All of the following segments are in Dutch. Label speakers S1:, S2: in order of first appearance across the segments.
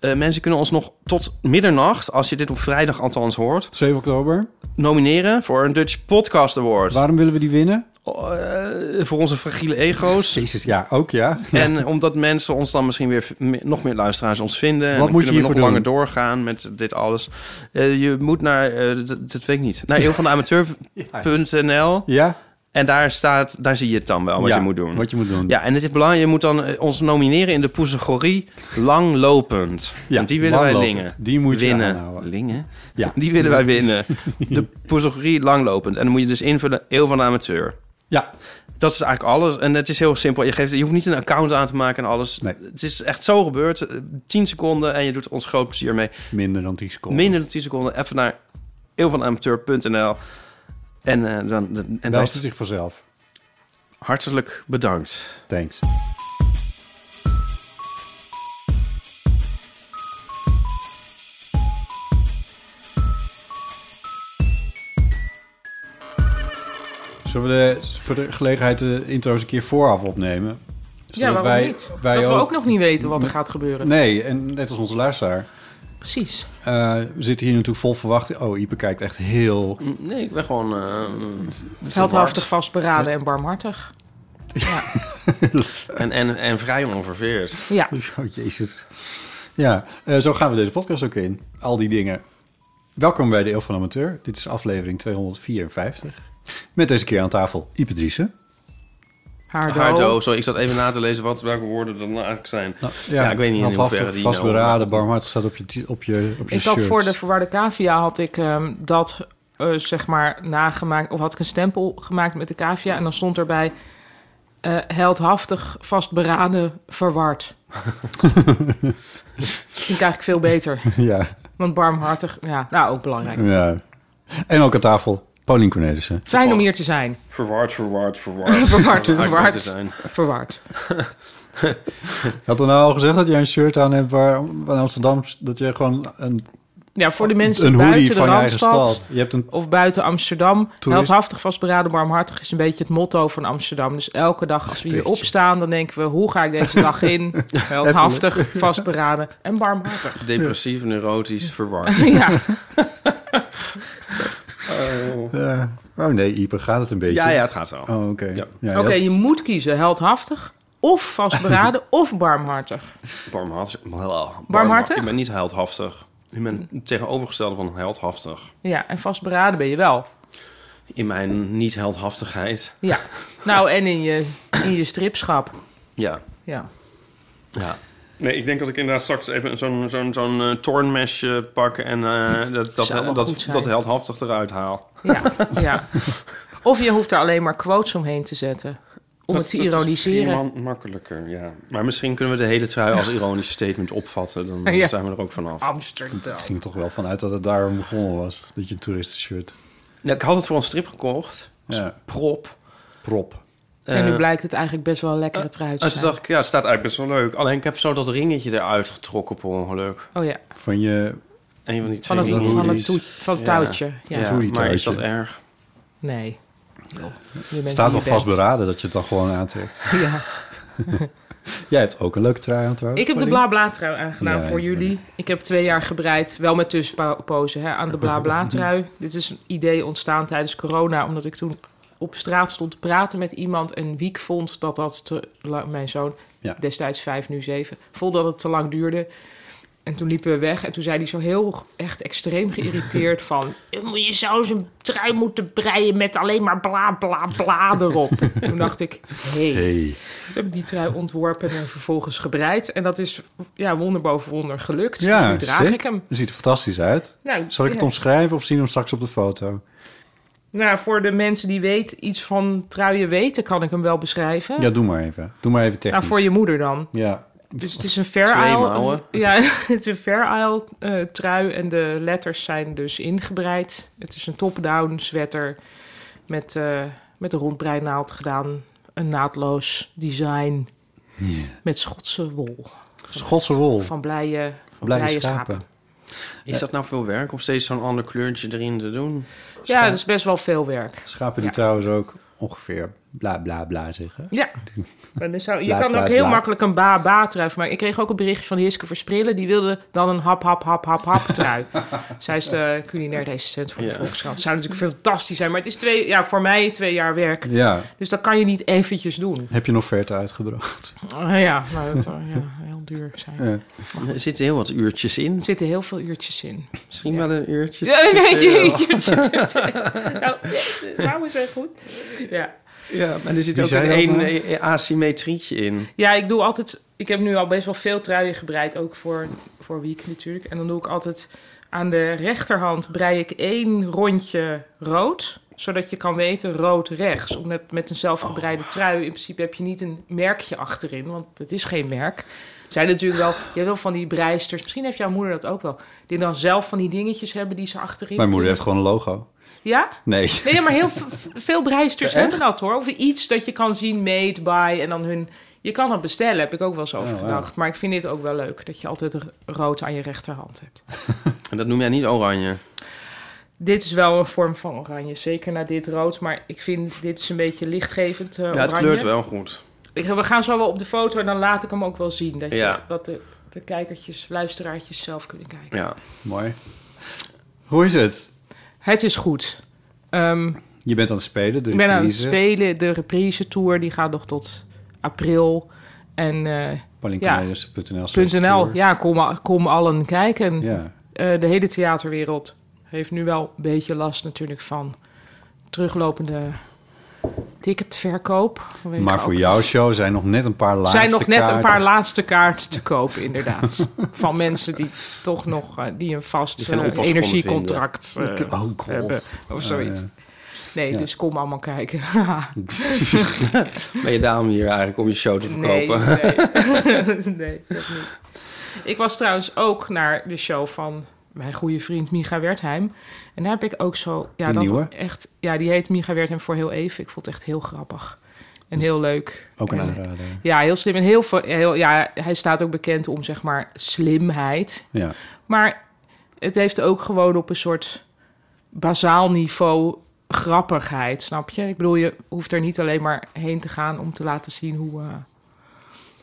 S1: Eh, mensen kunnen ons nog tot middernacht, als je dit op vrijdag althans hoort,
S2: 7 oktober.
S1: nomineren voor een Dutch Podcast Award.
S2: Waarom willen we die winnen?
S1: Oh, eh, voor onze fragiele ego's.
S2: Jezus, ja, ook ja.
S1: En omdat mensen ons dan misschien weer v- me- nog meer luisteraars ons vinden. en
S2: Wat
S1: dan
S2: moet je
S1: kunnen we nog
S2: hiervoor
S1: langer doorgaan met dit alles. Eh, je moet naar, eh, d- dat weet ik niet, naar eeuwvandeamateur.nl.
S2: Ja?
S1: En daar, staat, daar zie je het dan wel, Oh, wat
S2: Ja,
S1: je moet doen.
S2: Wat je moet doen.
S1: Ja, en het is belangrijk, je moet dan eh, ons nomineren in de categorie langlopend.
S2: Ja,
S1: Want die willen wij
S2: langlopend.
S1: lingen.
S2: Die moet je
S1: winnen.
S2: aanhouden.
S1: Lingen?
S2: Ja.
S1: Die willen wij winnen. De categorie langlopend. En dan moet je dus invullen, eeuw van de amateur.
S2: Ja.
S1: Dat is eigenlijk alles. En het is heel simpel. Je, geeft, je hoeft niet een account aan te maken en alles.
S2: Nee.
S1: Het is echt zo gebeurd. Eh, 10 seconden en je doet ons groot plezier mee.
S2: Minder dan 10 seconden.
S1: Minder dan 10 seconden. Even naar eeuwvanamateur.nl. En, eh, dan, dan- en
S2: En
S1: dat
S2: wijst
S1: is
S2: het zich vanzelf.
S1: hartelijk bedankt.
S2: Thanks. Zullen we de, voor de gelegenheid de intro eens een keer vooraf opnemen?
S3: Ja, waarom niet? dat we ook nog niet weten wat er gaat gebeuren.
S2: Nee, en net als onze luisteraar.
S3: Precies.
S2: eh, we zitten hier natuurlijk vol verwachting. Oh, Ipe kijkt echt heel...
S1: Mm, Nee, ik ben gewoon... eh,
S3: Veldhaftig, vastberaden en barmhartig.
S1: En, en, en vrij onverveerd.
S3: Ja,
S2: Oh, jezus. Ja, eh, zo gaan we deze podcast ook in. Al die dingen. Welkom bij de Eeuw van Amateur. Dit is aflevering 254. Met deze keer aan tafel Ipe Driessen.
S3: Hardo.
S1: Hardo, zo, ik zat even na te lezen wat, welke woorden dat nou eigenlijk zijn. ja, ik weet niet in hoeverre
S2: Handhaftig,
S1: die...
S2: vastberaden,
S1: nou-
S2: barmhartig staat op je, ti- op je, op je
S3: Ik
S2: shirt.
S3: had voor de verwarde cavia had ik ehm, dat eh, zeg maar nagemaakt, of had ik een stempel gemaakt met de cavia en dan stond erbij eh, heldhaftig, vastberaden, verward. Vind ik eigenlijk veel beter.
S2: ja,
S3: Want barmhartig, ja, nou ook belangrijk.
S2: ja. En ook aan tafel Paulien Cornelissen.
S3: Fijn om hier te zijn.
S1: eh, Verward, verward, verward.
S3: Verward,
S1: Om eigenlijk
S3: verward.
S1: te zijn.
S3: Verward.
S2: Had er nou al gezegd dat jij een shirt aan hebt waar, van Amsterdam... dat je gewoon een,
S3: Ja, voor de mensen
S2: een hoodie
S3: buiten de
S2: van je eigen
S3: Randstad.
S2: stad... Je hebt een...
S3: of buiten Amsterdam.
S2: Toerist-
S3: Heldhaftig, vastberaden, barmhartig is een beetje het motto van Amsterdam. Dus elke dag als we hier
S2: Beetje.
S3: opstaan, dan denken we... hoe ga ik deze dag in? Heldhaftig, vastberaden en barmhartig.
S1: Depressief, neurotisch, verward.
S3: Ja,
S2: eh, oh nee, Ipe, gaat het een beetje?
S1: Ja, ja, het gaat zo.
S2: Oh, oké.
S1: Ja.
S2: Ja,
S3: oké, je moet kiezen. Heldhaftig of vastberaden of barmhartig.
S1: Barmhartig. Barmhartig?
S3: Barmhartig?
S1: Ik ben niet heldhaftig. Ik ben het tegenovergestelde van heldhaftig.
S3: Ja, en vastberaden ben je wel.
S1: In mijn niet-heldhaftigheid.
S3: Ja. Nou, en in je, in je stripschap.
S1: Ja.
S3: Ja.
S1: ja. Nee, ik denk dat ik inderdaad straks even zo'n zo'n zo'n eh, toornmesje pak... en eh, dat, dat,
S3: Zou wel
S1: dat, dat,
S3: goed zijn.
S1: heldhaftig eruit haal.
S3: Ja, ja. Of je hoeft er alleen maar quotes omheen te zetten. Om
S1: Dat-
S3: het te
S1: dat is
S3: ironiseren.
S1: misschien man- makkelijker, ja. Maar misschien kunnen we de hele trui als ironisch statement opvatten. Dan eh,
S3: Ja.
S1: zijn we er ook vanaf.
S3: Amsterdam.
S2: Ik ging toch wel vanuit dat het daarom begonnen was. Dat je een toeristenshirt.
S1: Ja, ik had het voor een strip gekocht.
S2: Ja,
S1: Prop.
S2: prop.
S3: En nu
S1: Eh,
S3: blijkt het eigenlijk best wel een lekkere trui te
S1: en toen
S3: zijn.
S1: dacht ik, ja, het staat eigenlijk best wel leuk. Alleen ik heb zo dat ringetje eruit getrokken per ongeluk.
S3: Oh ja,
S2: Van je...
S1: Een van die twee
S3: van het,
S1: ringetjes.
S3: van
S2: hoodies.
S3: het, toe- van het
S1: Ja.
S3: touwtje. Ja.
S1: Ja,
S2: Hoodie
S1: maar is
S2: touwtje.
S1: dat erg?
S3: Nee. Het
S2: Het staat wel vastberaden dat je het dan gewoon aantrekt.
S3: Ja.
S2: Jij hebt ook een leuke trui aan trouwens.
S3: Ik heb de
S2: Paulien.
S3: bla bla trui aangedaan
S2: Ja,
S3: voor
S2: ik-
S3: jullie. Ik heb twee jaar gebreid, wel met tussenpozen, hè, aan de bla bla trui. Dit is een idee ontstaan tijdens corona, omdat ik toen op straat stond te praten met iemand en Wiek vond dat dat te la- mijn zoon
S2: Ja.
S3: destijds vijf nu zeven vond dat het te lang duurde. En toen liepen we weg en toen zei hij zo heel echt extreem geïrriteerd van... Je zou zijn trui moeten breien met alleen maar bla bla bla erop. toen dacht ik, hé. Hey.
S2: Hey.
S3: Ze hebben die trui ontworpen en vervolgens gebreid. En dat is ja, wonder boven wonder gelukt. dus
S2: Ja,
S3: nu draag
S2: sick.
S3: ik hem.
S2: Dat ziet er fantastisch uit.
S3: Nou,
S2: Zal ik het
S3: ja.
S2: omschrijven of zien we hem straks op de foto?
S3: Nou, voor de mensen die weet, iets van truien weten, kan ik hem wel beschrijven.
S2: Ja, doe maar even. Doe maar even technisch.
S3: nou, voor je moeder dan.
S2: Ja.
S3: Dus het is een Fair
S1: Twee
S3: Isle.
S1: mouwen.
S3: Ja, het is een Fair Isle eh, trui en de letters zijn dus ingebreid. Het is een top-down sweater met, eh met een rondbreinaald gedaan. Een naadloos design met Schotse wol.
S2: Schotse wol.
S3: Van blije, van
S2: Blije
S3: blije,
S2: schapen.
S3: schapen.
S1: Is dat nou veel werk om steeds zo'n ander kleurtje erin te doen?
S3: Ja, dat is best wel veel werk.
S2: Schapen die trouwens ook ongeveer bla bla bla zeggen.
S3: Ja, Maar dan zou, je
S2: Laat,
S3: kan
S2: laat,
S3: ook heel
S2: laat.
S3: makkelijk een ba-ba-trui maken. Ik kreeg ook een berichtje van Hiske Versprillen. Die wilde dan een hap-hap-hap-hap-hap-trui. Zij is de culinair recensent van de
S1: Ja.
S3: Volkskrant. Zou natuurlijk fantastisch zijn. Maar het is twee, ja, voor mij twee jaar werk.
S2: Ja.
S3: Dus dat kan je niet eventjes doen.
S2: Heb je een offerte uitgebracht?
S3: Ah ja, nou, dat zou ja, heel duur zijn.
S2: Ja.
S1: Er zitten heel wat uurtjes in.
S3: Er zitten heel veel uurtjes in.
S1: Misschien wel een uurtje.
S3: Ja,
S1: te
S3: nee,
S1: veel.
S3: uurtjes te veel. Nou, nou zijn goed. Ja.
S1: Ja, maar er zit
S2: Wie
S1: ook
S2: zei
S1: een,
S2: dat
S1: een
S2: nou?
S1: eh, asymmetrietje in.
S3: Ja, ik doe altijd. Ik heb nu al best wel veel truien gebreid, ook voor, voor week natuurlijk. En dan doe ik altijd aan de rechterhand brei ik één rondje rood, zodat je kan weten rood rechts. Omdat met een zelfgebreide
S2: Oh.
S3: trui in principe heb je niet een merkje achterin, want het is geen merk. Er Zijn natuurlijk wel, je wil van die breisters, misschien heeft jouw moeder dat ook wel, die dan zelf van die dingetjes hebben die ze achterin.
S2: Mijn moeder
S3: doen.
S2: heeft gewoon een logo.
S3: Ja?
S2: Nee.
S3: Nee, ja, maar heel v- v- veel breisters hebben dat hoor. Of iets dat je kan zien, made by en dan hun. Je kan het bestellen, heb ik ook wel eens over
S2: Oh, wauw.
S3: gedacht. Maar ik vind dit ook wel leuk, dat je altijd r- rood aan je rechterhand hebt.
S1: En dat noem jij niet oranje.
S3: Dit is wel een vorm van oranje, zeker na dit rood. Maar ik vind dit is een beetje lichtgevend eh,
S1: Ja, het
S3: oranje.
S1: kleurt wel goed.
S3: Ik, we gaan zo wel op de foto en dan laat ik hem ook wel zien. Dat, je-
S1: Ja.
S3: dat de, de kijkertjes, luisteraartjes zelf kunnen kijken.
S1: Ja.
S2: Mooi. Hoe is het?
S3: Het is goed. Ehm,
S2: Je bent aan het spelen. De
S3: Ik ben aan het
S2: reprise.
S3: spelen. De reprise tour die gaat nog tot april. En eh,
S2: Paulienkenmeijers.nl slash
S3: .nl,
S2: tour.
S3: ja, kom, al- kom allen kijken.
S2: Ja.
S3: Eh, de hele theaterwereld heeft nu wel een beetje last natuurlijk van teruglopende ticketverkoop. Vanwege
S2: Maar
S3: ook-
S2: voor jouw show zijn nog net een paar
S3: Er
S2: laatste
S3: zijn nog net een
S2: kaarten.
S3: paar laatste kaarten te koop, inderdaad. van mensen die toch nog eh, die een vast
S1: Die geen
S3: eh,
S1: oppas konden
S3: energiecontract eh,
S2: Oh, god.
S3: hebben of zoiets. Nee,
S2: Ah, ja.
S3: dus kom allemaal kijken.
S1: Ben je daarom hier eigenlijk om je show te verkopen?
S3: Nee, nee. nee, dat niet. Ik was trouwens ook naar de show van mijn goede vriend Micha Wertheim. En daar heb ik ook zo... Ja,
S2: Die
S3: dat
S2: nieuwe?
S3: Echt, ja, die heet Micha Wertheim voor heel even. Ik vond het echt heel grappig. En heel leuk.
S2: Ook een
S3: En,
S2: aanrader.
S3: Ja, heel slim. En heel veel... Heel, ja, hij staat ook bekend om, zeg maar, slimheid.
S2: Ja.
S3: Maar het heeft ook gewoon op een soort bazaal niveau grappigheid, snap je? Ik bedoel, je hoeft er niet alleen maar heen te gaan om te laten zien hoe, eh,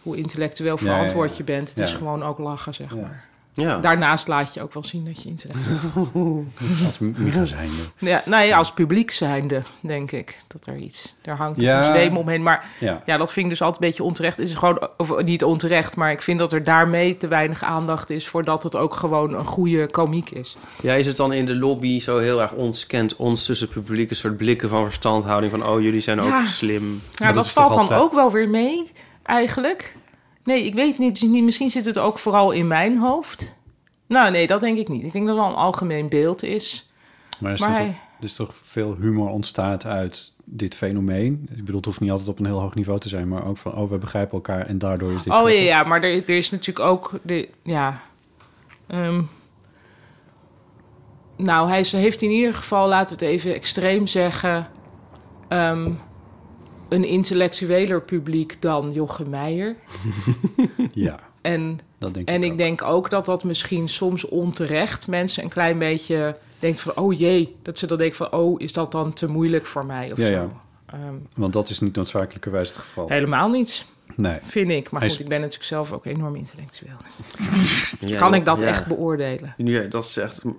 S3: hoe intellectueel
S2: ja, ja.
S3: verantwoord je bent. Het
S2: Ja.
S3: is gewoon ook lachen, zeg maar.
S1: Ja.
S3: Daarnaast laat je ook wel zien dat je intellectueel
S2: Als m- Micha zijnde.
S3: ja, nou ja, als publiek zijnde, denk ik, dat er iets... Er hangt
S2: Ja.
S3: een zweem omheen, maar
S2: Ja.
S3: ja, dat vind ik dus altijd een beetje onterecht. Het is gewoon, of niet onterecht, maar ik vind dat er daarmee te weinig aandacht is... voordat het ook gewoon een goede komiek is.
S1: Ja, is het dan in de lobby zo heel erg ons kent, ons tussen het publiek, een soort blikken van verstandhouding van, oh, jullie zijn
S3: Ja.
S1: ook slim.
S3: Ja,
S2: Maar dat
S3: dat,
S2: is toch
S3: valt dan
S2: altijd-
S3: ook wel weer mee, eigenlijk. Nee, ik weet niet, niet- Misschien zit het ook vooral in mijn hoofd. Nou, nee, dat denk ik niet. Ik denk dat het wel een algemeen beeld is.
S2: Maar er is,
S3: Maar
S2: toch-
S3: hij-
S2: er is toch veel humor ontstaat uit dit fenomeen. Ik bedoel, het hoeft niet altijd op een heel hoog niveau te zijn, maar ook van, oh, we begrijpen elkaar en daardoor is dit...
S3: oh ja,
S2: grappig.
S3: ja, maar er, er is natuurlijk ook de. Ja. Ehm, nou, hij is- heeft in ieder geval, laten we het even extreem zeggen. ehm, een intellectueler publiek dan Jochem Meijer.
S2: Ja,
S3: En
S2: dat denk ik
S3: En
S2: ook.
S3: ik denk ook dat dat misschien soms onterecht mensen een klein beetje denkt van oh jee, dat ze dan denken van oh is dat dan te moeilijk voor mij of
S2: Ja,
S3: zo.
S2: ja.
S3: Ehm,
S2: Want dat is niet noodzakelijkerwijs het geval.
S3: helemaal niet,
S2: Nee.
S3: vind ik. Maar
S2: Hij
S3: goed,
S2: is-
S3: ik ben natuurlijk zelf ook enorm intellectueel.
S1: Ja,
S3: kan ik dat
S1: ja.
S3: echt beoordelen?
S1: Ja, dat is echt... mm,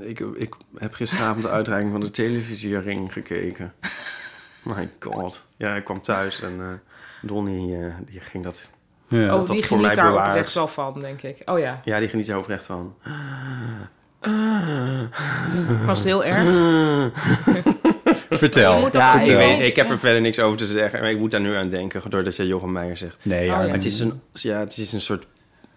S1: Ik, ik heb gisteravond de uitreiking van de televisiering gekeken. My god. Ja, ik kwam thuis en eh Donnie eh, die ging dat
S2: Ja.
S3: oh,
S1: dat
S3: die
S1: dat voor mij
S3: geniet daar
S1: bewaard.
S3: oprecht wel van, denk ik. Oh ja,
S1: Ja, die geniet er oprecht van.
S3: was het heel erg.
S2: Vertel.
S3: Je moet dat
S1: Ja, ik,
S3: vertellen.
S1: weet, ik heb er verder niks over te zeggen. Maar ik moet daar nu aan denken, doordat je Jochem Meijer zegt.
S2: Nee,
S3: Oh,
S2: ja.
S3: ja.
S1: Het is een, ja, het is een soort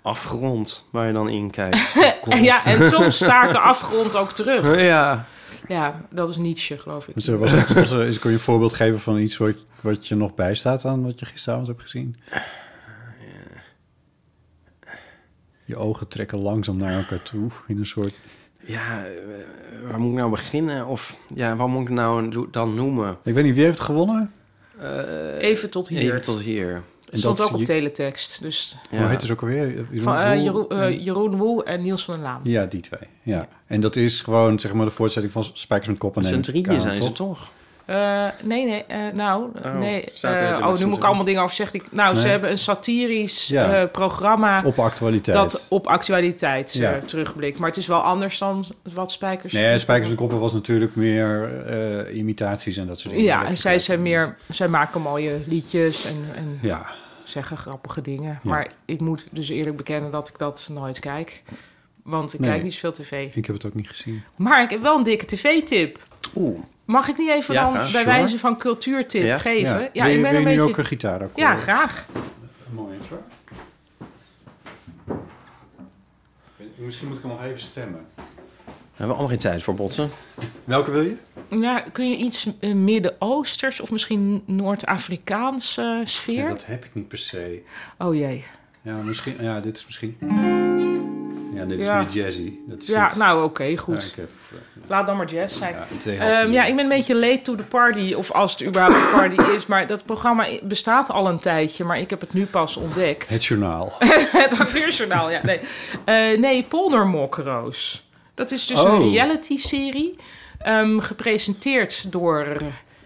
S1: afgrond waar je dan in kijkt.
S3: En ja, en soms staart de afgrond ook terug.
S1: ja.
S3: Ja, dat is Nietzsche, geloof ik.
S2: Dus er was, was er- is, kon je een voorbeeld geven van iets wat, wat je nog bijstaat aan wat je gisteravond hebt gezien? Je ogen trekken langzaam naar elkaar toe in een soort...
S1: Ja, eh, waar moet ik nou beginnen? Of ja, wat moet ik nou do- dan noemen?
S2: Ik weet niet, wie heeft gewonnen?
S3: Even tot hier.
S1: Even tot hier.
S3: Het stond
S2: dat
S3: ook op
S2: je-
S3: teletext. Dus
S1: Ja.
S2: Hoe heet het ook alweer? Jeroen
S3: van eh,
S2: Roel?
S3: Jeroen, eh, Jeroen Woe en Niels van der Laan.
S2: Ja, die twee. Ja. En dat is gewoon zeg maar de voortzetting van Spijkers met Koppen.
S1: Met
S2: en
S1: z'n drieën
S2: Kaal,
S1: zijn ze
S2: toch?
S1: toch?
S3: Eh, nee, nee, eh, nou,
S1: Oh,
S3: nee.
S1: staat er
S3: eh,
S1: natuurlijk
S3: oh, nu
S1: soms
S3: moet ik
S1: in.
S3: allemaal dingen over zeggen. die ik- Nou, ze
S2: Nee.
S3: hebben een satirisch
S2: Ja.
S3: eh, programma
S2: Op actualiteit.
S3: dat op actualiteit eh,
S2: Ja.
S3: terugblikt. Maar het is wel anders dan wat Spijkers...
S2: Nee, Spijkers met Koppen was natuurlijk meer eh, imitaties en dat soort dingen.
S3: Ja, en zij zijn meer... Zij maken mooie liedjes en, en
S2: Ja,
S3: zeggen grappige dingen.
S2: Ja.
S3: Maar ik moet dus eerlijk bekennen dat ik dat nooit kijk. Want ik
S2: Nee.
S3: kijk niet zoveel tv.
S2: ik heb het ook niet gezien.
S3: Maar ik heb wel een dikke tv-tip.
S1: Oeh.
S3: Mag ik niet even
S1: Ja,
S3: dan
S1: graag,
S3: bij
S1: sure.
S3: wijze van cultuurtip
S1: Ja,
S3: geven? Ja,
S2: Wil je,
S3: ik ben
S2: wil
S3: een
S2: je nu
S3: beetje...
S2: ook een gitaar
S3: Ja, graag.
S2: Mooi hoor. Misschien moet ik hem nog even stemmen.
S1: We hebben allemaal geen tijd voor botsen.
S2: Welke wil je?
S3: Ja, kun je iets eh, Midden-Oosters of misschien Noord-Afrikaanse eh, sfeer?
S2: Ja, dat heb ik niet per se.
S3: Oh jee.
S2: Ja, misschien, ja dit is misschien... Ja, dit is
S3: Ja.
S2: meer jazzy. Dat is
S3: Ja,
S2: niet-
S3: nou oké,
S2: Ja,
S3: goed.
S2: ik heb, eh,
S3: Laat dan maar jazz zijn.
S2: ja, een twee halve
S3: Ehm, ja,
S2: uur.
S3: ik ben een beetje late to the party, of als het überhaupt een party is. Maar dat programma i- bestaat al een tijdje, maar ik heb het nu pas ontdekt.
S2: Het journaal.
S3: Het acteursjournaal, ja. Nee, Eh nee Poldermokroos. Dat is dus een
S2: Oh.
S3: reality-serie. ehm, gepresenteerd door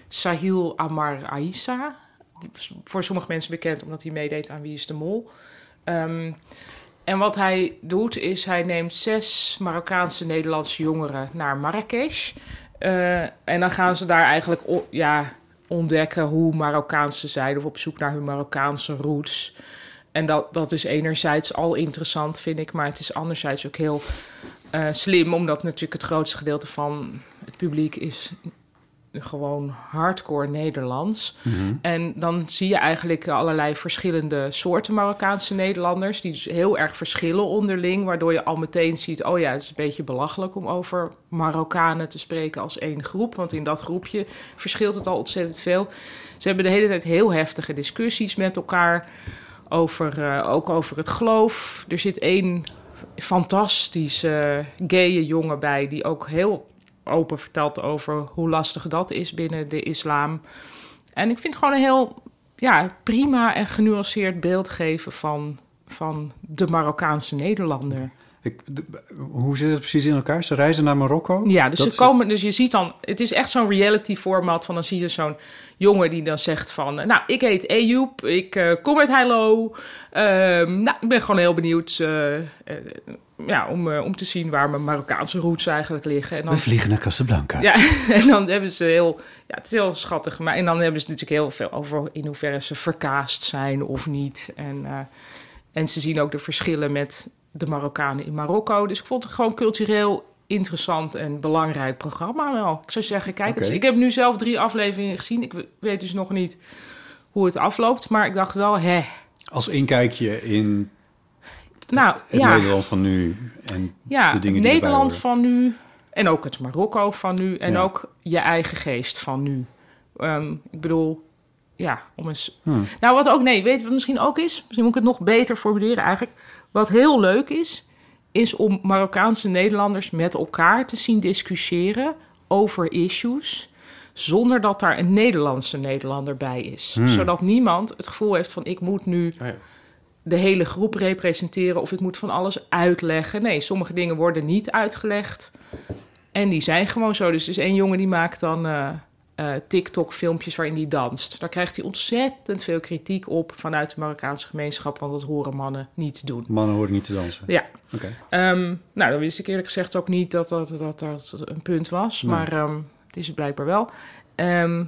S3: Sahil Amar Aissa. Voor sommige mensen bekend omdat hij meedeed aan Wie is de Mol. Ehm, en wat hij doet is hij neemt zes Marokkaanse Nederlandse jongeren naar Marrakesh. Eh, en dan gaan ze daar eigenlijk o- ja, ontdekken hoe Marokkaans ze zijn... of op zoek naar hun Marokkaanse roots. En dat, dat is enerzijds al interessant, vind ik. Maar het is anderzijds ook heel eh, slim. Omdat natuurlijk het grootste gedeelte van het publiek is gewoon hardcore Nederlands. En dan zie je eigenlijk allerlei verschillende soorten Marokkaanse Nederlanders. Die dus heel erg verschillen onderling. Waardoor je al meteen ziet, oh ja, het is een beetje belachelijk... om over Marokkanen te spreken als één groep. Want in dat groepje verschilt het al ontzettend veel. Ze hebben de hele tijd heel heftige discussies met elkaar over, eh, ook over het geloof. Er zit één fantastische eh, gaye jongen bij die ook heel open vertelt over hoe lastig dat is binnen de islam. En ik vind het gewoon een heel ja, prima en genuanceerd beeld geven van, van de Marokkaanse Nederlander.
S2: Ik, de- hoe zit het precies in elkaar? Ze reizen naar Marokko?
S3: Ja, dus,
S2: Dat
S3: ze
S2: is-
S3: komen, dus je ziet dan, het is echt zo'n reality format van dan zie je zo'n jongen die dan zegt van, eh, nou, ik heet Ejoep, ik eh, kom uit Heilo, Ehm, nou, ik ben gewoon heel benieuwd eh, eh, ja, om, eh, om te zien waar mijn Marokkaanse roots eigenlijk liggen. En dan,
S2: We vliegen naar Casablanca.
S3: ja, en dan hebben ze heel, ja, het is heel schattig, maar en dan hebben ze natuurlijk heel veel over in hoeverre ze verkaasd zijn of niet. En, eh, en ze zien ook de verschillen met de Marokkanen in Marokko. Dus ik vond het gewoon cultureel interessant en belangrijk programma wel. Ik zou zeggen, kijk eens.
S2: Oké.
S3: Ik heb nu zelf drie afleveringen gezien. Ik we- weet dus nog niet hoe het afloopt, maar ik dacht wel, hè.
S2: Als inkijkje in
S3: Nou,
S2: het
S3: ja.
S2: Nederland van nu. En
S3: Ja,
S2: de dingen die erbij
S3: Nederland
S2: horen.
S3: van nu en ook het Marokko van nu en
S2: Ja.
S3: ook je eigen geest van nu. Ehm, ik bedoel, ja, om eens...
S2: Hmm.
S3: Nou, wat ook, nee, weet je wat misschien ook is? Misschien moet ik het nog beter formuleren eigenlijk. Wat heel leuk is, is om Marokkaanse Nederlanders met elkaar te zien discussiëren over issues... zonder dat daar een Nederlandse Nederlander bij is. Zodat niemand het gevoel heeft van ik moet nu
S1: Hmm. Oh ja.
S3: de hele groep representeren of ik moet van alles uitleggen. Nee, sommige dingen worden niet uitgelegd. En die zijn gewoon zo. Dus er is één jongen die maakt dan eh, eh, TikTok-filmpjes waarin hij danst. Daar krijgt hij ontzettend veel kritiek op vanuit de Marokkaanse gemeenschap, want dat horen mannen niet doen.
S2: Mannen horen niet te dansen.
S3: Ja,
S2: Oké.
S3: ehm, nou, dan wist ik eerlijk gezegd ook niet dat dat, dat, dat een punt was.
S2: Nee.
S3: Maar ehm, het is het blijkbaar wel. Ehm,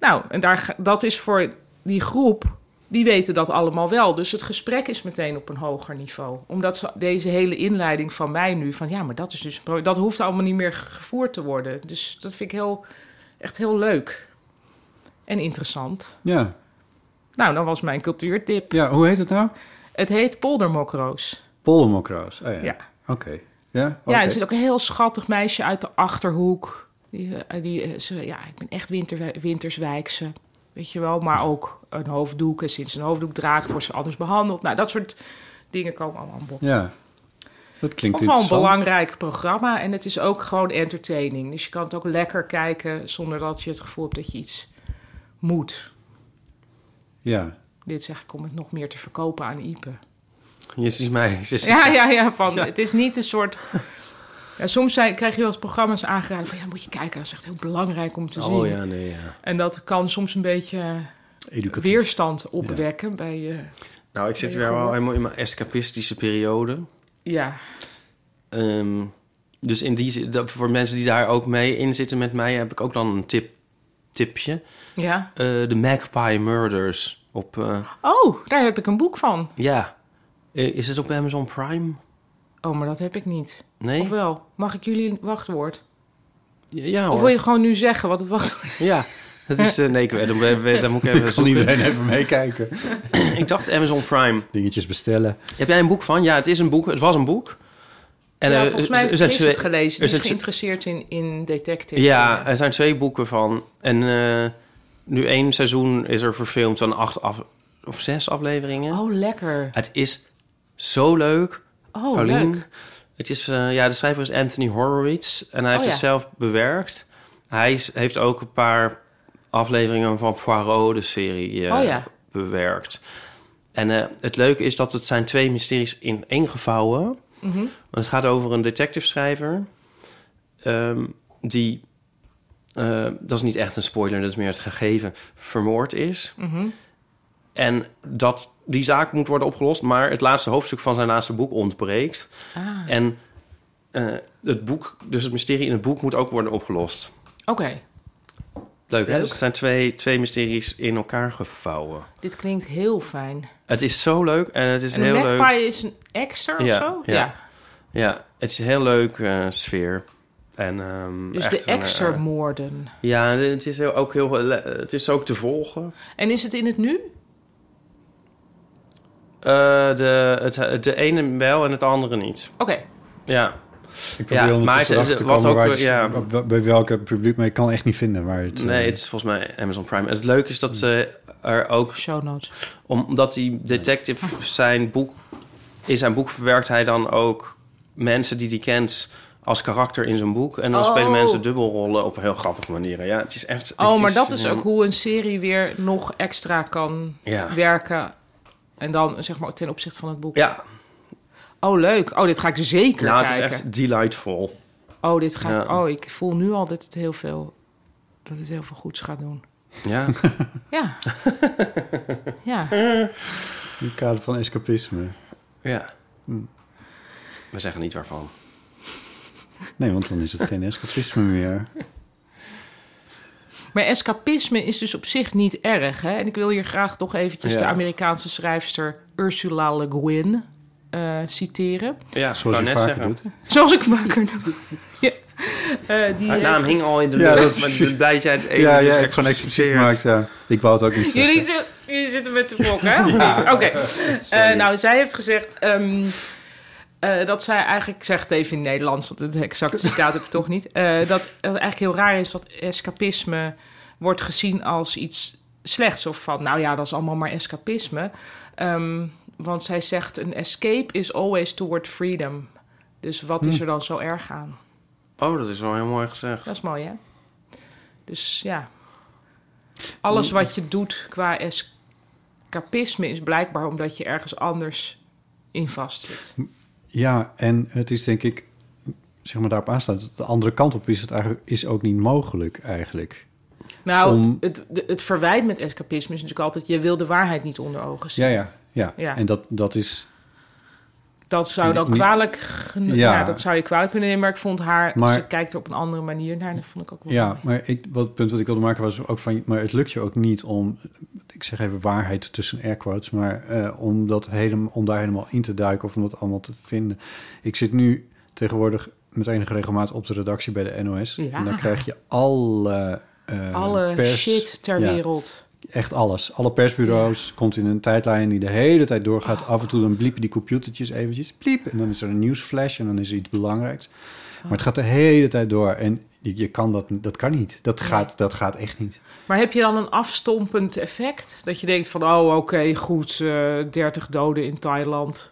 S3: nou, en daar, ga- dat is voor die groep die weten dat allemaal wel. Dus het gesprek is meteen op een hoger niveau. Omdat ze- deze hele inleiding van mij nu, van ja, maar dat is dus een pro- Dat hoeft allemaal niet meer gevoerd te worden. Dus dat vind ik heel, echt heel leuk. En interessant.
S2: Ja.
S3: Nou, dat was mijn cultuurtip.
S2: ja, hoe heet het nou?
S3: Het heet poldermokroos.
S2: Poldermokroos. Oh ja.
S3: Ja.
S2: Oké. Ja?
S3: Ja, dus
S2: Oké.
S3: er zit ook een heel schattig meisje uit de Achterhoek. Die, eh, die, eh, ze, ja, ik ben echt winter, winterswijkse, weet je wel. Maar ook een hoofddoek. En sinds ze een hoofddoek draagt, wordt ze anders behandeld. Nou, dat soort dingen komen allemaal aan bod.
S2: Ja. Dat klinkt
S3: Het is wel een
S2: interessant.
S3: belangrijk programma. En het is ook gewoon entertaining. Dus je kan het ook lekker kijken zonder dat je het gevoel hebt dat je iets moet.
S2: Ja.
S3: Dit zeg ik om het nog meer te verkopen aan Ipe.
S1: Je ziet mij. Je ziet
S3: Ja, ja, ja. Van, Het is niet een soort. Ja, soms zijn, krijg je wel eens programma's aangeraden van ja, moet je kijken, dat is echt heel belangrijk om te
S1: Oh
S3: zien.
S1: ja, nee, ja.
S3: En dat kan soms een beetje eh,
S2: Educatief.
S3: weerstand opwekken bij je.
S1: Nou, ik zit
S3: je
S1: weer
S3: gehoord?
S1: wel helemaal in mijn escapistische periode.
S3: ja,
S1: Ehm, dus in die, zin- dat, voor mensen die daar ook mee in zitten met mij... heb ik ook dan een tip, tipje.
S3: ja.
S1: Eh, de Magpie Murders op... eh,
S3: Oh, daar heb ik een boek van.
S1: ja, Eh, is het op Amazon Prime?
S3: Oh, maar dat heb ik niet.
S1: Nee?
S3: Of wel? Mag ik jullie wachtwoord?
S1: Ja, ja
S3: Of
S1: hoor.
S3: wil je gewoon nu zeggen wat het wachtwoord
S1: Ja, dat is... eh, nee, ik, weet- dan, ben- dan moet ik even
S2: Kan
S1: zoeken.
S2: iedereen even meekijken?
S1: Ik dacht Amazon Prime.
S2: Dingetjes bestellen.
S1: Heb jij een boek van? Ja, het is een boek. Het was een boek. En
S3: ja,
S1: eh,
S3: Volgens mij
S1: er
S3: heeft
S1: zijn
S3: Chris
S1: twee-
S3: het gelezen.
S1: er
S3: Die is
S1: zijn twee-
S3: geïnteresseerd in, in detectives.
S1: Ja, er zijn twee boeken van. En eh, nu één seizoen is er verfilmd van acht af, of zes afleveringen.
S3: Oh, lekker.
S1: Het is zo leuk.
S3: Oh,
S1: Paulien.
S3: leuk.
S1: Het is, eh, ja, de schrijver is Anthony Horowitz. En hij heeft
S3: Oh,
S1: het
S3: ja.
S1: zelf bewerkt. Hij is- heeft ook een paar afleveringen van Poirot, de serie, eh,
S3: Oh, ja.
S1: bewerkt. En eh, het leuke is dat het zijn twee mysteries in één gevouwen.
S3: Mhm.
S1: Want het gaat over een detective schrijver. ehm, die, eh, dat is niet echt een spoiler, dat is meer het gegeven, vermoord is.
S3: Mhm.
S1: En dat die zaak moet worden opgelost, maar het laatste hoofdstuk van zijn laatste boek ontbreekt.
S3: Ah,
S1: En eh, het boek, dus het mysterie in het boek moet ook worden opgelost.
S3: Oké,
S1: Leuk, hè?
S3: Leuk.
S1: Dus het zijn twee, twee mysteries in elkaar gevouwen.
S3: dit klinkt heel fijn.
S1: Het is zo leuk en het is
S3: En
S1: heel
S3: Dus een
S1: leuk.
S3: magpie is een extra
S1: Ja,
S3: of zo?
S1: ja. Ja, het is een heel leuk eh, sfeer. En, ehm,
S3: Dus
S1: echt
S3: de
S1: een,
S3: extra
S1: eh,
S3: moorden.
S1: ja, het is heel, ook heel. Het is ook te volgen.
S3: En is het in het nu?
S1: Eh, de, het, de ene wel en het andere niet.
S3: Oké.
S1: Ja.
S2: Ik probeer
S1: Ja, maar het-
S2: ondertussen achter te
S1: wat
S2: komen
S1: ook-
S2: waar het-
S1: ja.
S2: wa- bij welke publiek, maar ik kan echt niet vinden waar het... eh,
S1: Nee, het is volgens mij Amazon Prime. En het leuke is dat ze er ook
S3: Show notes.
S1: omdat die detective zijn boek... In zijn boek verwerkt hij dan ook mensen die hij kent als karakter in zijn boek. En dan
S3: Oh.
S1: spelen mensen dubbelrollen op een heel grappige manieren. Ja, het is echt... het
S3: Oh, maar dat is
S1: een-
S3: ook hoe een serie weer nog extra kan
S1: Ja.
S3: werken. En dan zeg maar ten opzichte van het boek.
S1: Ja,
S3: Oh, leuk. Oh, dit ga ik zeker
S1: nou, het is
S3: kijken.
S1: echt delightful.
S3: Oh, dit ga ik...
S1: Ja.
S3: Oh, ik voel nu al dat het heel veel... Dat het heel veel goeds gaat doen.
S1: Ja,
S3: Ja. ja.
S2: In het kader van escapisme.
S1: ja.
S3: Hmm.
S1: We zeggen niet waarvan.
S2: Nee, want dan is het geen escapisme meer.
S3: Maar escapisme is dus op zich niet erg. Hè? En ik wil hier graag toch eventjes
S1: Ja.
S3: de Amerikaanse schrijfster Ursula Le Guin eh, citeren.
S1: Ja, ik
S2: Zoals
S1: wou
S2: je
S1: net
S2: vaker
S1: zeggen.
S2: doet.
S3: Zoals ik vaker doe. ja. Eh, die
S1: Haar
S3: heeft-
S1: naam hing al in de
S2: Ja,
S1: lucht,
S2: dat is
S1: maar ik
S2: precies-
S1: ben blij dat jij het even
S2: Ja,
S1: dus
S2: ja, ik gewoon expliciet gemaakt. Ja. Ik wou het ook niet zeggen.
S3: Jullie, zi- jullie zitten met de blok, hè? Oké. Eh, nou, zij heeft gezegd ehm, eh, dat zij eigenlijk... Ik zeg het even in het Nederlands, want het exacte citaat heb ik toch niet. eh, dat het eigenlijk heel raar is dat escapisme wordt gezien als iets slechts. Of van, nou ja, dat is allemaal maar escapisme. Ehm, want zij zegt, een escape is always toward freedom. Dus wat
S2: Hm.
S3: is er dan zo erg aan?
S1: Oh, dat is wel heel mooi gezegd.
S3: Dat is mooi, hè? Dus ja. Alles wat je doet qua escapisme is blijkbaar omdat je ergens anders in vastzit.
S2: Hm, Ja, en het is denk ik, zeg maar daarop aansluit, de andere kant op is het eigenlijk is ook niet mogelijk eigenlijk.
S3: Nou,
S2: Om-
S3: het, de- het verwijt met escapisme is natuurlijk altijd... je wil de waarheid niet onder ogen zien.
S2: Ja, ja, ja.
S3: Ja.
S2: En dat, dat is,
S3: dat, dat zou dan
S2: Niet-
S3: kwalijk... geno-
S2: Ja.
S3: Ja. dat zou je kwalijk kunnen nemen. Maar ik vond haar...
S2: Maar-
S3: ze kijkt er op een andere manier naar. Dat vond ik ook wel
S2: Ja,
S3: mooi.
S2: maar ik, wat, het punt wat ik wilde maken was ook van... Maar het lukt je ook niet om, ik zeg even waarheid tussen air quotes... maar eh, om, dat helemaal, om daar helemaal in te duiken of om dat allemaal te vinden. Ik zit nu tegenwoordig met enige regelmaat op de redactie bij de NOS.
S3: Ja.
S2: En dan krijg je alle... eh,
S3: Alle
S2: pers-
S3: shit ter
S2: Ja,
S3: wereld.
S2: Echt alles. Alle persbureaus. Komt in een tijdlijn die de hele tijd doorgaat. Af en toe dan bliepen die computertjes eventjes. Pliep. En dan is er een nieuwsflash en dan is er iets belangrijks. Maar het gaat de hele tijd door. En je, je kan dat, dat kan niet. Dat gaat, dat gaat echt niet.
S3: Maar heb je dan een afstompend effect? Dat je denkt van, oh oké, goed, eh 30 doden in Thailand.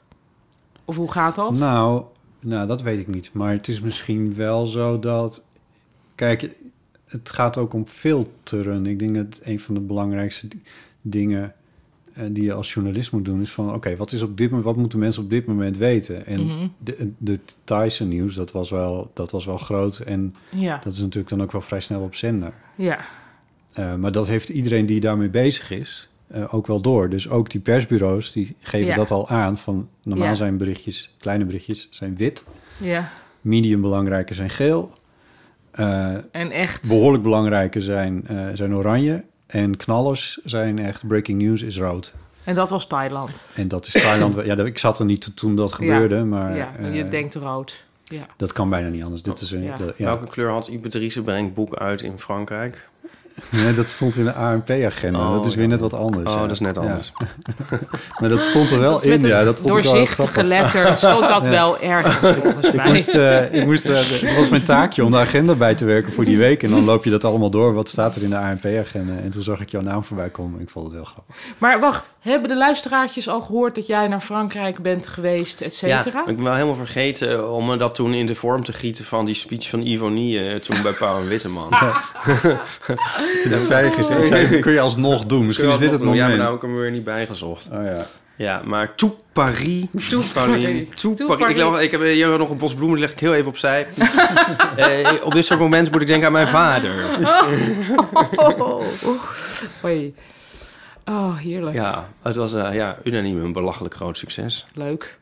S3: Of hoe gaat dat?
S2: Nou, nou, dat weet ik niet. Maar het is misschien wel zo dat... Kijk, het gaat ook om filteren. Ik denk dat een van de belangrijkste di- dingen eh, die je als journalist moet doen... is van, oké, wat is op dit moment, wat moeten mensen op dit moment weten?
S3: Mhm.
S2: En de, de Thaise nieuws, dat was, wel, dat was wel groot. En
S3: ja,
S2: dat is natuurlijk dan ook wel vrij snel op zender.
S3: ja.
S2: Eh, maar dat heeft iedereen die daarmee bezig is eh, ook wel door. Dus ook die persbureaus die geven
S3: Ja.
S2: dat al aan. Van normaal
S3: Ja.
S2: zijn berichtjes, kleine berichtjes, zijn wit.
S3: ja.
S2: Medium belangrijke zijn geel. Eh,
S3: En echt,
S2: behoorlijk belangrijke zijn, eh, zijn oranje. En knallers zijn echt breaking news is rood.
S3: en dat was Thailand.
S2: En dat is Thailand. wel- ja, dat- ik zat er niet toe toen dat gebeurde, maar
S3: ja,
S2: eh,
S3: je denkt rood. Ja.
S2: dat kan bijna niet anders. Dit is een,
S3: Ja.
S2: dat- ja.
S1: Welke kleur had Iberdrice brengt boek uit in Frankrijk?
S2: Nee, dat stond in de ANP-agenda.
S1: Oh,
S2: dat is weer
S1: ja.
S2: net wat anders.
S1: oh,
S2: ja.
S1: dat is net
S2: Ja.
S1: anders.
S2: Maar dat stond er wel
S3: Dat is
S2: in.
S3: met
S2: Ja,
S3: een
S2: dat vond ik wel grappig.
S3: doorzichtige letter stond dat wel ergens volgens
S2: Ik
S3: mij.
S2: moest, eh, ik moest, eh, het was mijn taakje om de agenda bij te werken voor die week. En dan loop je dat allemaal door. Wat staat er in de ANP-agenda? En toen zag ik jouw naam voorbij komen. Ik vond het heel grappig.
S3: Maar wacht, hebben de luisteraartjes al gehoord dat jij naar Frankrijk bent geweest, et cetera?
S1: Ja, ik ben wel helemaal vergeten om me dat toen in de vorm te gieten van die speech van Ivonie eh, toen bij Paul en Witteman.
S2: Dat zei je gisteren. Ik zei, dat kun je alsnog doen. Misschien is dit het
S1: Ja, maar
S2: moment.
S1: daar heb ik hem weer niet bijgezocht.
S2: Oh ja.
S1: Ja, maar toe Paris. Toe
S3: Paris.
S1: Toe
S3: Toe
S1: Paris. Ik,
S3: Paris.
S1: leg- ik heb eh, hier nog een bos bloemen, die leg ik heel even opzij. Eh, op dit soort momenten moet ik denken aan mijn vader.
S3: Oh, Hoi. oh heerlijk.
S1: Ja, het was eh, ja, unaniem een belachelijk groot succes.
S3: Leuk.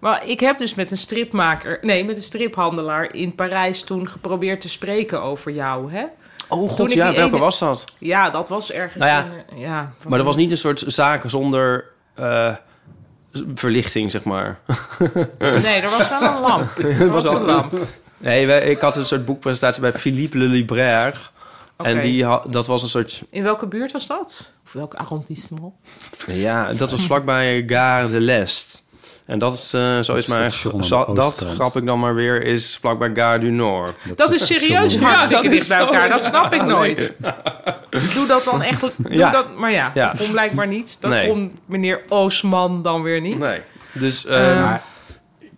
S3: Maar ik heb dus met een stripmaker, nee, met een striphandelaar in Parijs toen geprobeerd te spreken over jou, hè?
S1: Oh
S3: Toen
S1: god,
S3: ik
S1: ja,
S3: die
S1: welke
S3: ene-
S1: was dat?
S3: Ja, dat was ergens.
S1: Nou ja,
S3: in, eh, ja
S1: Maar dat was niet een soort zaken zonder eh, z- verlichting, zeg maar.
S3: Nee, er was wel een lamp. Er was
S1: was
S3: een
S1: al-
S3: lamp. Oké.
S1: Nee, wij- ik had een soort boekpresentatie bij Philippe Le Libraire. En die ha- dat was een soort...
S3: In welke buurt was dat? Of welk arrondissement?
S1: Ja, dat was vlakbij Gare de l'Est. En dat is, eh, zo is maar...
S2: station aan de
S1: zo- dat
S2: Oostkant.
S1: grap ik dan maar weer, is vlakbij Gare du Nord.
S3: Dat, is serieus
S2: zo
S3: hartstikke
S1: Ja, dat
S3: dicht
S1: is
S3: bij
S1: zo,
S3: elkaar.
S1: ja.
S3: Dat snap ik nooit. Doe dat dan echt... Doe
S1: Ja.
S3: dat, maar ja,
S1: Ja.
S3: dat kon blijkbaar niet. Dat
S1: Nee.
S3: kon meneer Oosman dan weer niet.
S1: Nee. Dus...
S3: Eh,
S1: eh
S2: Maar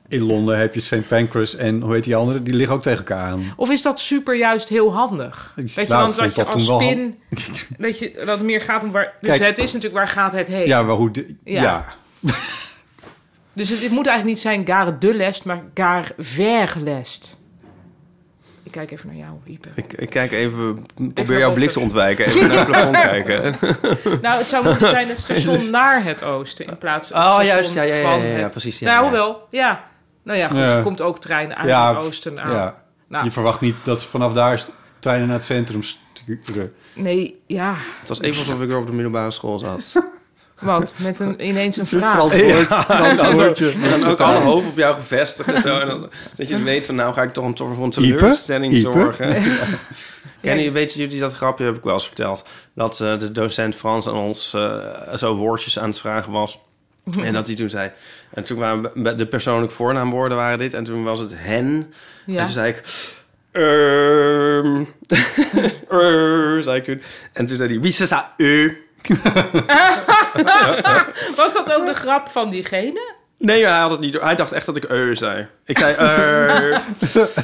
S2: in Londen heb je St. Pancras en hoe heet die andere? Die liggen ook tegen elkaar aan.
S3: Of is dat super juist heel handig?
S2: Ik-
S3: Weet je,
S2: nou,
S3: want
S2: ik vond
S3: dat je
S2: dat
S3: als
S2: toen wel
S3: spin... Dat, je, dat het meer gaat om waar... Dus
S2: Kijk.
S3: het is natuurlijk waar gaat het heen.
S2: Ja, maar hoe... de-
S3: Ja.
S2: ja.
S3: Dus het, het moet eigenlijk niet zijn gare de lest, maar gare verlest. Ik kijk even naar jou, Ipe.
S1: ik, ik kijk even...
S3: naar
S1: Probeer jouw blik te
S3: boven.
S1: ontwijken. Even naar het plafond kijken.
S3: Nou, het zou moeten zijn het station naar het oosten in plaats van het
S1: Oh,
S3: station
S1: juist. Ja, ja, ja,
S3: van
S1: ja, ja,
S3: het-
S1: precies. Ja,
S3: nou,
S1: ja.
S3: hoewel, ja. Nou ja, goed,
S2: Ja.
S3: er komt ook trein uit
S2: Ja,
S3: het oosten aan.
S2: ja.
S3: Nou,
S2: Je verwacht niet dat ze vanaf daar treinen naar het centrum sturen.
S3: nee, ja,
S1: Het was even alsof ik weer op de middelbare school zat.
S3: want met een, ineens een vraag.
S2: Verantwoord. Verantwoordje.
S1: En dan ook alle hoop op jou gevestigd en zo. En dan, dat je weet van, nou ga ik toch een, toch voor een teleurstelling
S2: Ieper?
S1: zorgen.
S3: Ja.
S1: Ken je, weet jullie dat grapje, heb ik wel eens verteld. Dat eh, de docent Frans aan ons eh, zo woordjes aan het vragen was.
S3: Mhm.
S1: En dat hij toen zei... En toen waren we- de persoonlijke voornaamwoorden waren dit. En toen was het hen. En
S3: Ja.
S1: toen zei ik... ehm, eh, zei ik toen. En toen zei hij... Wie is dat? Eh.
S3: Was dat ook de grap van diegene?
S1: Nee, hij had het niet door. Hij dacht echt dat ik eh zei. Ik zei eh.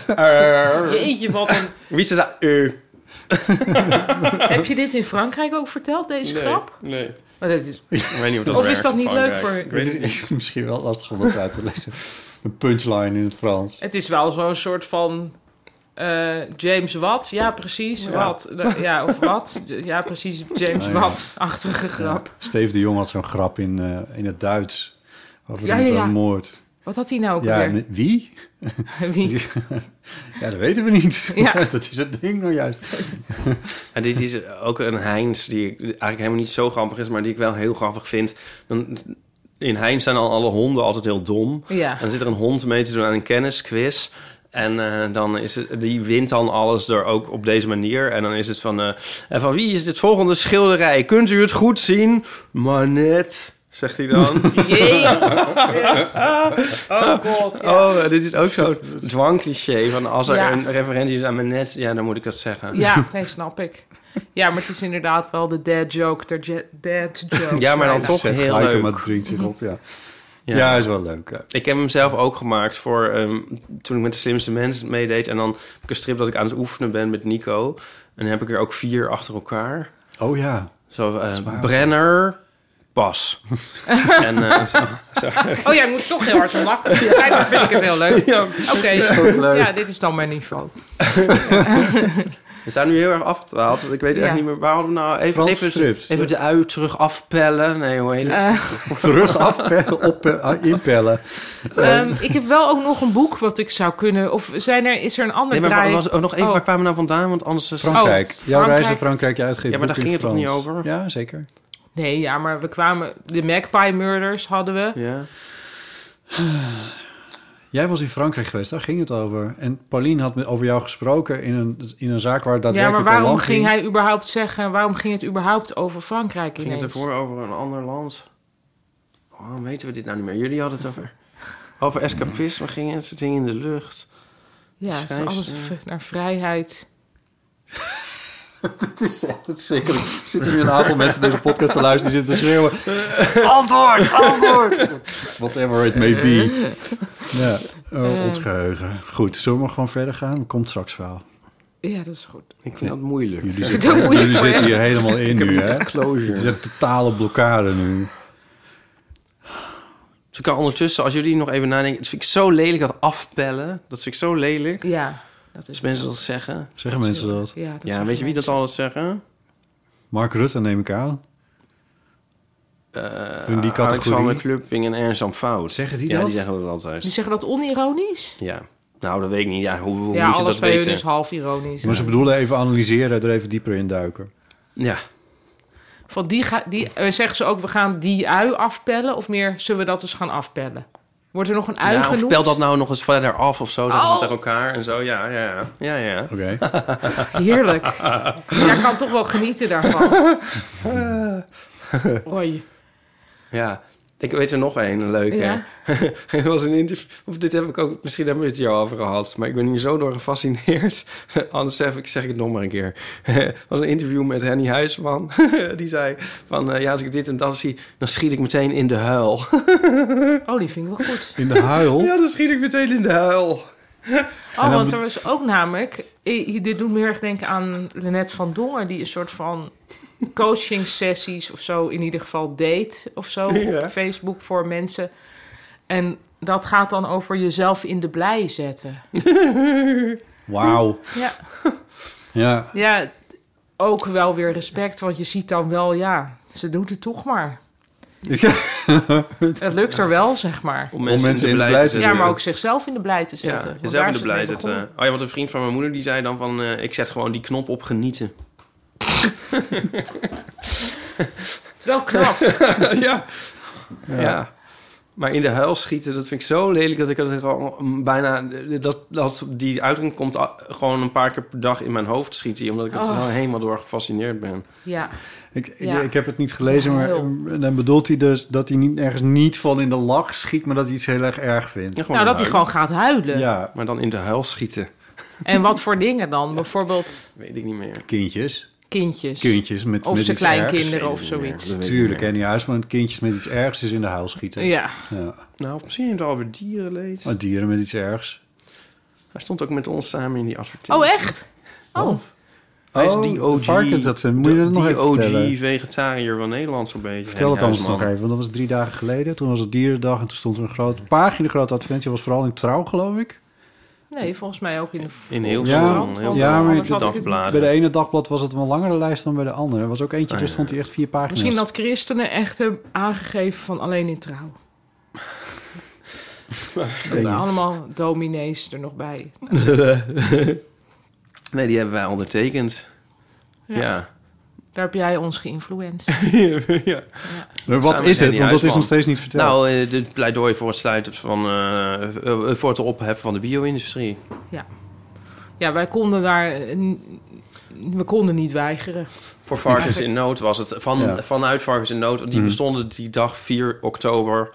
S1: eh.
S3: Jeetje, wat een...
S1: Wie is dat? Eh.
S3: Heb je dit in Frankrijk ook verteld, deze grap?
S1: Nee.
S3: Maar dat is...
S1: Ik weet niet of dat
S3: Of is
S1: werkt
S3: dat
S1: in
S3: niet leuk
S1: Frankrijk.
S3: voor-
S1: Ik weet het niet.
S2: Misschien wel lastig om dat uit te leggen. Een punchline in het Frans.
S3: Het is wel zo'n soort van... eh, James Watt, ja precies, wat. Ja, of wat. Ja, precies, James
S2: Nou ja.
S3: Watt-achtige grap.
S2: Steve de Jong had zo'n grap in, eh, in het Duits. Over
S3: Ja,
S2: een
S3: ja, ja.
S2: een moord.
S3: Wat had hij nou ook
S2: Ja,
S3: weer?
S2: en wie?
S3: Wie?
S2: Ja, dat weten we niet.
S3: Ja.
S2: dat is het ding nou juist.
S1: En dit is ook een Heinz die ik eigenlijk helemaal niet zo grappig is, maar die ik wel heel grappig vind. Dan, in Heinz zijn al alle honden altijd heel dom.
S3: Ja.
S1: En dan zit er een hond mee te doen aan een kennisquiz. En eh, dan is het, die wint dan alles door ook op deze manier. En dan is het van, eh, en van wie is dit volgende schilderij? Kunt u het goed zien? Maar net, zegt hij dan.
S3: Jee. Oh god. Ja.
S1: Oh, eh, dit is ook zo'n dwangcliché. Van als er
S3: Ja.
S1: een referentie is aan mijn net, ja, dan moet ik dat zeggen.
S3: Ja, nee, snap ik. Ja, maar het is inderdaad wel de dead joke. der je- dead joke.
S1: Ja, maar dan
S3: Ja.
S1: toch
S2: Zet
S1: heel
S2: gelijk
S1: leuk.
S2: maar drinkt zich op, ja.
S1: Ja.
S2: Ja, is wel leuk. ja.
S1: Ik heb hem zelf ook gemaakt voor ehm, toen ik met de slimste mensen meedeed. En dan heb ik een strip dat ik aan het oefenen ben met Nico. En dan heb ik er ook vier achter elkaar.
S2: Oh ja.
S1: Zo, eh,
S2: waar.
S1: Brenner, Bas. en eh, zo.
S3: Oh, jij moet toch heel hard om lachen. Blijkbaar vind ik het heel leuk. Oké. Ja, dit is dan mijn niveau.
S1: we zijn nu heel erg afgedwaald. want Ik weet
S3: Ja.
S1: echt niet meer, waar hadden we nou... Even,
S2: Franse
S1: even,
S2: strips.
S1: even de ui terug afpellen. Nee, hoe heet het?
S3: Eh.
S2: Terug afpellen, op, eh, inpellen.
S1: Oh,
S3: Ehm, ik heb wel ook nog een boek wat ik zou kunnen. Of zijn er, is er een ander
S1: nee, maar
S3: draai?
S1: wa- was, oh, nog even,
S3: Oh.
S1: waar kwamen we nou vandaan? Want anders... is-
S2: Frankrijk.
S3: Oh,
S2: Jouw reis naar
S3: Frankrijk.
S2: Frankrijk, je uitgeeft
S1: Ja, maar
S2: boek
S1: daar
S2: in
S1: ging het toch
S2: Frans.
S1: niet over?
S2: Ja, zeker.
S3: Nee, ja, maar we kwamen. De Magpie Murders hadden we.
S1: Ja.
S2: Jij was in Frankrijk geweest, daar ging het over. En Pauline had me- over jou gesproken in een, in een zaak waar
S3: Ja, maar
S2: daadwerkelijk een
S3: waarom
S2: land
S3: ging hij überhaupt zeggen? Waarom ging het überhaupt over Frankrijk
S1: Ging
S3: ineens?
S1: het ervoor over een ander land? Waarom weten we dit nou niet meer? Jullie hadden het over... Over escapisme ging het, het ding in de lucht.
S3: Ja, het is
S1: Schrijf-
S3: alles v- naar vrijheid.
S2: Het is echt verschrikkelijk. Er zitten nu een aantal mensen deze podcast te luisteren... die zitten te schreeuwen... Antwoord, antwoord! Whatever it may be. Ja, oh, ons geheugen. Goed, zullen we maar gewoon verder gaan? Er komt straks wel.
S3: Ja, dat is goed.
S1: Ik vind dat moeilijk.
S2: Jullie
S3: vind het
S2: zitten,
S3: ook moeilijk,
S2: jullie
S3: hoor,
S2: zitten hier helemaal in nu, hè? Het is
S1: Closure.
S2: echt totale blokkade nu.
S1: Dus ik kan ondertussen, als jullie nog even nadenken... Dat vind ik zo lelijk, dat afpellen. Dat vind ik zo lelijk.
S3: Ja, dat is
S1: Als mensen dat zeggen.
S2: Zeggen mensen dat?
S3: Ja, dat
S1: Ja,
S3: zeggen
S1: weet je wie dat
S3: mensen.
S1: altijd zeggen?
S2: Mark Rutte neem ik aan.
S1: Uh,
S2: Hun die categorie?
S1: Eh, Alexander Klupping en Ernst Jan Fout.
S2: Zeggen die
S1: ja,
S2: dat?
S1: die zeggen dat
S3: Die
S1: altijd.
S3: zeggen dat onironisch?
S1: Ja. Nou, dat weet ik niet. Ja, hoe, hoe
S3: ja,
S1: moet je
S3: alles
S1: dat
S3: bij hun
S1: weten?
S3: is half ironisch.
S2: Maar ze bedoelen even analyseren, er even dieper in duiken.
S1: Ja.
S3: Van die ga, die, eh, zeggen ze ook, we gaan die ui afpellen? Of meer, zullen we dat eens gaan afpellen? Wordt er nog een ui
S1: ja. Of
S3: genoemd?
S1: pel dat nou nog eens verder af of zo. Zeggen
S3: Oh.
S1: ze tegen elkaar en zo. Ja, ja, ja. ja, ja.
S2: Oké.
S3: Heerlijk. Ja, ik kan toch wel genieten daarvan. Oei.
S1: Ja, ik weet er nog één, leuk
S3: Ja.
S1: hè. Er was een interview, of dit heb ik ook, misschien hebben we het hier al over gehad, maar ik ben hier zo door gefascineerd. Anders zeg ik, zeg ik het nog maar een keer. Er was een interview met Henny Huisman, die zei van, eh, ja, als ik dit en dat zie, dan schiet ik meteen in de huil.
S3: Oh, die vind ik wel goed.
S2: In de huil.
S1: ja, dan schiet ik meteen in de huil.
S3: Oh, want er was ook namelijk... eh, Dit doet me heel erg denken aan Lennet van Dongen... die een soort van coaching sessies of zo... in ieder geval deed of zo
S1: Ja.
S3: op Facebook voor mensen. En dat gaat dan over jezelf in de blij zetten.
S2: Wauw.
S3: Ja.
S2: Ja.
S3: Ja, ook wel weer respect, want je ziet dan wel, ja, ze doet het toch maar. Het lukt er wel, zeg maar.
S1: Om mensen,
S2: mensen
S1: in de
S2: in de
S1: blij te
S2: blij te
S1: zetten.
S3: Ja, maar ook zichzelf in de blij te zetten.
S1: Ja,
S3: want
S1: jezelf
S3: daar
S1: in
S3: is
S1: de
S3: het
S1: blij
S3: mee
S1: zetten.
S3: begonnen.
S1: Oh ja, want een vriend van mijn moeder die zei dan van... eh, ik zet gewoon die knop op genieten.
S3: Het is wel knap.
S1: ja. ja. Maar in de huil schieten, dat vind ik zo lelijk dat ik dat gewoon bijna. Dat, dat die uitdrukking komt a- gewoon een paar keer per dag in mijn hoofd schieten. Omdat ik er
S3: Oh. Nou,
S1: zo helemaal door gefascineerd ben.
S3: Ja,
S2: Ik, ik-
S3: Ja.
S2: ik heb het niet gelezen, maar
S3: Heel.
S2: eh, dan bedoelt hij dus dat hij niet, ergens niet van in de lach schiet, maar dat hij iets heel erg erg vindt.
S1: Ja, gewoon
S3: nou dat
S1: in
S3: hij
S1: de huil.
S3: gewoon gaat huilen.
S2: Ja,
S1: Maar dan in de huil schieten,
S3: En wat voor dingen dan? Bijvoorbeeld
S1: weet ik niet meer.
S2: kindjes.
S3: kindjes.
S2: Kindjes met,
S3: Of
S2: met
S3: zijn
S2: iets ergs.
S3: kleinkinderen of
S1: Geen idee meer.
S3: zoiets.
S1: Dat weet ik
S2: Tuurlijk,
S1: niet
S2: en die huisman, kindjes met iets ergs is in de huil schieten.
S3: Ja,
S2: Ja.
S1: meer. Nou, misschien heeft het alweer dierenleed.
S2: Maar dieren met iets ergs.
S1: Hij stond ook met ons samen in die advertentie.
S3: oh echt? Oh,
S1: Hij is die
S2: de
S1: OG.
S2: varkens, dat vind- moet je dat nog
S1: die
S2: even
S1: OG
S2: vertellen?
S1: vegetariër van Nederland zo'n beetje.
S2: Vertel het
S1: Henny
S2: anders nog
S1: Huisman.
S2: even, want dat was drie dagen geleden. Toen was het dierendag en toen stond er een grote pagina, grote advertentie. was vooral in trouw, geloof ik.
S3: nee, volgens mij ook in de
S1: In heel veel,
S2: Ja,
S1: heel veel
S2: ja, maar
S3: anders
S2: dat-
S3: had ik het niet.
S1: dagbladen.
S2: Bij de ene dagblad was het wel een langere lijst dan bij de andere. Er was ook eentje,
S1: Ah,
S2: dus
S1: ja.
S2: stond hij echt vier pagina's.
S3: Misschien dat christenen echt hebben aangegeven van alleen in trouw. Dat er allemaal dominees er nog bij.
S1: nee, die hebben wij ondertekend.
S3: Ja.
S1: Ja.
S3: Daar heb jij ons geïnfluenced.
S1: ja.
S2: Maar
S1: Samen
S2: wat is
S1: zijn
S2: het? Want dat is
S1: die huisman.
S2: nog steeds niet verteld.
S1: Nou, eh, dit pleidooi voor het sluiten van... eh, eh, voor het opheffen van de bio-industrie.
S3: Ja, wij konden daar... eh, n- We konden niet weigeren.
S1: Voor Varkens in Nood was het. Van,
S2: Ja.
S1: Vanuit Varkens in Nood. Die bestonden die dag 4 oktober.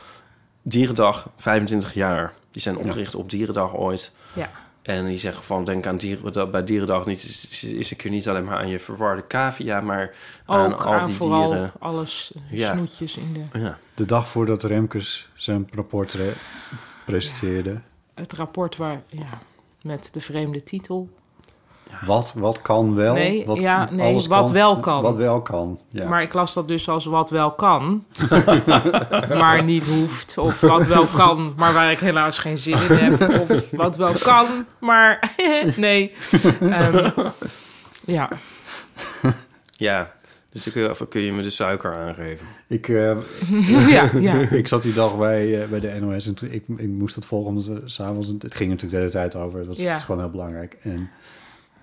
S1: Dierendag 25 jaar. Die zijn opgericht op Dierendag ooit.
S3: Ja.
S1: En die zeggen van, denk aan dieren, dat bij Dierendag niet, is, is een keer niet alleen maar aan je verwarde cavia, maar aan
S3: Ook
S1: al
S3: aan
S1: die
S3: vooral
S1: dieren.
S3: alles eh,
S1: Ja.
S3: snoetjes in de,
S1: Ja.
S2: De dag voordat Remkes zijn rapport re- presenteerde.
S3: het rapport waar... Ja, met de vreemde titel.
S2: Wat, wat kan wel?
S3: Nee,
S2: wat,
S3: ja, nee,
S2: alles
S3: wat wel kan.
S2: Wat wel kan, ja.
S3: Maar ik las dat dus als wat wel kan, maar niet hoeft. Of wat wel kan, maar waar ik helaas geen zin in heb. Of wat wel kan, maar nee. Ehm, ja,
S1: ja. Dus dan kun je, of kun je me de suiker aangeven.
S2: ik, eh,
S3: ja, ja.
S2: ik zat die dag bij, eh, bij de NOS en toen, ik, ik moest dat volgen, omdat we s'avonds... Het ging natuurlijk de hele tijd over, dat was
S3: Ja.
S2: dat is gewoon heel belangrijk. En,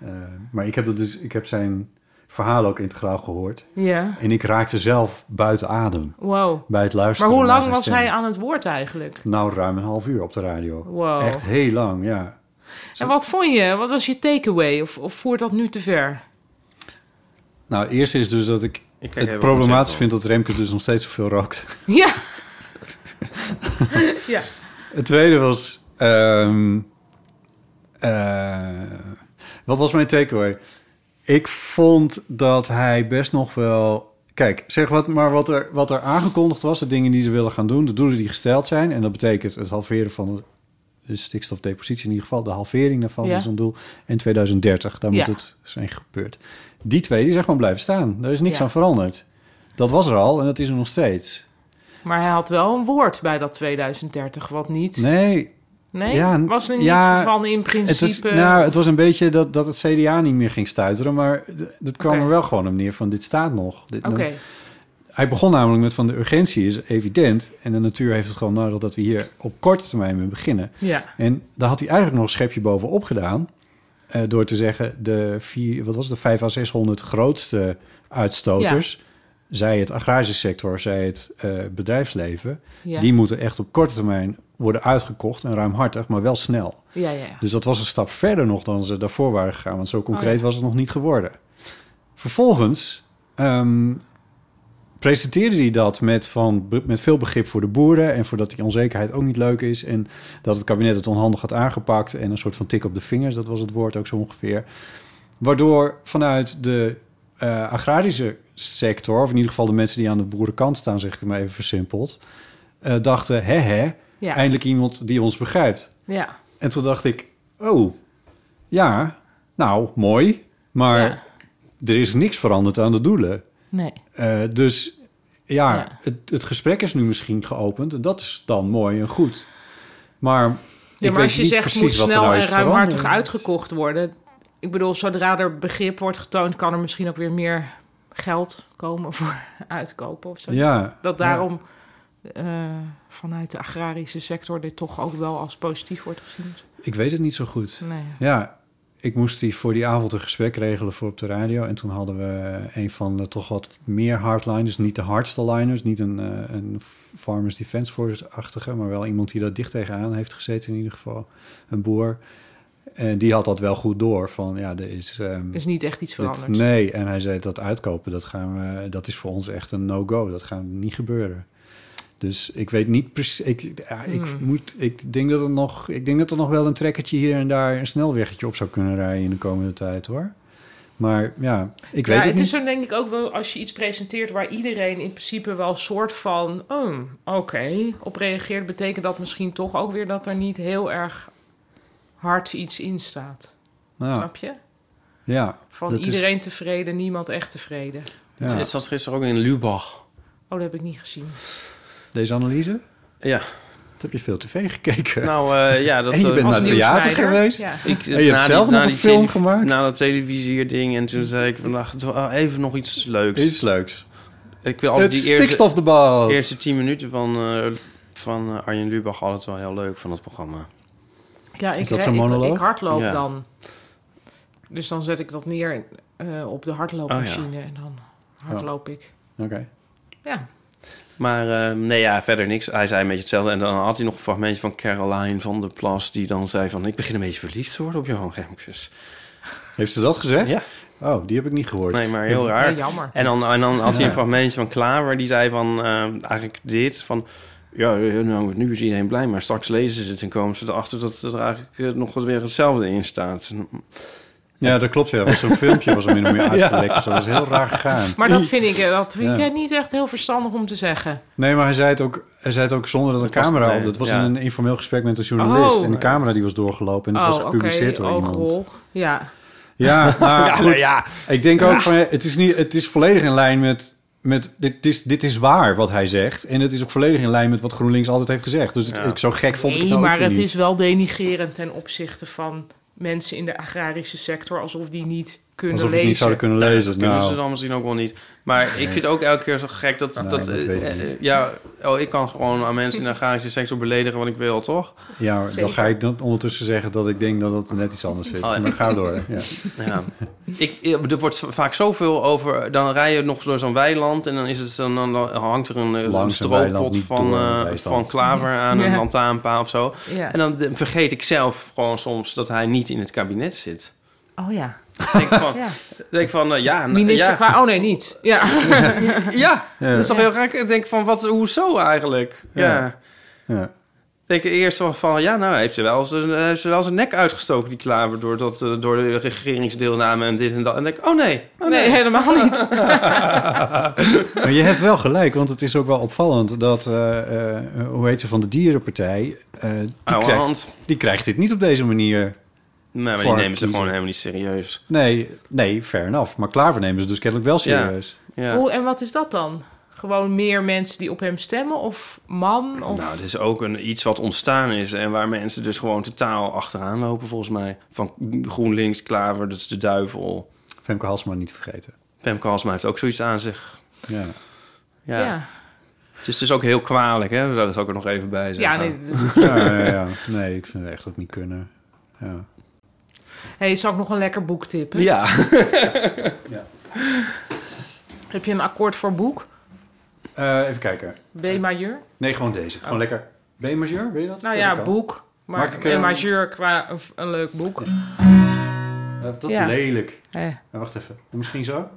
S2: eh, maar ik heb, dat dus, ik heb zijn verhaal ook integraal gehoord.
S3: ja.
S2: En ik raakte zelf buiten adem
S3: Wow.
S2: bij het
S3: Maar
S2: luisteren
S3: hoe
S2: naar
S3: lang
S2: zijn
S3: was
S2: stem.
S3: hij aan het woord eigenlijk?
S2: Nou, ruim een half uur op de radio.
S3: Wow.
S2: Echt heel lang, ja.
S3: En wat vond je? Wat was je takeaway? Of, of voert dat nu te ver?
S2: Nou, eerst is dus dat ik,
S1: kijk even
S2: het
S1: op
S2: problematisch
S1: mezelf.
S2: vind dat Remkes dus nog steeds zoveel rookt.
S3: Ja. ja.
S2: Het tweede was... ehm, eh, wat was mijn takeaway? Ik vond dat hij best nog wel... Kijk, zeg wat, maar wat er, wat er aangekondigd was, de dingen die ze willen gaan doen, de doelen die gesteld zijn. En dat betekent het halveren van de, de stikstofdepositie, in ieder geval de halvering daarvan
S3: Ja.
S2: is een doel. En 2030, daar
S3: Ja.
S2: moet het zijn gebeurd. Die twee die zijn gewoon blijven staan. Daar is niks
S3: Ja.
S2: aan veranderd. Dat was er al en dat is er nog steeds.
S3: Maar hij had wel een woord bij dat 2030, wat niet.
S2: Nee,
S3: Nee?
S2: Ja,
S3: was er niet
S2: ja,
S3: van in principe...
S2: Het, was, nou, het was een beetje dat, dat het CDA niet meer ging stuiteren, maar d- dat kwam
S3: Oké.
S2: er wel gewoon op neer van dit staat nog. Dit,
S3: Oké,
S2: Hij begon namelijk met van de urgentie is evident en de natuur heeft het gewoon nodig dat we hier op korte termijn mee beginnen.
S3: ja.
S2: En daar had hij eigenlijk nog een schepje bovenop gedaan eh, door te zeggen de, vier, wat was het, de 5 à 600 grootste uitstoters, zij het agrarische sector, zij het eh, bedrijfsleven,
S3: Ja.
S2: die moeten echt op korte termijn worden uitgekocht en ruimhartig, maar wel snel.
S3: ja, ja, ja.
S2: Dus dat was een stap verder nog dan ze daarvoor waren gegaan. Want zo concreet
S3: Oh ja.
S2: was het nog niet geworden. Vervolgens ehm, presenteerde hij dat met, van, be- met veel begrip voor de boeren... en voordat die onzekerheid ook niet leuk is... en dat het kabinet het onhandig had aangepakt... en een soort van tik op de vingers, dat was het woord ook zo ongeveer. Waardoor vanuit de eh, agrarische sector... of in ieder geval de mensen die aan de boerenkant staan... zeg ik het maar even versimpeld... eh, dachten, hè hè,
S3: Ja.
S2: eindelijk iemand die ons begrijpt...
S3: ja.
S2: En toen dacht ik, oh, ja, nou, mooi. Maar
S3: Ja.
S2: er is niks veranderd aan de doelen.
S3: Nee.
S2: Eh, dus ja,
S3: Ja.
S2: Het, het gesprek is nu misschien geopend. En dat is dan mooi en goed. Maar,
S3: Ja,
S2: ik
S3: maar
S2: weet
S3: als je
S2: niet
S3: zegt,
S2: precies
S3: moet
S2: wat er
S3: snel
S2: nou
S3: en
S2: is
S3: ruimhartig
S2: veranderd.
S3: uitgekocht worden. Ik bedoel, zodra er begrip wordt getoond, kan er misschien ook weer meer geld komen voor uitkopen of zo.
S2: Ja,
S3: Dat daarom eh, vanuit de agrarische sector dit toch ook wel als positief wordt gezien.
S2: ja, ik weet het niet zo goed.
S3: Nee.
S2: Ja, ik moest die voor die avond een gesprek regelen voor op de radio. En toen hadden we een van de toch wat meer hardliners. Niet de hardste liners, niet een, eh, een Farmers Defense Force-achtige... maar wel iemand die daar dicht tegenaan heeft gezeten in ieder geval. Een boer. En die had dat wel goed door. Van ja, er is... ehm,
S3: Is niet echt iets
S2: dit-
S3: veranderd.
S2: nee, en hij zei dat uitkopen, dat, gaan we, dat is voor ons echt een no-go. Dat gaat niet gebeuren. Dus ik weet niet precies. Ik, ja, ik,
S3: Hmm.
S2: moet, ik, denk dat er nog, ik denk dat er nog wel een trekkertje hier en daar een snelweggetje op zou kunnen rijden in de komende tijd hoor. Maar ja, ik weet
S3: ja,
S2: het,
S3: het
S2: niet.
S3: is dan denk ik ook wel als je iets presenteert waar iedereen in principe wel een soort van, oh, oké, op reageert, betekent dat misschien toch ook weer dat er niet heel erg hard iets in staat.
S2: Nou,
S3: Snap je?
S2: ja,
S3: Van
S2: Dat is-
S3: iedereen tevreden, niemand echt tevreden.
S1: Het,
S2: ja.
S1: het zat gisteren ook in Lubach.
S3: Oh, dat heb ik niet gezien.
S2: Deze analyse,
S1: Ja,
S2: dat heb je veel tv gekeken.
S1: nou eh, ja, dat...
S2: En je
S1: eh,
S2: bent
S1: was
S2: naar
S1: nieuws.
S2: de- theater
S3: nieuwsleider.
S2: geweest?
S3: Ja.
S1: Ik,
S2: En je hebt zelf nog een film gemaakt?
S1: Na dat televisierding. En toen zei ik vandaag oh, even nog iets leuks.
S2: Iets leuks.
S1: Ik wil altijd
S2: Het
S1: die eerste,
S2: stikstofdebat.
S1: eerste tien minuten van eh, ik van eh, Arjen Lubach altijd wel heel leuk van het programma.
S3: Ja, ik,
S2: Is dat
S3: re-
S2: zo'n
S3: ik-
S2: monoloog?
S3: Ik, hardloop
S1: Ja.
S3: dan. Dus dan zet ik dat neer eh, op de hardloopmachine
S2: Oh,
S3: en dan hardloop ik.
S2: Oké.
S3: Ja.
S1: Maar eh, nee, ja, verder niks. Hij zei een beetje hetzelfde. En dan had hij nog een fragmentje van Caroline van der Plas... die dan zei van... ik begin een beetje verliefd te worden op Johan Remkes.
S2: Heeft ze dat gezegd?
S1: Ja.
S2: Oh, die heb ik niet gehoord.
S1: Nee, maar heel
S3: Ja,
S1: raar.
S3: jammer.
S1: En dan, en dan had hij
S2: Ja.
S1: een fragmentje van Klaver. Die zei van... eh, eigenlijk dit, van... Ja, eh, nou, nu is iedereen blij, maar straks lezen ze het en komen ze erachter dat er eigenlijk eh, nog wat weer hetzelfde in staat.
S2: Ja, dat klopt. Ja. Was Zo'n filmpje was er min of meer uitgelekt. Dus dat was heel raar gegaan.
S3: Maar dat vind ik, dat vind ik
S2: Ja.
S3: eh, niet echt heel verstandig om te zeggen.
S2: Nee, maar hij zei het ook, hij zei het ook zonder dat een
S1: was-
S2: camera
S1: nee,
S2: op. Dat was
S1: ja.
S2: een informeel gesprek met een journalist.
S3: Oh.
S2: en de camera die was doorgelopen. En het was
S3: oké, Oh,
S2: gepubliceerd door iemand.
S3: oogrol. Ja.
S2: Ja, maar
S1: Ja,
S2: goed.
S1: nou ja.
S2: Ik denk ook van, ja, het is, niet, het is volledig in lijn met... met dit, is, dit is waar wat hij zegt. En het is ook volledig in lijn met wat GroenLinks altijd heeft gezegd. Dus het,
S1: Ja.
S2: ik, zo gek vond ik het
S3: Nee,
S2: nou ook
S3: maar
S2: weer
S3: het
S2: niet.
S3: is wel denigerend ten opzichte van mensen in de agrarische sector, alsof die niet kunnen
S2: Alsof we
S3: lezen.
S2: het niet zouden kunnen lezen.
S1: dat kunnen
S2: nou.
S1: ze dan misschien ook wel niet. Maar ik vind ook elke keer zo gek dat...
S2: Nee,
S1: dat,
S2: dat
S1: eh,
S2: weet ik
S1: eh,
S2: niet.
S1: ja, oh, ik kan gewoon aan mensen in de agrarische sector beledigen wat ik wil, toch?
S2: Ja, dan
S3: Zeker.
S2: ga ik dan ondertussen zeggen dat ik denk dat dat net iets anders zit.
S1: Oh, ja. Dus-
S2: Maar ga door. Ja.
S1: Ja. ik, ik- er wordt vaak zoveel over... Dan rij je nog door zo'n weiland... en dan, is het, dan, dan hangt er een, eh, een
S2: Langs een weiland,
S1: strooppot
S2: niet
S1: van,
S2: door een
S1: eh,
S2: weiland.
S1: van klaver aan een
S3: Ja.
S1: lantaarnpaal of zo.
S3: Ja.
S1: En dan de- vergeet ik zelf gewoon soms... dat hij niet in het kabinet zit.
S3: Oh ja.
S1: Ik denk van,
S3: ja.
S1: denk van eh, ja, nou,
S3: Minister
S1: ja,
S3: Kwa- Oh nee, niet. Ja.
S1: ja, dat is toch
S3: Ja.
S1: heel raar. Ik denk van, wat, hoezo eigenlijk? ja.
S2: Ja. Ja.
S1: denk ik eerst wel van, ja, nou heeft ze wel zijn, eh, heeft ze wel zijn nek uitgestoken, die klaver, door, dat, eh, door de regeringsdeelname en dit en dat. En denk ik, oh nee, oh nee.
S3: Nee, helemaal niet.
S2: Maar je hebt wel gelijk, want het is ook wel opvallend dat, eh, eh, hoe heet ze, van de dierenpartij, eh, die,
S1: Oude
S2: krijgt,
S1: hand.
S2: die krijgt dit niet op deze manier.
S1: Nee, maar die
S2: Voor
S1: nemen ze
S2: kiezen.
S1: gewoon helemaal niet serieus.
S2: Nee, nee, fair enough. Maar Klaver nemen ze dus kennelijk wel serieus.
S1: Ja.
S3: Hoe, en wat is dat dan? Gewoon meer mensen die op hem stemmen? Of man? Of...
S1: Nou, het is ook een, iets wat ontstaan is en waar mensen dus gewoon totaal achteraan lopen, volgens mij. Van GroenLinks, Klaver, dat is de duivel.
S2: Femke Halsma niet vergeten.
S1: Pem Kalsma heeft ook zoiets aan zich.
S2: Ja.
S1: Ja.
S3: ja, ja.
S1: Dus het is ook heel kwalijk, hè? Daar zal ik er nog even bij zeggen.
S3: nee. dat-
S2: Ja, ja, ja. Nee, ik vind het echt ook niet kunnen. Ja.
S3: Hey, zal ik nog een lekker boek tippen?
S1: Ja.
S3: Heb je een akkoord voor boek?
S2: Eh, even kijken.
S3: B majeur?
S2: Nee, gewoon deze.
S1: Oh.
S2: Gewoon lekker. B-majeur, wil je dat?
S3: Nou
S2: Ja,
S3: ja,
S2: dat kan.
S3: boek. Maar
S2: Maak ik,
S3: B
S2: eh,
S3: majeur qua een, een leuk boek.
S2: Eh, dat
S3: Ja.
S2: lelijk.
S3: Eh.
S2: Eh, wacht even. Misschien zo?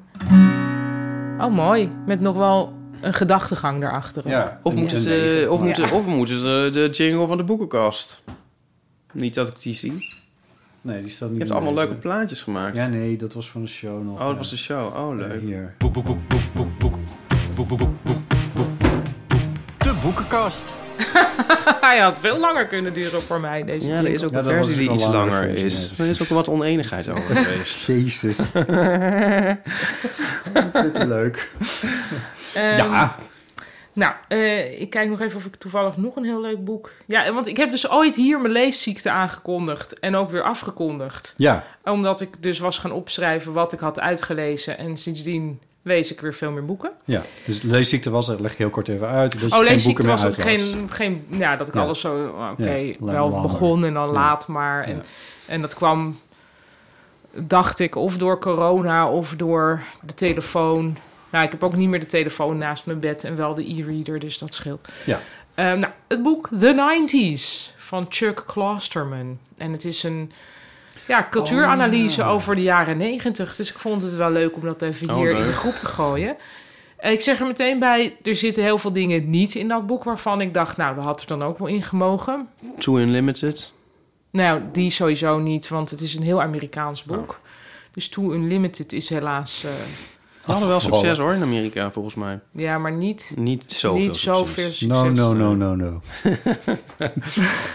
S3: Oh, mooi. Met nog wel een gedachtegang erachter. ook.
S2: Ja.
S1: Of
S2: een-
S1: moet,
S2: een
S1: het,
S2: negen.
S1: eh, of,
S2: Maar-
S1: moet, of moet het eh, de jingle van de boekenkast? Niet dat ik die zie.
S2: Nee, die staat niet
S1: Je hebt
S2: in
S1: allemaal
S2: deze.
S1: leuke plaatjes gemaakt.
S2: Ja, nee, dat was van de show nog.
S1: Oh, dat was de show. Oh,
S2: Eh,
S1: leuk.
S2: Hier.
S4: De boekenkast.
S3: Hij had veel langer kunnen duren voor mij deze
S1: Ja, er is
S3: jingle.
S1: ook
S2: Ja,
S1: een
S2: dat was
S1: versie
S2: dus
S1: die
S2: een
S1: iets
S2: langere
S1: langer
S2: versie, ja,
S1: is.
S2: dat
S1: Er is ook wel wat oneenigheid over geweest.
S2: Jezus. Vindt hij leuk.
S3: Ehm,
S2: Ja.
S3: Nou, eh, ik kijk nog even of ik toevallig nog een heel leuk boek... Ja, want ik heb dus ooit hier mijn leesziekte aangekondigd. En ook weer afgekondigd.
S2: Ja.
S3: Omdat ik dus was gaan opschrijven wat ik had uitgelezen. En sindsdien lees ik weer veel meer boeken.
S2: Ja, dus leesziekte was, dat leg ik heel kort even uit. Dat je
S3: oh,
S2: Dus geen
S3: leesziekte
S2: boeken meer
S3: was dat
S2: uit
S3: geen, geen... Ja, dat ik
S2: Ja.
S3: alles zo... oh, Oké,
S2: Ja, la-
S3: wel
S2: langer.
S3: begon en dan
S2: Ja.
S3: laat maar. En,
S2: Ja.
S3: en dat kwam, dacht ik, of door corona of door de telefoon. Nou, ik heb ook niet meer de telefoon naast mijn bed en wel de e-reader, dus dat scheelt.
S2: Ja.
S3: Ehm, nou, het boek The 90s van Chuck Klosterman. En het is een ja, cultuuranalyse over de jaren 90. Dus ik vond het wel leuk om dat even
S1: Oh,
S3: hier in de
S1: leuk.
S3: groep te gooien. Eh, Ik zeg er meteen bij, er zitten heel veel dingen niet in dat boek waarvan ik dacht, nou, dat had er dan ook wel in gemogen.
S1: Too Unlimited.
S3: Nou, die sowieso niet, want het is een heel Amerikaans
S1: Oh.
S3: boek. Dus Too Unlimited is helaas, eh,
S1: Ze hadden wel
S2: Afgevallen.
S1: succes hoor in Amerika, volgens mij.
S3: ja, maar niet,
S1: Niet zoveel
S3: niet
S1: succes.
S3: zoveel succes. eh.
S2: No, no, no, no, no.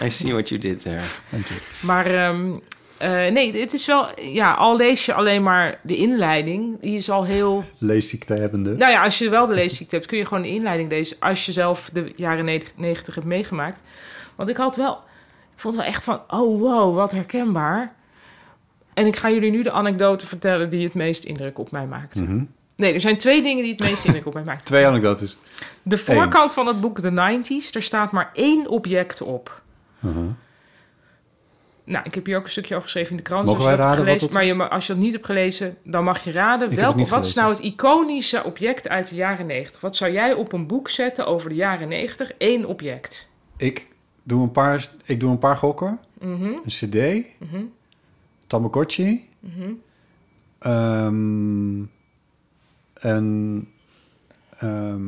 S1: I see what you did there.
S2: Dank je.
S3: Maar ehm, eh, nee, het is wel, ja, al lees je alleen maar de inleiding, die is al heel...
S2: Leesziekte hebbende.
S3: Nou ja, als je wel de leesziekte hebt, kun je gewoon de inleiding lezen. Als je zelf de jaren ne- 90 hebt meegemaakt. Want ik had wel, ik vond wel echt van, oh wow, wat herkenbaar. En ik ga jullie nu de anekdote vertellen die het meest indruk op mij maakte. Nee, er zijn twee dingen die het meeste indruk op mij maakten.
S2: Mhm. Twee anekdotes.
S3: De voorkant van het boek The 90s, er staat maar één object op.
S2: Mhm.
S3: Nou, ik heb hier ook een stukje over geschreven in de krant.
S2: Mogen
S3: als
S2: wij
S3: je dat hebt
S2: raden wat
S3: gelezen,
S2: het
S3: Maar je, ma- als je dat niet hebt gelezen, dan mag je raden.
S2: Ik heb
S3: Welk,
S2: het niet
S3: wat is
S2: gelezen.
S3: nou het iconische object uit de jaren 90? Wat zou jij op een boek zetten over de jaren 90? Eén object.
S2: Ik doe een paar, ik doe een paar gokken.
S3: Mhm.
S2: Een cd.
S3: Mhm.
S2: Tamagotchi.
S3: Mhm.
S2: ehm, een... ehm,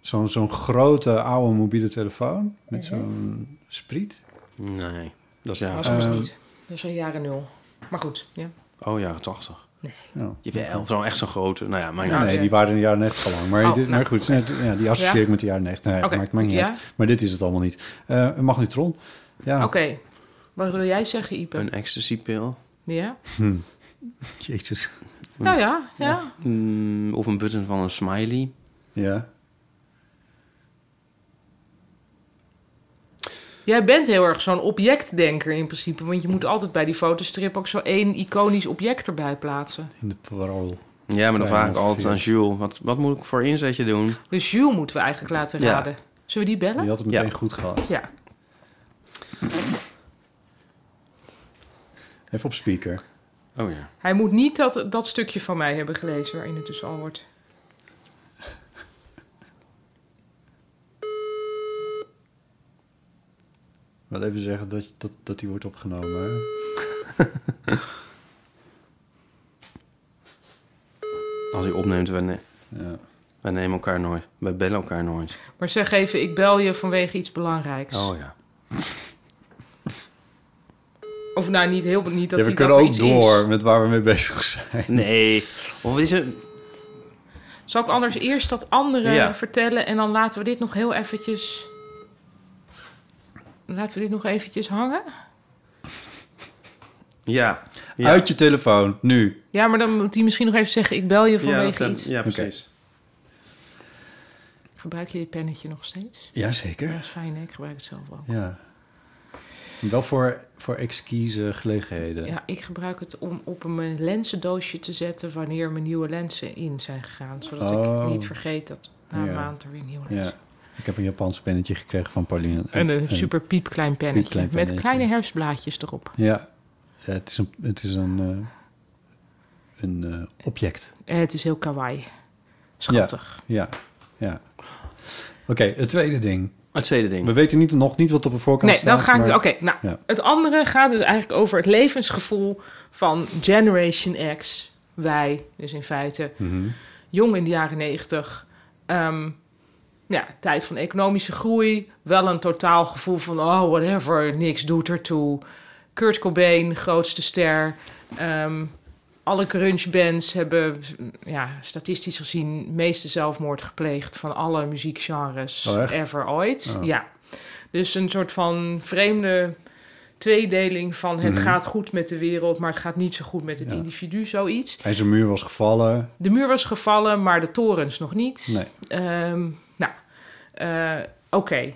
S2: Zo'n zo'n grote oude mobiele telefoon met
S3: Mhm.
S2: zo'n spriet.
S1: Nee, dat is ja.
S3: Was ons
S2: Ehm.
S3: niet. Dat is al jaren nul. Maar goed, ja.
S1: Oh, jaren 80.
S2: Ja.
S1: Jawel, zo'n echt zo'n grote. Nou ja, maar
S2: Ja, Nou. nee,
S3: oké.
S2: die waren in de jaren 90 al lang. Maar,
S3: Oh,
S2: dit-
S3: nou,
S2: maar goed, nee, d- ja, die associeer
S3: Ja.
S2: ik met de jaren 90. Nee,
S3: Oké,
S2: maakt, maakt niet
S3: ja?
S2: uit. Maar dit is het allemaal niet. Eh, een magnetron. Ja.
S3: Oké. Wat wil jij zeggen, Ipe?
S1: een ecstasy-pil.
S3: Ja?
S2: Jezus.
S3: Nou ja, ja.
S1: Mm, of een button van een smiley.
S2: Ja.
S3: Jij bent heel erg zo'n objectdenker in principe. Want je moet altijd bij die fotostrip ook zo één iconisch object erbij plaatsen.
S2: In de parool.
S1: Ja, maar dan
S2: Fijn,
S1: vraag ik
S2: of
S1: altijd
S2: vier.
S1: aan Jules, wat, wat moet ik voor inzetje doen?
S3: Dus Jules moeten we eigenlijk laten
S1: Ja.
S3: raden. Zullen we die bellen?
S2: Die
S3: Ja.
S2: had het meteen
S1: Ja.
S2: goed gehad. Even op speaker.
S1: Oh ja.
S3: Hij moet niet dat, dat stukje van mij hebben gelezen waarin het dus al wordt.
S2: Wel even zeggen dat, dat, dat die wordt opgenomen. hè.
S1: Als hij opneemt, wij, ne-
S2: Ja.
S1: wij nemen elkaar nooit. Wij bellen elkaar nooit.
S3: Maar zeg even, ik bel je vanwege iets belangrijks.
S1: Oh ja.
S3: Of nou, niet heel niet dat
S2: Ja, we
S3: hij
S2: kunnen
S3: dat
S2: ook
S3: iets
S2: door met waar we mee bezig zijn.
S1: Nee. Of is het...
S3: is. Zal ik anders eerst dat andere
S1: Ja.
S3: vertellen en dan laten we dit nog heel eventjes... Laten we dit nog eventjes hangen?
S1: Ja. ja.
S2: Uit je telefoon, nu.
S3: Ja, maar dan moet hij misschien nog even zeggen, ik bel je
S1: ja,
S3: vanwege
S1: dat-
S3: iets.
S1: ja, precies.
S3: Gebruik je dit pennetje nog steeds? Ja,
S2: Jazeker.
S3: dat is fijn, hè? ik gebruik het zelf ook.
S2: Ja. Wel voor, voor exquise gelegenheden.
S3: Ja, ik gebruik het om op mijn lenzendoosje te zetten wanneer mijn nieuwe lenzen in zijn gegaan. Zodat
S2: Oh.
S3: ik niet vergeet dat na een
S2: Ja.
S3: maand er weer nieuwe lenzen
S2: Ja. Ik heb een Japans pennetje gekregen van Pauline.
S3: En een super piepklein pennetje,
S2: piepklein
S3: met
S2: pennetje.
S3: kleine herfstblaadjes erop.
S2: Ja, Ja, het is een, het is een, eh, een eh, object.
S3: Eh, het is heel kawaii. Schattig.
S2: Ja, ja. Oké, het tweede ding.
S1: Het tweede ding.
S2: We weten niet, nog niet wat op de voorkant
S3: nee,
S2: staat.
S3: dan ga ik...
S2: maar-
S3: Oké, nou,
S2: Ja.
S3: het andere gaat dus eigenlijk over het levensgevoel van Generation X. Wij, dus in feite,
S2: Mhm.
S3: jong in de jaren negentig. Ehm, ja, tijd van economische groei. Wel een totaal gevoel van, oh, whatever, niks doet ertoe. Kurt Cobain, grootste ster. Ehm, alle grungebands hebben, ja, statistisch gezien, het meeste zelfmoord gepleegd van alle muziekgenres
S2: Oh, echt?
S3: ever ooit.
S2: Oh.
S3: Ja. Dus een soort van vreemde tweedeling van het
S2: Mhm.
S3: gaat goed met de wereld, maar het gaat niet zo goed met het
S2: Ja.
S3: individu, zoiets.
S2: IJzermuur was gevallen.
S3: De muur was gevallen, maar de torens nog niet.
S2: Nee.
S3: Ehm, nou, eh, oké.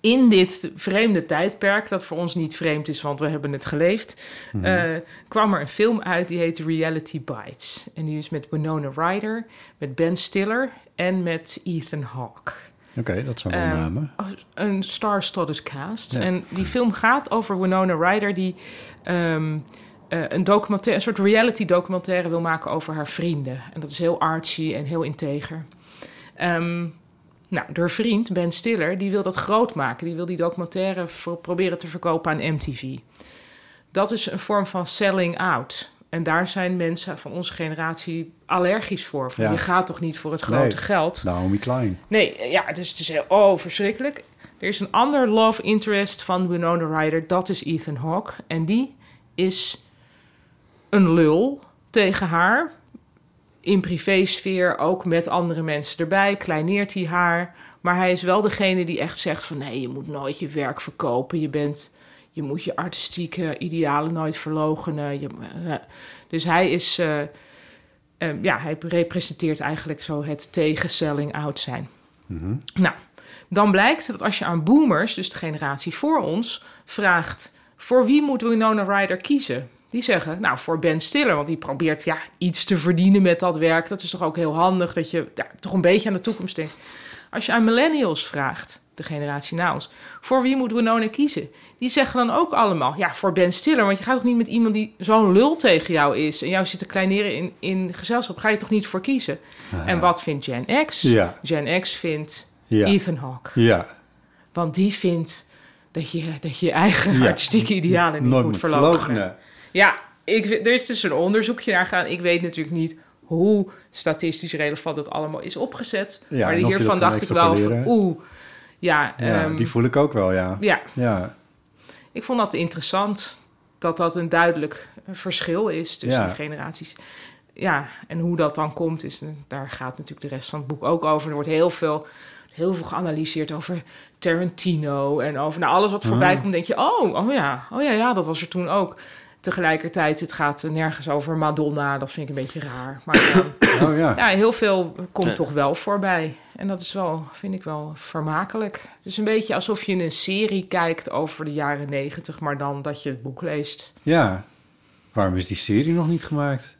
S3: In dit vreemde tijdperk, dat voor ons niet vreemd is, want we hebben het geleefd, eh, kwam er een film uit die heet Reality Bites. En die is met Winona Ryder, met Ben Stiller en met Ethan Hawke.
S2: Oké, dat zijn wel
S3: Ehm,
S2: namen.
S3: Een star-studded cast.
S2: Ja.
S3: En die film gaat over Winona Ryder, die ehm, eh, een, documentaire, een soort reality-documentaire wil maken over haar vrienden. En dat is heel artsy en heel integer. Ehm, nou, haar vriend, Ben Stiller, die wil dat groot maken. Die wil die documentaire voor, proberen te verkopen aan MTV. Dat is een vorm van selling out. En daar zijn mensen van onze generatie allergisch voor. Van,
S2: Ja.
S3: Je gaat toch niet voor het grote
S2: Nee.
S3: geld?
S2: Naomi Klein.
S3: Nee, eh, ja, dus het is heel, oh, verschrikkelijk. Er is een ander love interest van Winona Ryder, dat is Ethan Hawke. En die is een lul tegen haar. In privésfeer, ook met andere mensen erbij, kleineert hij haar. Maar hij is wel degene die echt zegt van... nee, je moet nooit je werk verkopen. Je, bent, je moet je artistieke idealen nooit verlogenen. Je, eh, dus hij is... eh, eh, ja, hij representeert eigenlijk zo het tegen selling out zijn. Nou, dan blijkt dat als je aan boomers, dus de generatie voor ons, vraagt... voor wie moet Winona Ryder kiezen? Die zeggen, nou, voor Ben Stiller, want die probeert ja, iets te verdienen met dat werk. Dat is toch ook heel handig dat je ja, toch een beetje aan de toekomst denkt. Als je aan millennials vraagt, de generatie na ons, voor wie moet Winona kiezen? Die zeggen dan ook allemaal, ja, voor Ben Stiller. Want je gaat toch niet met iemand die zo'n lul tegen jou is... en jou zit te kleineren in, in gezelschap, ga je toch niet voor kiezen? En wat vindt Gen X?
S2: Ja.
S3: Gen X vindt
S2: Ja.
S3: Ethan Hawke.
S2: Ja.
S3: Want die vindt dat je dat je eigen
S2: Ja.
S3: artistieke idealen niet
S2: Nooit
S3: moet
S2: moet
S3: verloochenen.
S2: verloochenen.
S3: Ja, ik, weet- er is dus een onderzoekje naar gedaan. Ik weet natuurlijk niet hoe statistisch relevant dat allemaal is opgezet.
S2: Ja,
S3: maar
S2: en of je
S3: hiervan
S2: dat kan
S3: dacht ik wel van,
S2: extrapoleren.
S3: oeh. Ja,
S2: Ja,
S3: ehm,
S2: die voel ik ook wel, ja.
S3: ja,
S2: Ja,
S3: ik vond dat interessant. Dat dat een duidelijk verschil is tussen
S2: Ja.
S3: de generaties. Ja, en hoe dat dan komt, is, daar gaat natuurlijk de rest van het boek ook over. Er wordt heel veel, heel veel geanalyseerd over Tarantino en over nou, alles wat voorbij komt. denk je, oh, oh ja, oh ja, ja, dat was er toen ook. Tegelijkertijd, het gaat nergens over Madonna. Dat vind ik een beetje raar. Maar ehm,
S2: oh ja.
S3: ja, heel veel komt toch wel voorbij. En dat is wel, vind ik wel vermakelijk. Het is een beetje alsof je een serie kijkt over de jaren negentig, maar dan dat je het boek leest.
S2: Ja. Waarom is die serie nog niet gemaakt?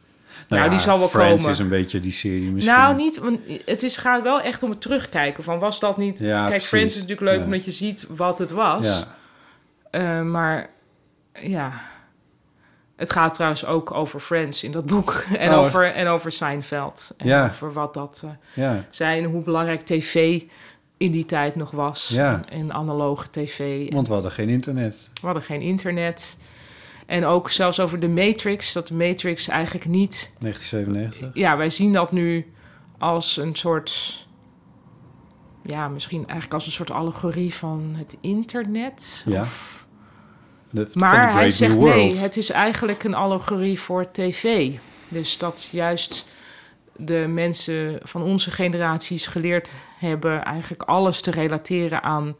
S3: Nou, die zal wel
S2: Friends
S3: komen.
S2: is een beetje die serie misschien.
S3: Nou, niet, want het is, gaat wel echt om het terugkijken. Van was dat niet.
S2: Ja,
S3: Kijk,
S2: precies.
S3: Friends is natuurlijk leuk
S2: Ja.
S3: omdat je ziet wat het was.
S2: Ja.
S3: Eh, maar ja. Het gaat trouwens ook over Friends in dat boek. En,
S2: Oh,
S3: over, en over Seinfeld. En
S2: Ja.
S3: over wat dat. eh,
S2: Ja.
S3: zijn, hoe belangrijk tv in die tijd nog was.
S2: Ja.
S3: En, en analoge tv. En
S2: Want we hadden geen internet.
S3: we hadden geen internet. En ook zelfs over de Matrix, dat de Matrix eigenlijk niet.
S2: 1997.
S3: Ja, wij zien dat nu als een soort. Ja, misschien eigenlijk als een soort allegorie van het internet.
S2: Ja.
S3: Of-
S2: De, van de
S3: Eh, maar
S2: Great
S3: hij
S2: New
S3: zegt
S2: World.
S3: nee, het is eigenlijk een allegorie voor tv. Dus dat juist de mensen van onze generaties geleerd hebben... eigenlijk alles te relateren aan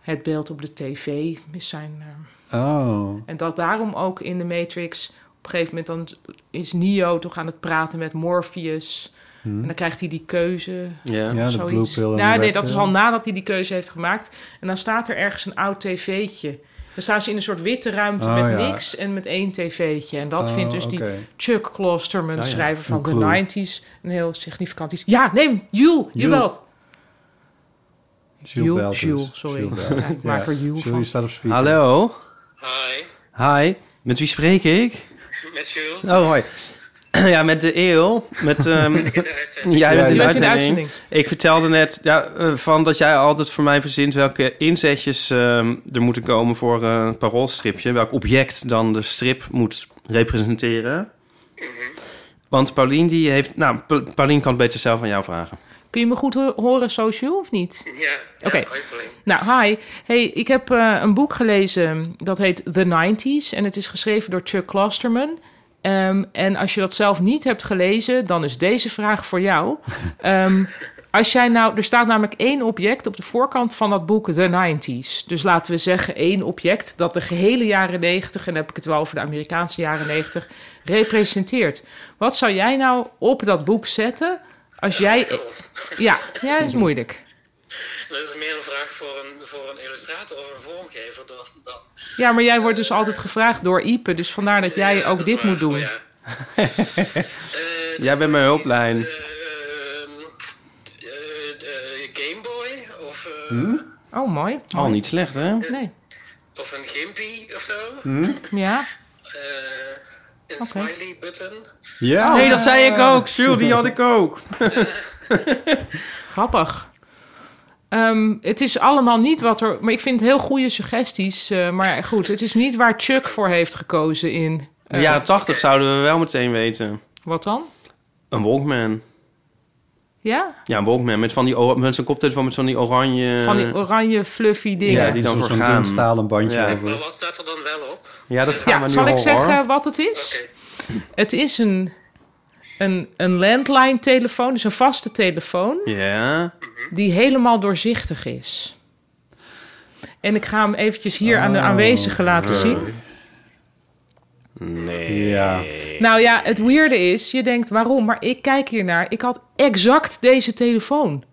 S3: het beeld op de tv. Is Zijn, eh,
S2: Oh.
S3: en dat daarom ook in de Matrix... op een gegeven moment dan is Neo toch aan het praten met Morpheus...
S2: Hmm.
S3: En dan krijgt hij die keuze
S1: Ja.
S2: Ja, de
S3: zoiets.
S2: blue pill en de
S3: nou,
S2: red
S3: nee, dat is
S2: pill.
S3: al nadat hij die keuze heeft gemaakt. En dan staat er ergens een oud tv'tje. Dan staan ze in een soort witte ruimte
S2: Oh,
S3: met
S2: ja.
S3: niks en met één tv'tje. En dat
S2: Oh,
S3: vindt dus die
S2: oké.
S3: Chuck Klosterman,
S1: ja.
S3: schrijver van
S2: Een
S3: de
S2: clue.
S3: 90s, een heel significant iets. Ja, neem Jules, je
S2: Jules.
S3: belt.
S2: Jules
S3: Jules,
S2: belt dus.
S3: Jules, sorry.
S2: Jules
S3: Ja, ik maak er Jules
S2: Jules,
S3: van.
S2: je staat op speaker.
S1: Hallo?
S5: Hi,
S1: Hi. Met wie spreek ik?
S5: met Jules.
S1: Oh, hoi. Ja, met de eeuw. Met, ehm,
S5: In de uitzending.
S1: jij bent in
S3: Je
S1: de
S3: bent in de
S1: uitzending.
S3: uitzending.
S1: Ik vertelde net ja, eh, van dat jij altijd voor mij verzint welke inzetjes ehm, er moeten komen voor eh, een paroolstripje. Welk object dan de strip moet representeren. Want Paulien die heeft... Nou, Pa- Paulien kan het beter zelf aan jou vragen.
S3: Kun je me goed ho- horen, social of niet?
S5: Ja, ja,
S3: Oké.
S5: hoi, Pauline.
S3: Nou, hi. Hey, ik heb eh, een boek gelezen dat heet The 90s. En het is geschreven door Chuck Klosterman. Ehm, en als je dat zelf niet hebt gelezen, dan is deze vraag voor jou. Ehm, als jij nou, er staat namelijk één object op de voorkant van dat boek The 90s. Dus laten we zeggen één object dat de gehele jaren 90, en dan heb ik het wel over de Amerikaanse jaren 90, representeert. Wat zou jij nou op dat boek zetten als jij. Ja, ja, dat is moeilijk.
S5: Dat is meer een vraag voor een, voor een illustrator of een vormgever. Dat, dat,
S3: Ja, maar jij wordt dus altijd gevraagd door Ipe. Dus vandaar dat jij ook
S5: dat
S3: dit
S5: is waar.
S3: moet doen.
S5: Oh, ja. Eh,
S1: Jij bent mijn hulplijn.
S5: eh, ehm, eh, eh, Game Boy of, eh,
S1: Hm?
S3: Oh, mooi.
S1: Al niet slecht, hè?
S3: Nee.
S5: of een Gimpy of zo.
S1: Hm?
S3: Ja.
S5: Eh, een
S3: Oké.
S5: smiley button.
S2: Ja.
S1: Oh. Nee, dat zei ik
S3: Eh.
S1: ook. Jules, die had ik ook.
S3: Grappig. Ehm, het is allemaal niet wat er. Maar ik vind het heel goede suggesties. eh, maar goed, het is niet waar Chuck voor heeft gekozen in.
S1: De jaren tachtig zouden we wel meteen weten.
S3: Wat dan?
S1: Een Walkman.
S3: Ja?
S1: Ja, een Walkman. Met, van die ora- met zo'n koptelefoon met van die oranje...
S3: Van die oranje fluffy dingen.
S1: Eh. Ja, die dan
S2: Zo'n-
S1: voor
S2: zo'n
S1: gaan.
S2: dun stalen bandje
S1: Ja.
S5: Maar
S2: over.
S5: wat staat er dan wel op?
S1: Ja, dat gaan
S3: Ja,
S1: we nu
S3: zal ik
S1: horen,
S3: zeggen
S1: hoor.
S3: wat het is?
S5: Oké.
S3: Het is een, een, een landline telefoon, dus een vaste telefoon.
S1: Ja.
S3: die helemaal doorzichtig is. En ik ga hem eventjes hier aan de aanwezigen laten zien.
S2: Ja.
S3: Nou ja, het weirde is, je denkt waarom, maar ik kijk hiernaar. Ik had exact deze telefoon.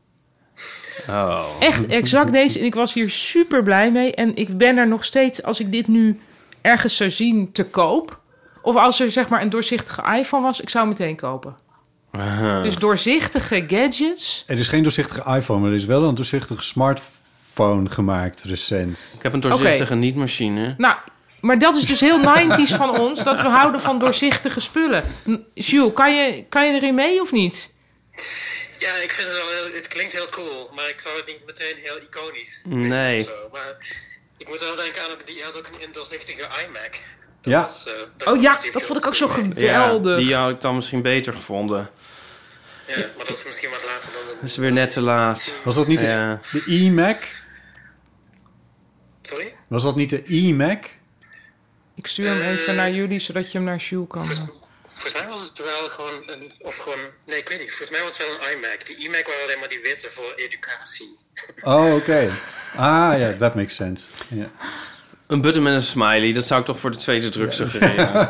S1: Oh.
S3: Echt exact deze. En ik was hier super blij mee. En ik ben er nog steeds, als ik dit nu ergens zou zien, te koop. Of als er zeg maar een doorzichtige iPhone was, ik zou hem meteen kopen. Dus doorzichtige gadgets.
S2: Er is geen doorzichtige iPhone, maar er is wel een doorzichtige smartphone gemaakt recent.
S1: Ik heb een doorzichtige nietmachine.
S3: Nou, maar dat is dus heel 90s van ons, dat we houden van doorzichtige spullen. N- Jules, kan je, kan je erin mee of niet?
S5: Ja, ik vind het wel heel, het klinkt heel cool, maar ik zou het niet meteen heel iconisch
S1: Nee.
S5: of zo. Maar ik moet wel denken aan, die had ook een doorzichtige iMac. Dat
S2: Ja.
S5: was, eh, dat
S3: Oh
S5: was
S3: ja, dat
S5: die viel
S3: vond ik ook zo
S5: mee.
S1: Ja,
S3: geweldig.
S1: die had ik dan misschien beter gevonden.
S5: Ja, maar dat is misschien wat later dan
S1: Dat
S5: een...
S1: is weer net te laat.
S2: Was dat niet
S1: Ja.
S2: de, de iMac?
S5: Sorry?
S2: Was dat niet de iMac?
S3: Ik stuur hem even naar jullie, zodat je hem naar Jules kan.
S5: Volgens mij was het wel gewoon een... Of gewoon... Nee, ik weet niet. Volgens mij was het wel een iMac. Die iMac waren alleen maar die witte voor educatie.
S2: Oh, oké. Ah ja, that makes sense. Ja.
S1: Een button met een smiley, dat zou ik toch voor de tweede druk suggereren.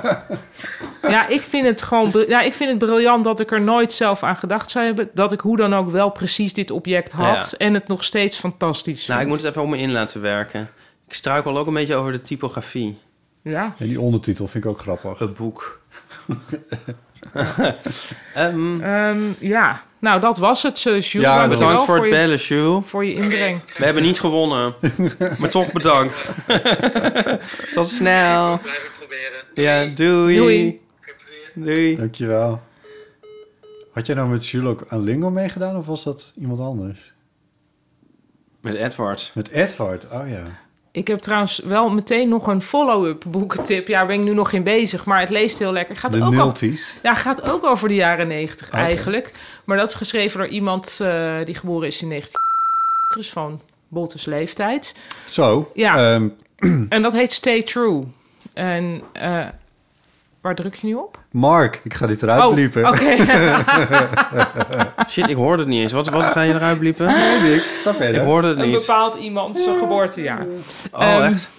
S3: Ja, ik vind het gewoon br- ja, ik vind het briljant dat ik er nooit zelf aan gedacht zou hebben. Dat ik hoe dan ook wel precies dit object had.
S1: Ja.
S3: En het nog steeds fantastisch.
S1: nou, ik
S3: vind.
S1: moet het even om me in laten werken. Ik struikel ook een beetje over de typografie.
S3: Ja.
S2: En die ondertitel vind ik ook grappig.
S1: Een boek. Ehm
S3: Ehm, ja, nou dat was het, eh, Jules.
S2: Ja,
S3: Dank je wel
S1: bedankt voor het
S3: je,
S1: bellen, Sjoe.
S3: voor je inbreng.
S1: We hebben niet gewonnen, maar toch bedankt. Tot snel.
S5: Blijf het proberen.
S1: Oh. Ja, doei.
S3: Doei.
S5: Veel plezier.
S1: Doei.
S2: Dankjewel. Had jij nou met Jules ook aan Lingo meegedaan of was dat iemand anders?
S1: Met Edward.
S2: Met Edward, oh ja.
S3: Ik heb trouwens wel meteen nog een follow-up boekentip. Ja, daar ben ik nu nog in bezig, maar het leest heel lekker. Gaat
S2: De
S3: ook al,
S2: Nulties.
S3: ja, gaat ook over de jaren 90 eigenlijk. Maar dat is geschreven door iemand eh, die geboren is in 19... is van Boltes leeftijd.
S2: Zo,
S3: Ja.
S2: ehm,
S3: En dat heet Stay True. En eh, waar druk je nu op?
S2: Mark, ik ga dit eruit
S3: Oh,
S2: bliepen.
S3: Oké.
S1: Shit, ik hoorde het niet eens. Wat, wat ga je eruit bliepen?
S2: Nee, niks. Ga verder.
S1: Ik hoorde het
S3: Een
S1: niet.
S3: bepaald iemand zijn geboortejaar.
S1: Oh,
S3: Ehm,
S1: echt?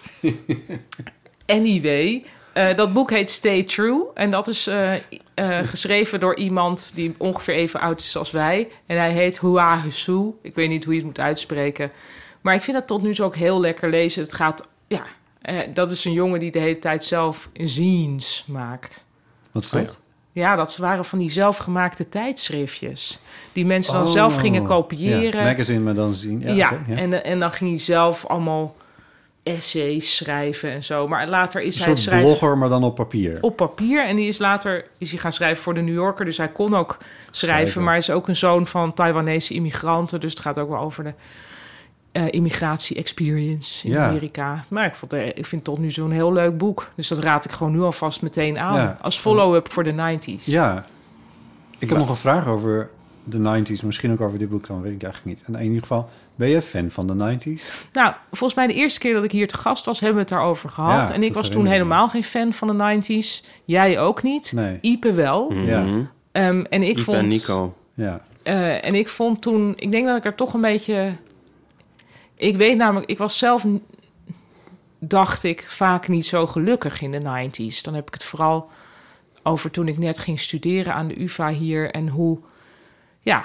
S3: Anyway, eh, dat boek heet Stay True. En dat is eh, i- eh, geschreven door iemand die ongeveer even oud is als wij. En hij heet Hua Husu. Ik weet niet hoe je het moet uitspreken. Maar ik vind dat tot nu toe ook heel lekker lezen. Het gaat, ja, eh, dat is een jongen die de hele tijd zelf zines maakt.
S2: Wat is dat?
S3: Ja, dat ze waren van die zelfgemaakte tijdschriftjes. Die mensen dan
S2: Oh.
S3: zelf gingen
S2: Ja,
S3: kopiëren. Ja,
S2: magazine, maar dan zien. Ja, oké, ja.
S3: En, eh, en dan ging hij zelf allemaal essays schrijven en zo. Maar later is
S2: Een
S3: hij
S2: soort
S3: schrijver
S2: blogger, maar dan op papier.
S3: op papier. En die is later is hij gaan schrijven voor de New Yorker. Dus hij kon ook schrijven.
S2: Schrijven.
S3: Maar hij is ook een zoon van Taiwanese immigranten. Dus het gaat ook wel over de eh, immigratie-experience in
S2: Ja.
S3: Amerika. Maar ik, vond, eh, ik vind het tot nu zo'n heel leuk boek. Dus dat raad ik gewoon nu alvast meteen aan.
S2: Ja.
S3: Als follow-up voor de 90s.
S2: Ja. Ik heb nog een vraag over de 90s. Misschien ook over dit boek, dan weet ik eigenlijk niet. En in ieder geval, ben je fan van de 90s?
S3: Nou, volgens mij de eerste keer dat ik hier te gast was, hebben we het daarover gehad.
S2: Ja,
S3: en ik
S2: dat
S3: was toen
S2: herinner ik me.
S3: helemaal geen fan van de 90s. Jij ook niet.
S2: Nee.
S3: Ipe wel.
S2: Ja.
S3: Ehm, en ik
S1: Mhm. Ik
S3: vond.
S1: ben Mm. Nico.
S2: Ja.
S3: Eh, en ik vond toen, ik denk dat ik er toch een beetje. Ik weet namelijk, ik was zelf, n- dacht ik, vaak niet zo gelukkig in de 90s. Dan heb ik het vooral over toen ik net ging studeren aan de UVA hier en hoe. Ja,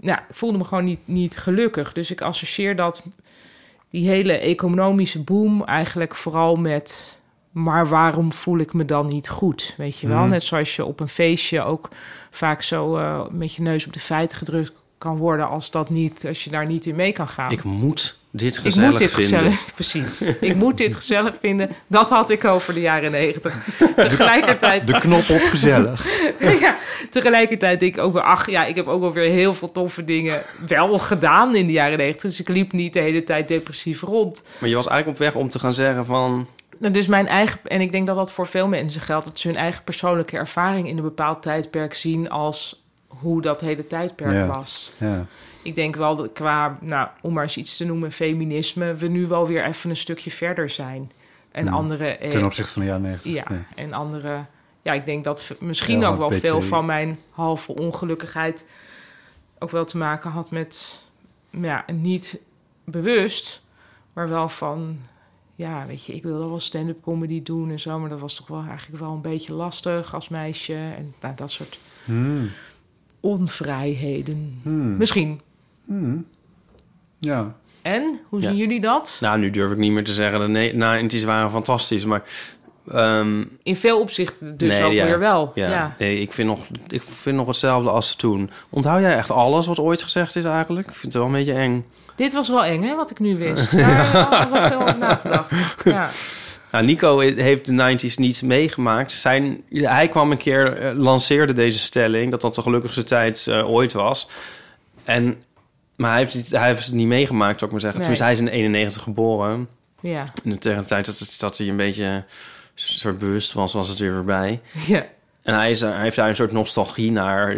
S3: ja ik voelde me gewoon niet, niet gelukkig. Dus ik associeer dat, die hele economische boom, eigenlijk vooral met. Maar waarom voel ik me dan niet goed? Weet je wel, net zoals je op een feestje ook vaak zo eh, met je neus op de feiten gedrukt kan worden als dat niet, als je daar niet in mee kan gaan.
S1: Ik moet dit
S3: Ik
S1: gezellig vinden.
S3: gezellig, precies. Ik moet dit gezellig vinden. Dat had ik over de jaren negentig. Tegelijkertijd,
S6: De knop op gezellig.
S3: ja, tegelijkertijd denk ik ook weer, ach ja, ik heb ook wel weer heel veel toffe dingen wel gedaan in de jaren negentig. Dus ik liep niet de hele tijd depressief rond.
S1: Maar je was eigenlijk op weg om te gaan zeggen van...
S3: Nou, Dus mijn eigen, en ik denk dat dat voor veel mensen geldt, dat ze hun eigen persoonlijke ervaring in een bepaald tijdperk zien als hoe dat hele tijdperk
S2: Ja.
S3: was.
S2: ja.
S3: Ik denk wel dat qua, nou, om maar eens iets te noemen, feminisme, we nu wel weer even een stukje verder zijn. En
S2: Hmm.
S3: andere. eh,
S2: Ten opzichte van de jaren 90.
S3: ja, en andere. Ja, ik denk dat v- misschien
S2: Ja,
S3: ook wel
S2: een beetje-
S3: veel van mijn halve ongelukkigheid ook wel te maken had met, ja, niet bewust, maar wel van, ja, weet je, ik wilde wel stand-up comedy doen en zo, maar dat was toch wel eigenlijk wel een beetje lastig als meisje en nou, dat soort
S2: Hmm.
S3: onvrijheden.
S2: Hmm.
S3: Misschien.
S2: Hmm. Ja.
S3: En hoe
S1: Ja.
S3: zien jullie dat?
S1: Nou, nu durf ik niet meer te zeggen. De ne- 90's waren fantastisch. Maar Ehm,
S3: In veel opzichten dus
S1: nee,
S3: ook
S1: ja.
S3: weer wel.
S1: Ja.
S3: Ja.
S1: Nee, ik vind, nog, ik vind nog hetzelfde als toen. Onthoud jij echt alles wat ooit gezegd is eigenlijk? Ik vind het wel een beetje eng.
S3: Dit was wel eng, hè, wat ik nu wist. Daar had ik wel veel over nagedacht. Ja.
S1: Nou, Nico heeft de 90s niet meegemaakt. Zijn, hij kwam een keer, eh, lanceerde deze stelling, dat dat de gelukkigste tijd eh, ooit was. En, maar hij heeft, het- hij heeft het niet meegemaakt, zou ik maar zeggen.
S3: Nee.
S1: Tenminste, hij is in 91 geboren.
S3: Ja.
S1: En tegen de tijd dat, het- dat hij een beetje soort bewust was, was het weer voorbij.
S3: Ja.
S1: En hij, is, daar- hij heeft daar een soort nostalgie naar.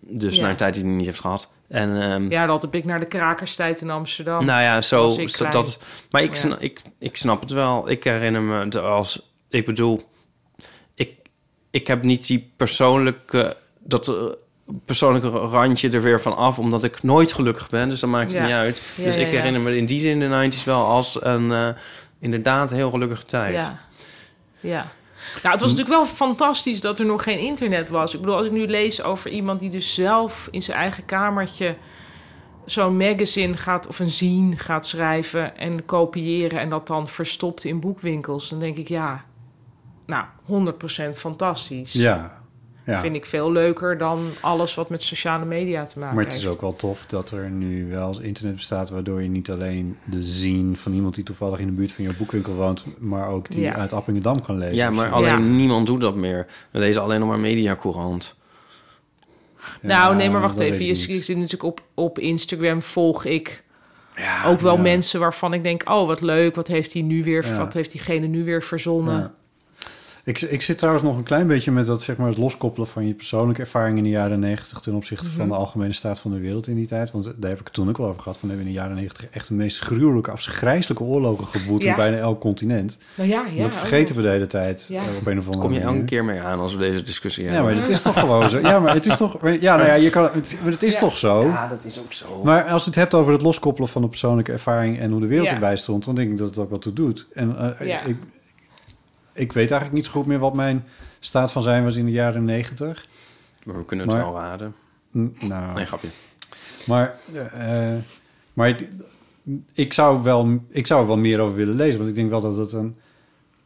S1: Dus
S3: Ja.
S1: naar een tijd die hij niet heeft gehad. En, ehm,
S3: ja, dat heb ik naar de krakerstijd in Amsterdam.
S1: nou ja, zo,
S3: was ik
S1: zo-
S3: klein.
S1: dat. Maar ik,
S3: Ja.
S1: sna- ik, ik snap het wel. Ik herinner me het als. Ik bedoel, ik, ik heb niet die persoonlijke. Dat eh, persoonlijke randje er weer van af, omdat ik nooit gelukkig ben. Dus dat maakt het
S3: Ja.
S1: niet uit.
S3: Ja,
S1: dus
S3: ja,
S1: ik
S3: ja.
S1: herinner me in die zin de 90s wel als een. eh, inderdaad, heel gelukkige tijd.
S3: Ja. ja. Nou, het was natuurlijk wel fantastisch dat er nog geen internet was. Ik bedoel, als ik nu lees over iemand die dus zelf in zijn eigen kamertje zo'n magazine gaat of een zine gaat schrijven en kopiëren en dat dan verstopt in boekwinkels, dan denk ik ja, nou, 100% fantastisch.
S2: Ja. ja.
S3: Vind ik veel leuker dan alles wat met sociale media te maken
S2: Maar het is
S3: heeft.
S2: ook wel tof dat er nu wel eens internet bestaat... waardoor je niet alleen de zien van iemand die toevallig in de buurt van jouw boekwinkel woont... maar ook die
S3: Ja.
S2: uit Appingedam kan lezen.
S1: Ja,
S2: of
S1: maar
S2: zo.
S1: alleen
S3: Ja.
S1: niemand doet dat meer. We lezen alleen nog maar mediacourant.
S3: Nou, nee, maar
S2: Ja,
S3: wacht
S2: dat
S3: even. Je
S2: weet ik niet.
S3: ziet natuurlijk op, op Instagram volg ik ook wel
S2: ja.
S3: mensen waarvan ik denk, oh, wat leuk, wat heeft die nu weer,
S2: Ja.
S3: wat heeft diegene nu weer verzonnen?
S2: Ja. Ik, ik zit trouwens nog een klein beetje met dat, zeg maar, het loskoppelen van je persoonlijke ervaring in de jaren negentig ten opzichte
S3: Mhm.
S2: van de algemene staat van de wereld in die tijd. Want daar heb ik het toen ook wel over gehad. Van we hebben in de jaren negentig echt de meest gruwelijke, afgrijzelijke oorlogen geboet
S3: Ja.
S2: in bijna elk continent.
S3: Nou ja, ja.
S2: dat vergeten we de hele tijd
S3: Ja.
S2: eh, op een of andere
S1: Kom je
S2: manier.
S1: elke keer mee aan als we deze discussie
S2: Ja,
S1: hebben?
S2: maar het is toch gewoon zo. Ja, maar het is toch. Ja, nou ja, je kan, het, maar het is toch zo.
S1: Ja, dat is ook zo.
S2: Maar als je het hebt over het loskoppelen van de persoonlijke ervaring en hoe de wereld
S3: Ja.
S2: erbij stond, dan denk ik dat het ook wel toe doet. En eh,
S3: Ja.
S2: ik, ik weet eigenlijk niet zo goed meer wat mijn staat van zijn was in de jaren negentig.
S1: Maar we kunnen het
S2: Maar-
S1: wel raden.
S2: Nou,
S1: Nee, grapje.
S2: maar, eh, eh, maar het- ik, zou wel, ik zou er wel meer over willen lezen, want ik denk wel dat het een,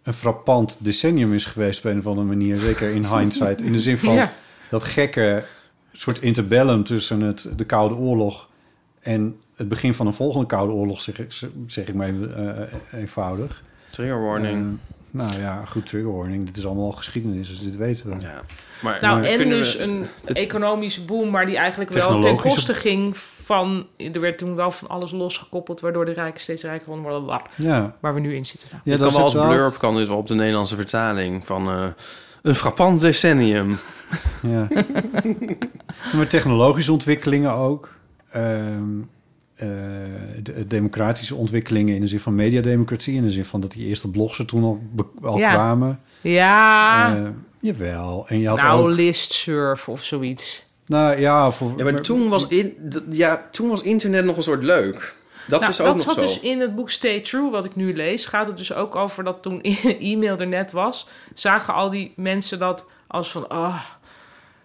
S2: een frappant decennium is geweest op een of andere manier. Zeker in hindsight. In de zin van
S3: Ja.
S2: dat gekke soort interbellum tussen het, de Koude Oorlog en het begin van een volgende Koude Oorlog, zeg ik, zeg ik maar even, eh, eenvoudig.
S1: Trigger warning.
S2: Eh, nou ja, goed trigger warning. Dit is allemaal geschiedenis, dus dit weten we.
S1: ja. Maar
S3: Nou,
S1: maar
S3: en
S1: kunnen
S3: dus
S1: we-
S3: een economische boom, maar die eigenlijk wel ten
S2: Technologische-
S3: koste ging van... Er werd toen wel van alles losgekoppeld, waardoor de rijken steeds rijker worden. blablabla,
S2: Ja,
S3: Waar we nu in zitten. Nou.
S2: ja
S1: dit
S2: dat
S1: kan wel als
S2: zit wel-
S1: blurb kan dit wel op de Nederlandse vertaling van eh, een frappant decennium.
S2: Ja. maar technologische ontwikkelingen ook. Ehm, eh, de, democratische ontwikkelingen in de zin van mediademocratie. In de zin van dat die eerste blogs er toen al, be- al
S3: Ja.
S2: kwamen.
S3: Ja,
S2: Eh, jawel. En je had
S3: nou,
S2: ook...
S3: listsurf of zoiets.
S2: Nou ja, voor,
S1: Ja, maar toen was, in, d- ja, toen was internet nog een soort leuk. Dat
S3: Nou,
S1: is ook
S3: dat
S1: nog
S3: zat
S1: zo.
S3: dus in het boek Stay True, wat ik nu lees. Gaat het dus ook over dat toen e-mail er net was, zagen al die mensen dat als van, ah,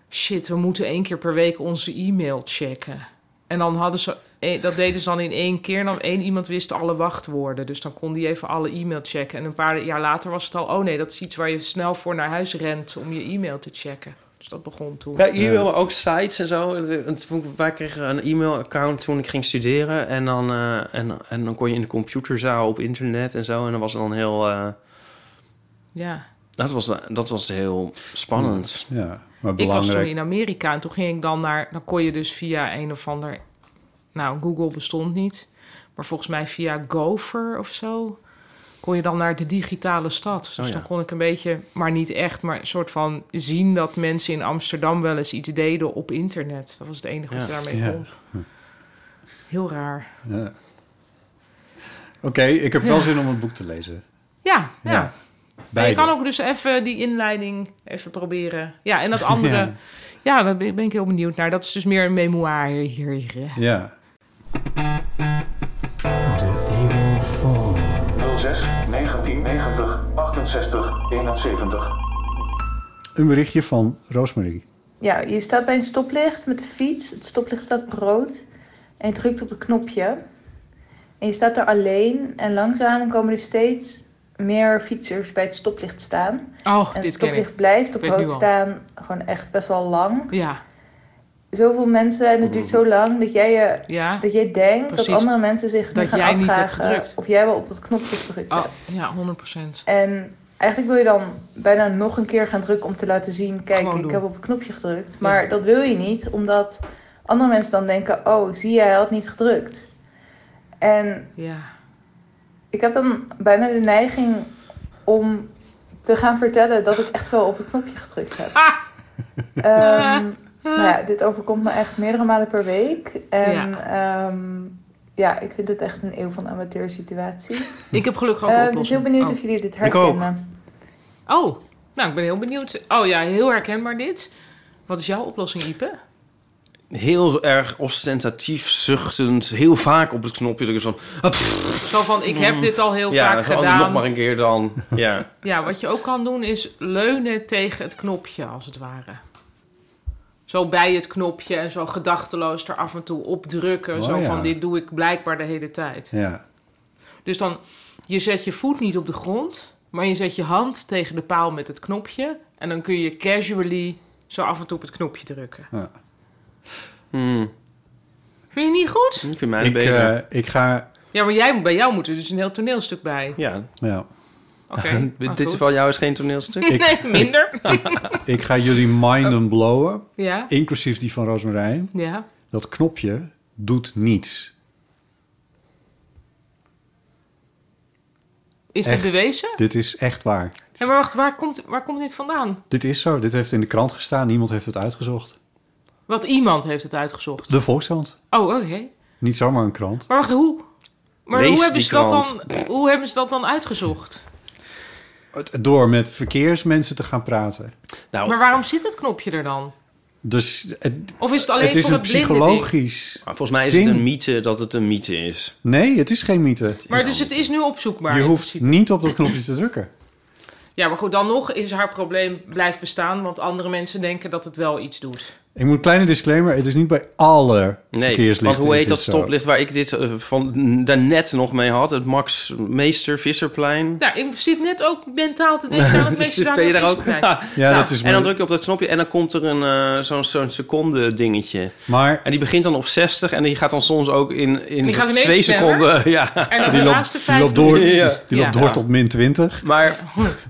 S3: shit, we moeten één keer per week onze e-mail checken. En dan hadden ze, eh, dat deden ze dan in één keer. En dan één iemand wist alle wachtwoorden. Dus dan kon die even alle e-mail checken. En een paar jaar later was het al, oh nee, dat is iets waar je snel voor naar huis rent om je e-mail te checken. Dus dat begon toen.
S1: Ja, e-mail, maar ook sites en zo. En toen- Wij kregen een e-mail-account toen ik ging studeren. En dan, eh, en, en dan kon je in de computerzaal op internet en zo. En dat was dan heel... eh,
S3: Ja.
S1: dat, was, dat was heel spannend.
S2: Ja, maar
S3: Ik was toen
S2: belangrijk.
S3: in Amerika en toen ging ik dan naar... Dan kon je dus via een of ander... Nou, Google bestond niet. Maar volgens mij via Gopher of zo... kon je dan naar de digitale stad. Dus
S1: Oh ja.
S3: dan kon ik een beetje, maar niet echt... maar een soort van zien dat mensen in Amsterdam... wel eens iets deden op internet. Dat was het enige wat je daarmee
S2: Ja. Hm.
S3: kon. Heel raar.
S2: Ja. Oké, ik heb wel zin om het boek te lezen.
S3: Ja, ja.
S2: Ja,
S3: En je
S2: Beide.
S3: kan ook dus even die inleiding even proberen. Ja, en dat andere... Ja,
S2: Ja.
S3: daar ben ben ik heel benieuwd naar. Dat is dus meer een memoir hier.
S2: Ja.
S7: 06 1990 68 71.
S2: Een berichtje van Roosmarie.
S8: Ja, je staat bij een stoplicht met de fiets. Het stoplicht staat op rood. En je drukt op het knopje. En je staat er alleen. En langzaam komen er steeds meer fietsers bij het stoplicht staan.
S3: Oh,
S8: En het
S3: dit ken
S8: stoplicht
S3: ik.
S8: blijft op
S3: Ik weet nu
S8: rood
S3: al.
S8: staan gewoon echt best wel lang.
S3: Ja,
S8: Zoveel mensen en het duurt zo lang dat jij, je,
S3: ja.
S8: dat jij denkt
S3: Precies.
S8: dat andere mensen zich nu
S3: Dat
S8: gaan
S3: jij niet hebt
S8: afvragen
S3: gedrukt.
S8: Of jij wel op dat knopje gedrukt
S3: Oh,
S8: hebt.
S3: ja, 100 procent.
S8: En eigenlijk wil je dan bijna nog een keer gaan drukken om te laten zien... kijk,
S3: Gewoon
S8: ik
S3: doen.
S8: heb op een knopje gedrukt. Maar dat wil je niet, omdat andere mensen dan denken... oh, zie jij, hij had niet gedrukt. En
S3: Ja.
S8: ik heb dan bijna de neiging om te gaan vertellen dat ik echt wel op het knopje gedrukt heb. Ehm, nou ja, dit overkomt me echt meerdere malen per week. En ja, ja ik vind het echt een eeuw van amateur situatie.
S3: Ik heb gelukkig ook een
S8: Ehm, dus heel
S3: oplossing.
S8: benieuwd
S3: Oh.
S8: of jullie dit
S1: Ik ook.
S8: herkennen.
S3: Oh, nou, ik ben heel benieuwd. Oh ja, heel herkenbaar dit. Wat is jouw oplossing, Ipe?
S1: Hmm. Heel erg ostentatief, zuchtend, heel vaak op het knopje drukken. Zo van, ah, pff,
S3: Zo van, ik heb dit al heel
S1: Mm. ja,
S3: vaak
S1: zo, oh, nog
S3: gedaan.
S1: maar een keer dan. Ja,
S3: Ja, wat je ook kan doen is leunen tegen het knopje, als het ware. Zo bij het knopje en zo gedachteloos er af en toe op drukken.
S2: Oh,
S3: zo
S2: ja.
S3: van, dit doe ik blijkbaar de hele tijd.
S2: Ja.
S3: Dus dan, je zet je voet niet op de grond, maar je zet je hand tegen de paal met het knopje. En dan kun je casually zo af en toe op het knopje drukken.
S2: ja.
S1: Hmm,
S3: Vind je niet goed?
S1: ik vind mij
S2: Ik,
S1: bezig.
S2: eh, ik ga...
S3: Ja, maar jij, bij jou moet er dus een heel toneelstuk bij.
S1: ja,
S2: Ja.
S3: Oké.
S1: in
S3: nou
S1: dit
S3: goed.
S1: geval jou is geen toneelstuk.
S3: nee, minder.
S2: Ik ga jullie minden blowen,
S3: Ja,
S2: inclusief die van Roosmarijn.
S3: ja.
S2: Dat knopje doet niets.
S3: Is dit
S2: Echt.
S3: bewezen?
S2: Dit is echt waar.
S3: Ja, maar wacht, waar komt, waar komt dit vandaan?
S2: Dit is zo. Dit heeft in de krant gestaan. Niemand heeft het uitgezocht.
S3: Want iemand heeft het uitgezocht.
S2: De Volkskrant.
S3: Oh, oké.
S2: Niet zomaar een krant.
S3: Maar wacht, hoe? Maar
S1: Lees
S3: hoe
S1: die
S3: hebben, ze dat
S1: krant.
S3: dan, hoe hebben ze dat dan uitgezocht?
S2: Het- Door met verkeersmensen te gaan praten.
S1: Nou,
S3: Maar waarom zit dat knopje er dan?
S2: Dus het,
S3: Of is het alleen
S2: het is
S3: voor
S2: een
S3: het blinde ding?
S2: psychologisch...
S1: Nou, volgens mij is
S2: Ding.
S1: het een mythe dat het een mythe is.
S2: Nee, het is geen mythe.
S3: Maar dus het is nu opzoekbaar.
S2: Je
S3: in
S2: hoeft
S3: principe.
S2: niet op dat knopje te drukken.
S3: Ja, maar goed, dan nog is haar probleem blijft bestaan, want andere mensen denken dat het wel iets doet.
S2: Ik moet een kleine disclaimer. Het is niet bij alle
S1: Nee,
S2: verkeerslichten.
S1: want hoe
S2: is
S1: heet
S2: dit
S1: dat
S2: zo.
S1: stoplicht waar ik dit eh, van daarnet nog mee had? Het Max Meester Visserplein.
S3: Nou, ik zit net ook mentaal te denken aan het mensen daar
S1: ben je
S3: nog
S1: daar
S3: iets
S1: ook?
S3: bij.
S2: Ja, dat is
S1: en
S2: maar-
S1: dan druk je op dat knopje en dan komt er een, eh, zo'n zo'n seconde dingetje.
S2: Maar
S1: En die begint dan op 60 en die gaat dan soms ook in, in
S3: Die gaat ineens
S1: twee
S3: sneller.
S1: seconden. Ja.
S3: En dan
S2: die
S3: de
S2: loopt,
S3: laatste
S2: die
S3: vijf
S2: loopt door,
S3: minuten.
S1: Ja.
S2: die loopt
S3: Ja.
S2: door tot min 20.
S1: Maar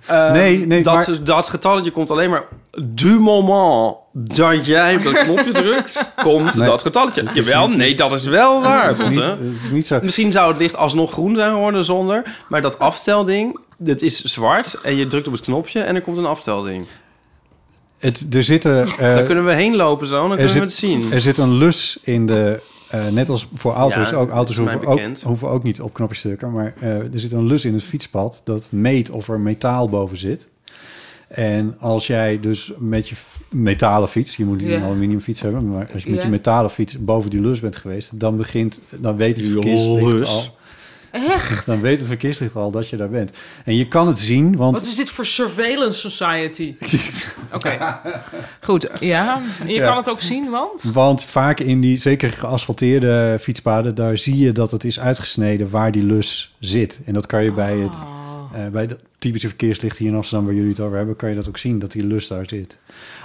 S1: eh,
S2: Nee, nee,
S1: dat,
S2: maar-
S1: dat getalletje komt alleen maar du moment dat jij op dat knopje drukt, komt
S2: Nee.
S1: dat getalletje. Jawel, nee, dat is wel waar.
S2: Het is,
S1: Botte.
S2: niet, het is niet zo.
S1: Misschien zou het licht alsnog groen zijn geworden zonder. Maar dat aftelding, dat is zwart. En je drukt op het knopje en er komt een aftelding.
S2: Het, er zitten... eh,
S1: Daar kunnen we heen lopen zo, dan kunnen
S2: zit-
S1: we het zien.
S2: Er zit een lus in de... eh, net als voor auto's,
S1: Ja,
S2: ook auto's
S1: dat is
S2: hoeven
S1: mij
S2: ook,
S1: bekend.
S2: hoeven ook niet op knopjes te drukken. Maar eh, er zit een lus in het fietspad dat meet of er metaal boven zit. En als jij dus met je f- metalen fiets, je moet niet
S3: Ja.
S2: een aluminium fiets hebben, maar als je met
S3: Ja.
S2: je metalen fiets boven die lus bent geweest, dan begint, dan weet het
S1: Die
S2: verkeerslicht
S1: lus.
S2: al. Dan weet het verkeerslicht al dat je daar bent. En je kan het zien, want
S3: Wat is dit voor surveillance society? Oké. Goed, ja. En Je
S2: Ja.
S3: kan het ook zien, want...
S2: Want vaak in die, zeker geasfalteerde fietspaden, daar zie je dat het is uitgesneden waar die lus zit. En dat kan je bij het
S3: Oh.
S2: eh, bij dat typische verkeerslicht hier in Amsterdam, waar jullie het over hebben, kan je dat ook zien dat die lus daar zit.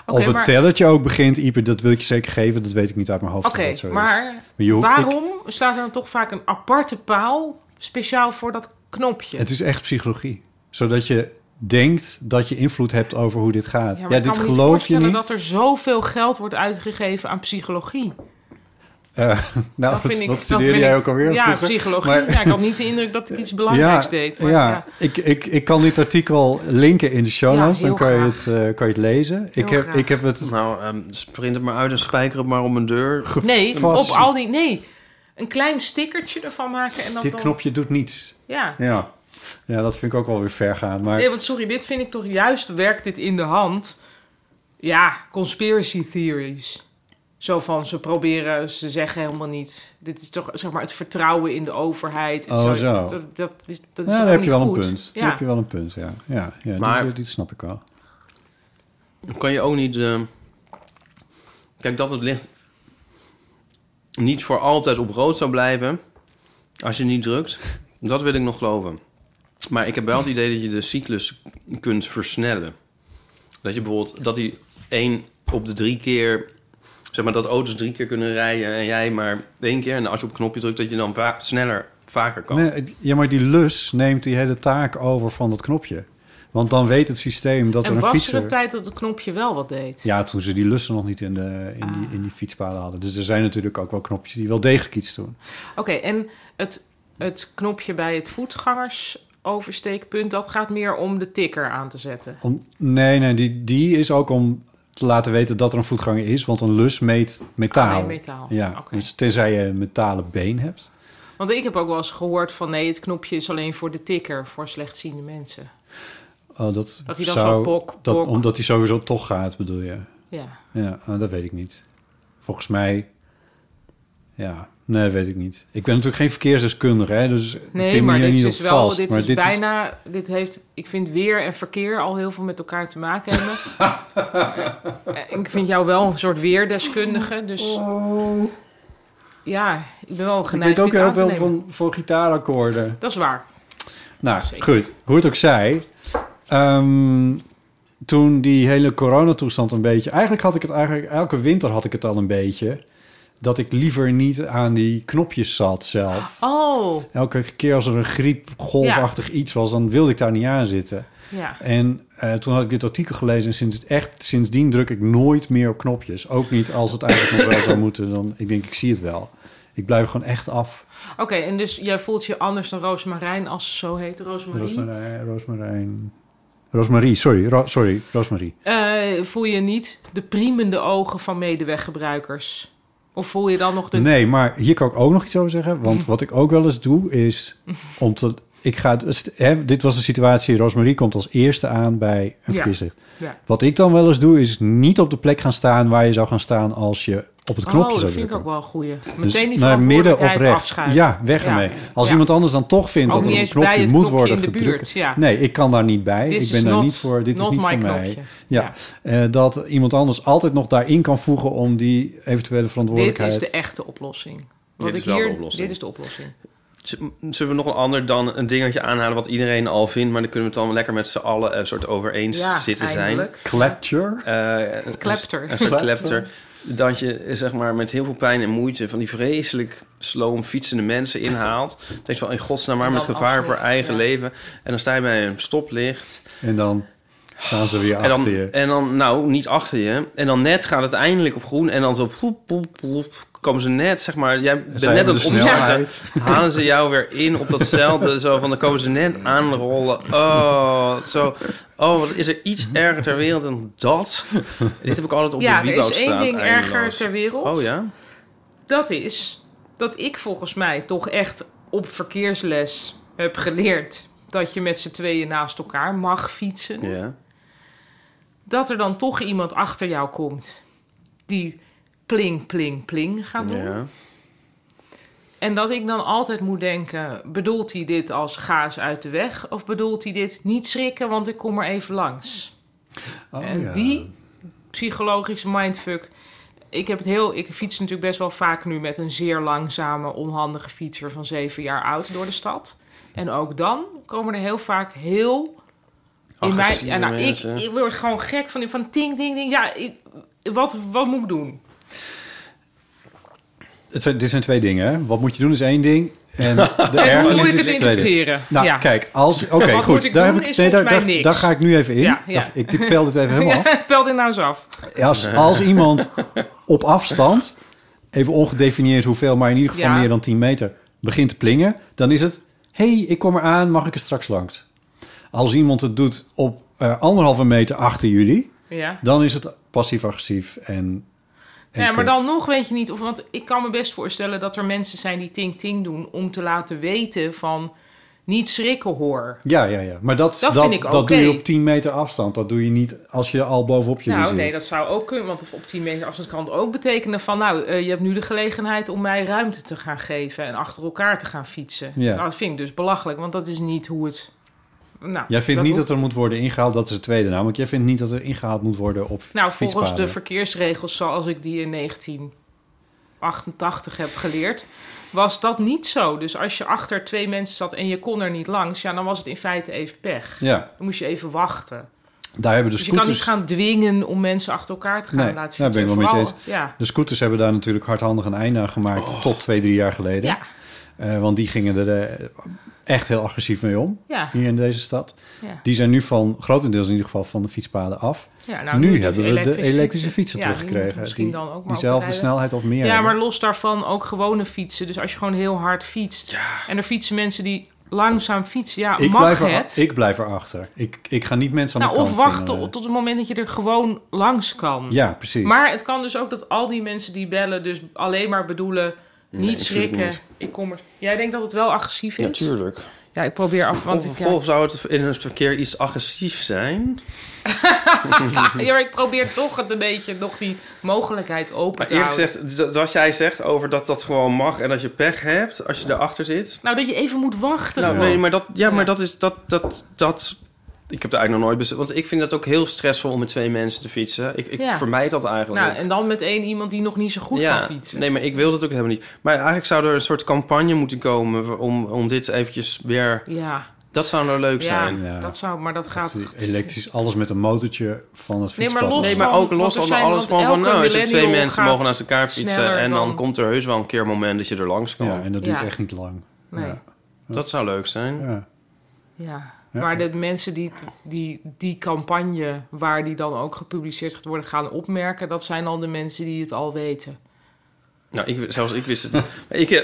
S3: Oké,
S2: of het
S3: maar-
S2: tellertje ook begint, Ieper, dat wil ik je zeker geven. Dat weet ik niet uit mijn hoofd.
S3: Oké,
S2: of dat zo is.
S3: maar
S2: Maar je hoeft-
S3: waarom staat er dan toch vaak een aparte paal speciaal voor dat knopje?
S2: Het is echt psychologie. Zodat je denkt dat je invloed hebt over hoe dit gaat.
S3: Ja,
S2: Ja,
S3: maar ik
S2: dit
S3: kan me niet
S2: geloof je
S3: voorstellen
S2: niet.
S3: dat er zoveel geld wordt uitgegeven aan psychologie.
S2: Eh, nou,
S3: Dat
S2: wat,
S3: vind ik,
S2: wat
S3: dat
S2: studeerde
S3: vind
S2: jij
S3: ik-
S2: ook alweer?
S3: Ja,
S2: vroeger?
S3: psychologie.
S2: Maar-
S3: Ja, ik had niet de indruk dat ik iets belangrijks deed. Maar,
S2: ja,
S3: ja.
S2: Ik, ik, ik kan dit artikel linken in de show
S3: Ja,
S2: notes. dan
S3: heel
S2: kan je,
S3: graag.
S2: het, eh, kan je het lezen. Ik heb,
S3: graag.
S2: ik heb het...
S1: Nou, ehm, sprint het maar uit en spijker het maar om een deur.
S3: Nee,
S2: vast-
S3: op al die... Nee, een klein stickertje ervan maken en dan...
S2: Dit
S3: dan-
S2: knopje doet niets.
S3: Ja.
S2: Ja. ja, dat vind ik ook wel weer ver gaan. Maar
S3: Nee, want sorry, dit vind ik toch juist werkt dit in de hand. Ja, conspiracy theories. Zo van ze proberen, ze zeggen helemaal niet. Dit is toch zeg maar het vertrouwen in de overheid. en
S2: Oh, zo.
S3: Dat, dat is, dat is
S2: ja,
S3: toch
S2: daar heb
S3: ook
S2: je
S3: niet
S2: wel
S3: goed?
S2: een punt.
S3: Ja.
S2: Daar heb je wel een punt, ja. ja, ja
S1: Maar-
S2: dit, dit snap ik wel.
S1: Kan je ook niet... eh, Kijk, dat het licht niet voor altijd op rood zou blijven... als je niet drukt, dat wil ik nog geloven. Maar ik heb wel het idee dat je de cyclus kunt versnellen. Dat je bijvoorbeeld dat die één op de drie keer, zeg maar dat auto's drie keer kunnen rijden en jij maar één keer. En als je op een knopje drukt, dat je dan va- sneller, vaker kan.
S2: Nee, het- ja, maar die lus neemt die hele taak over van dat knopje. Want dan weet het systeem dat er
S3: en
S2: een
S3: was
S2: fietser...
S3: er een tijd dat het knopje wel wat deed?
S2: Ja, toen ze die lussen nog niet in, de, in,
S3: Ah.
S2: die, in die fietspaden hadden. Dus er zijn natuurlijk ook wel knopjes die wel degelijk iets doen.
S3: Oké, en het, het knopje bij het voetgangersoversteekpunt... dat gaat meer om de tikker aan te zetten.
S2: Om, nee, nee, die, die is ook om te laten weten dat er een voetganger is. Want een lus meet metaal.
S3: Ah, meet metaal.
S2: Ja,
S3: Oké.
S2: dus tenzij je een metalen been hebt.
S3: Want ik heb ook wel eens gehoord van... nee, het knopje is alleen voor de tikker, voor slechtziende mensen.
S2: Oh, dat,
S3: Dat hij dan
S2: zou,
S3: zo bok,
S2: dat,
S3: bok.
S2: Omdat hij sowieso toch gaat, bedoel je?
S3: Ja.
S2: Ja, eh, dat weet ik niet. Volgens mij... Ja, nee, dat weet ik niet. Ik ben natuurlijk geen verkeersdeskundige, hè, dus ik
S3: Nee,
S2: pin me
S3: maar
S2: hier
S3: dit
S2: niet
S3: is
S2: op
S3: wel,
S2: vast.
S3: dit
S2: maar
S3: is bijna, dit heeft, ik vind weer en verkeer al heel veel met elkaar te maken hebben. Eh, ik vind jou wel een soort weerdeskundige, dus ja, ik ben wel
S2: Oh. Ik
S3: geneigd
S2: weet ook
S3: dit
S2: heel
S3: aan te
S2: veel
S3: nemen.
S2: van, van gitaarakkoorden.
S3: Dat is waar.
S2: Nou,
S3: Zeker.
S2: goed. Hoe het ook zij. ehm, toen die hele coronatoestand een beetje... Eigenlijk had ik het eigenlijk... Elke winter had ik het al een beetje. Dat ik liever niet aan die knopjes zat zelf.
S3: Oh,
S2: Elke keer als er een griep, golfachtig iets was... dan wilde ik daar niet aan zitten.
S3: ja.
S2: En eh, toen had ik dit artikel gelezen... en sinds het echt, sindsdien druk ik nooit meer op knopjes. Ook niet als het eigenlijk nog wel zou moeten. Dan, ik denk, ik zie het wel. Ik blijf gewoon echt af.
S3: Oké, en dus jij voelt je anders dan Roosmarijn als ze zo heet, Roosmarie.
S2: Rosmarijn... Rosmarijn... Rosmarie, sorry. Ro- sorry, Rosmarie.
S3: Eh, voel je niet de priemende ogen van medeweggebruikers? Of voel je dan nog de...
S2: Nee, maar hier kan ik ook nog iets over zeggen. Want wat ik ook wel eens doe is om te. Ik ga, het- hè, dit was de situatie. Rosemarie komt als eerste aan bij een
S3: Ja.
S2: verkiezing.
S3: Ja.
S2: Wat ik dan wel eens doe, is niet op de plek gaan staan waar je zou gaan staan als je op het knopje
S3: oh,
S2: zou
S3: dat vind ik
S2: drukken.
S3: ook wel een goeie. Meteen
S2: Dus
S3: die
S2: naar midden of
S3: verantwoordelijkheid
S2: rechts.
S3: afschuiven.
S2: Ja, weg
S3: Ja.
S2: ermee. Als
S3: Ja.
S2: iemand anders dan toch vindt
S3: Ook
S2: dat
S3: niet
S2: er een
S3: eens
S2: knopje
S3: bij het
S2: moet
S3: knopje
S2: worden
S3: in de
S2: gedrukt.
S3: buurt, ja.
S2: Nee, ik kan daar niet bij.
S3: This
S2: ik ben
S3: is
S2: daar
S3: not-
S2: niet voor. Dit is
S3: not
S2: niet
S3: my
S2: voor mij.
S3: knopje.
S2: Ja, eh, dat iemand anders altijd nog daarin kan voegen om die eventuele
S3: Dit
S2: verantwoordelijkheid.
S3: is de echte oplossing. Wat
S1: Dit
S3: ik
S1: is wel de
S3: hier,
S1: oplossing.
S3: Dit is de oplossing.
S1: Z- Zullen we nog een ander dan een dingetje aanhalen wat iedereen al vindt, maar dan kunnen we het dan lekker met z'n allen een soort over eens zitten zijn.
S3: eindelijk.
S2: Klepture?
S1: Eh, een-
S3: Klepter.
S1: Een soort klepter. Dat je eh, zeg maar, met heel veel pijn en moeite van die vreselijk sloom fietsende mensen inhaalt. Dan Denk je van in godsnaam maar
S3: En
S1: met
S3: dan
S1: gevaar voor
S3: afsluiten,
S1: eigen
S3: ja.
S1: leven. En dan sta je bij een stoplicht.
S2: En dan staan ze weer
S1: En dan,
S2: achter je.
S1: en dan, nou, niet achter je. En dan net gaat het eindelijk op groen. En dan zo poep, poep, poep, komen ze net, zeg maar... Jij bent
S2: Zijn
S1: net
S2: we
S1: aan het
S2: de
S1: opstarten.
S2: snelheid?
S1: Halen ze jou weer in op datzelfde. zo van, dan komen ze net aanrollen. Oh, zo. Oh, wat is er iets erger ter wereld dan dat? Dit heb ik altijd op
S3: ja,
S1: de
S3: er
S1: Wieboud
S3: is één ding erger ter wereld.
S1: Oh ja?
S3: Dat is dat ik volgens mij toch echt op verkeersles heb geleerd... dat je met z'n tweeën naast elkaar mag fietsen.
S1: Ja.
S3: Dat er dan toch iemand achter jou komt die pling, pling, pling gaat doen.
S1: ja.
S3: En dat ik dan altijd moet denken: bedoelt hij dit als gaas uit de weg? Of bedoelt hij dit niet schrikken, want ik kom er even langs?
S2: Oh,
S3: en die psychologische mindfuck. Ik heb het heel. Ik fiets natuurlijk best wel vaak nu met een zeer langzame, onhandige fietser van zeven jaar oud door de stad. En ook dan komen er heel vaak heel.
S1: Agressieve
S3: ja, nou, ik,
S1: mensen.
S3: ik word gewoon gek van, die- van ting, ding, ding. Ja, ik, wat, wat moet ik doen?
S2: Het zijn, dit zijn twee dingen. hè. Wat moet je doen is één ding. En de
S3: En hoe
S2: ergernis
S3: moet
S2: is
S3: ik het
S2: het tweede.
S3: interpreteren?
S2: Nou,
S3: ja.
S2: kijk, als... Oké,
S3: Wat
S2: goed.
S3: moet ik doen
S2: ik-
S3: is
S2: nee, daar,
S3: volgens mij
S2: daar-
S3: niks.
S2: daar ga ik nu even in.
S3: Ja, ja.
S2: Dat- Ik dit- pel dit even helemaal af.
S3: Pel dit nou eens af.
S2: Als, als iemand op afstand, even ongedefinieerd hoeveel, maar in ieder geval
S3: Ja.
S2: meer dan 10 meter, begint te plingen, dan is het: hé, hey, ik kom eraan, mag ik er straks langs? Als iemand het doet op eh, anderhalve meter achter jullie,
S3: Ja.
S2: dan is het passief-agressief en. en
S3: Ja, maar
S2: kut.
S3: dan nog weet je niet. Of, want ik kan me best voorstellen dat er mensen zijn die ting-ting doen... om te laten weten van niet schrikken hoor.
S2: Ja, ja, ja. Maar dat, dat,
S3: Dat
S2: dat,
S3: vind ik oké.
S2: doe je op 10 meter afstand. Dat doe je niet als je al bovenop je
S3: nou,
S2: zit.
S3: nee, dat zou ook kunnen. Want op 10 meter afstand kan het ook betekenen van... nou, eh, je hebt nu de gelegenheid om mij ruimte te gaan geven... en achter elkaar te gaan fietsen.
S2: Ja.
S3: Nou, dat vind ik dus belachelijk, want dat is niet hoe het... Nou,
S2: Jij vindt niet
S3: hoeft-
S2: dat er moet worden ingehaald, dat is het tweede namelijk. Jij vindt niet dat er ingehaald moet worden op
S3: Nou, volgens
S2: fietspaden.
S3: de verkeersregels zoals ik die in 1998 88 heb geleerd, was dat niet zo. Dus als je achter twee mensen zat en je kon er niet langs, ja, dan was het in feite even pech.
S2: Ja,
S3: Dan moest je even wachten.
S2: daar hebben de
S3: Dus je kan niet
S2: scooters...
S3: gaan dwingen om mensen achter elkaar te gaan
S2: Nee,
S3: laten
S2: daar
S3: fietsen.
S2: ben ik wel met je
S3: Vooral- Ja.
S2: De scooters hebben daar natuurlijk hardhandig een einde aan gemaakt tot twee, drie jaar geleden.
S3: Oh. Ja,
S2: Eh, want die gingen er eh, echt heel agressief mee om,
S3: ja,
S2: hier in deze stad.
S3: ja.
S2: Die zijn nu van, grotendeels in ieder geval, van de fietspaden af.
S3: ja nou,
S2: nu
S3: doen
S2: hebben we de elektrische fietsen
S3: Ja, die moeten
S2: teruggekregen.
S3: Misschien
S2: die,
S3: dan ook maar
S2: diezelfde
S3: oprijden.
S2: snelheid of meer
S3: Ja,
S2: hebben.
S3: maar los daarvan ook gewone fietsen. Dus als je gewoon heel hard fietst. En er fietsen mensen die langzaam fietsen. Ja,
S2: ik,
S3: mag
S2: blijf er,
S3: het?
S2: ik blijf erachter. Ik, ik ga niet mensen aan
S3: nou,
S2: de kant
S3: of wachten
S2: eh,
S3: tot- tot het moment dat je er gewoon langs kan.
S2: Ja, precies.
S3: Maar het kan dus ook dat al die mensen die bellen, dus alleen maar bedoelen. Niet
S1: natuurlijk
S3: schrikken.
S1: niet.
S3: Ik kom er. Jij denkt dat het wel agressief is?
S1: Natuurlijk.
S3: Ja, ik probeer af. Want ik,
S1: Of, of zou het in het verkeer iets agressief zijn?
S3: ja, maar ik probeer toch het een beetje nog die mogelijkheid open
S1: Maar
S3: te
S1: eerlijk
S3: houden.
S1: gezegd, d- wat jij zegt over dat dat gewoon mag en dat je pech hebt als je erachter zit.
S3: Nou, dat je even moet wachten.
S1: Nou,
S3: gewoon.
S1: nee, maar dat, ja,
S3: Ja.
S1: maar dat is dat, dat, dat. Ik heb het eigenlijk nog nooit bezig. Want ik vind het ook heel stressvol om met twee mensen te fietsen. Ik, ik
S3: Ja.
S1: vermijd dat eigenlijk.
S3: nou, en dan met één iemand die nog niet zo goed kan fietsen.
S1: Nee, maar ik wil dat ook helemaal niet. Maar eigenlijk zou er een soort campagne moeten komen om, om dit eventjes weer...
S3: Ja,
S1: Dat zou nou leuk
S3: ja,
S1: zijn.
S2: Ja.
S3: dat zou, maar dat gaat.
S2: Elektrisch, alles met een motortje van het
S3: Nee, maar
S2: fietspad.
S3: los-
S1: Nee, maar
S3: van-
S1: ook los
S3: want er
S1: van
S3: zijn-
S1: alles
S3: want
S1: gewoon van...
S3: elke
S1: Nou, als je twee
S3: millennial
S1: mensen
S3: gaat
S1: mogen naast elkaar fietsen...
S3: sneller
S1: en dan
S3: dan-
S1: komt er heus wel een keer een moment dat je er langs kan.
S2: Ja, en dat duurt
S3: Ja.
S2: echt niet lang.
S3: Nee,
S2: Ja.
S3: ja.
S1: Dat zou leuk zijn.
S2: Ja. Ja.
S3: Maar de mensen die, die die campagne waar die dan ook gepubliceerd gaat worden gaan opmerken, dat zijn al de mensen die het al weten.
S1: Nou, ik, zelfs ik wist het. niet. Maar ik, eh,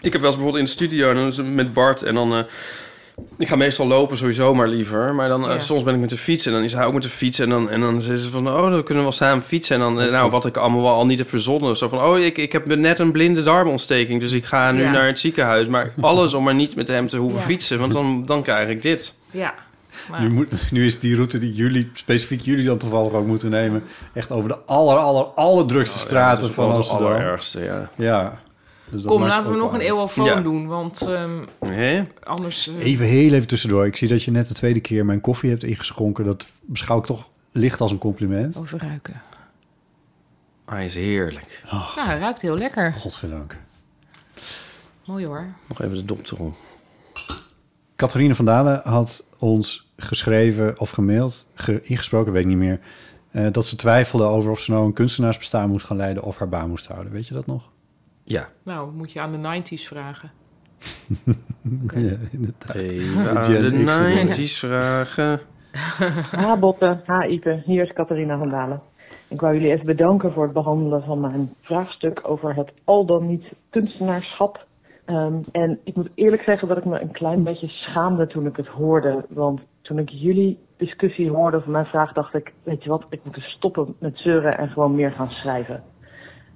S1: ik heb wel eens bijvoorbeeld in de studio en dan is het met Bart en dan... eh, ik ga meestal lopen sowieso, maar liever. Maar dan eh,
S3: Ja.
S1: soms ben ik met de fiets en dan is hij ook met de fiets. En dan, en dan zeggen ze van, oh, dan kunnen we wel samen fietsen. En dan, eh, nou, wat ik allemaal wel al niet heb verzonnen. Zo van, oh, ik, ik heb net een blinde darmontsteking. Dus ik ga nu
S3: Ja.
S1: naar het ziekenhuis. Maar alles om maar niet met hem te hoeven
S3: Ja.
S1: fietsen. Want dan, dan krijg ik dit.
S3: Ja. Maar,
S2: Nu, moet, nu is die route die jullie, specifiek jullie dan toevallig ook moeten nemen... echt over de aller, aller, allerdrukste straten
S1: Oh, Dat is
S2: van
S1: wel het
S2: Amsterdam.
S1: allerergste, ja.
S2: Ja. Dus dat
S3: kom,
S2: maakt
S3: laten we
S2: ook
S3: nog een
S2: uit.
S3: eeuwofoon
S1: Ja.
S3: doen, want ehm,
S1: Hé?
S3: anders. eh,
S2: Even heel even tussendoor. Ik zie dat je net de tweede keer mijn koffie hebt ingeschonken. Dat beschouw ik toch licht als een compliment.
S3: Over ruiken.
S1: Hij is heerlijk.
S2: Oh.
S3: Ja, hij ruikt heel lekker.
S2: Godverdank.
S3: Mooi hoor.
S1: Nog even de dop om.
S2: Catharine van Dalen had ons geschreven of gemaild, ge- ingesproken, weet ik niet meer... eh, dat ze twijfelde over of ze nou een kunstenaarsbestaan moest gaan leiden... of haar baan moest houden. Weet je dat nog?
S1: Ja.
S3: Nou, moet je aan de 90s vragen.
S2: Ja, inderdaad.
S1: Even aan
S2: Gen
S1: Eh, de
S2: X inderdaad.
S1: 90's vragen.
S9: Ha Botte, ha Ipe, hier is Catharina van Dalen. Ik wou jullie even bedanken voor het behandelen van mijn vraagstuk over het al dan niet kunstenaarschap. Ehm, en ik moet eerlijk zeggen dat ik me een klein beetje schaamde toen ik het hoorde. Want toen ik jullie discussie hoorde over mijn vraag, dacht ik: Weet je wat, ik moet dus stoppen met zeuren en gewoon meer gaan schrijven.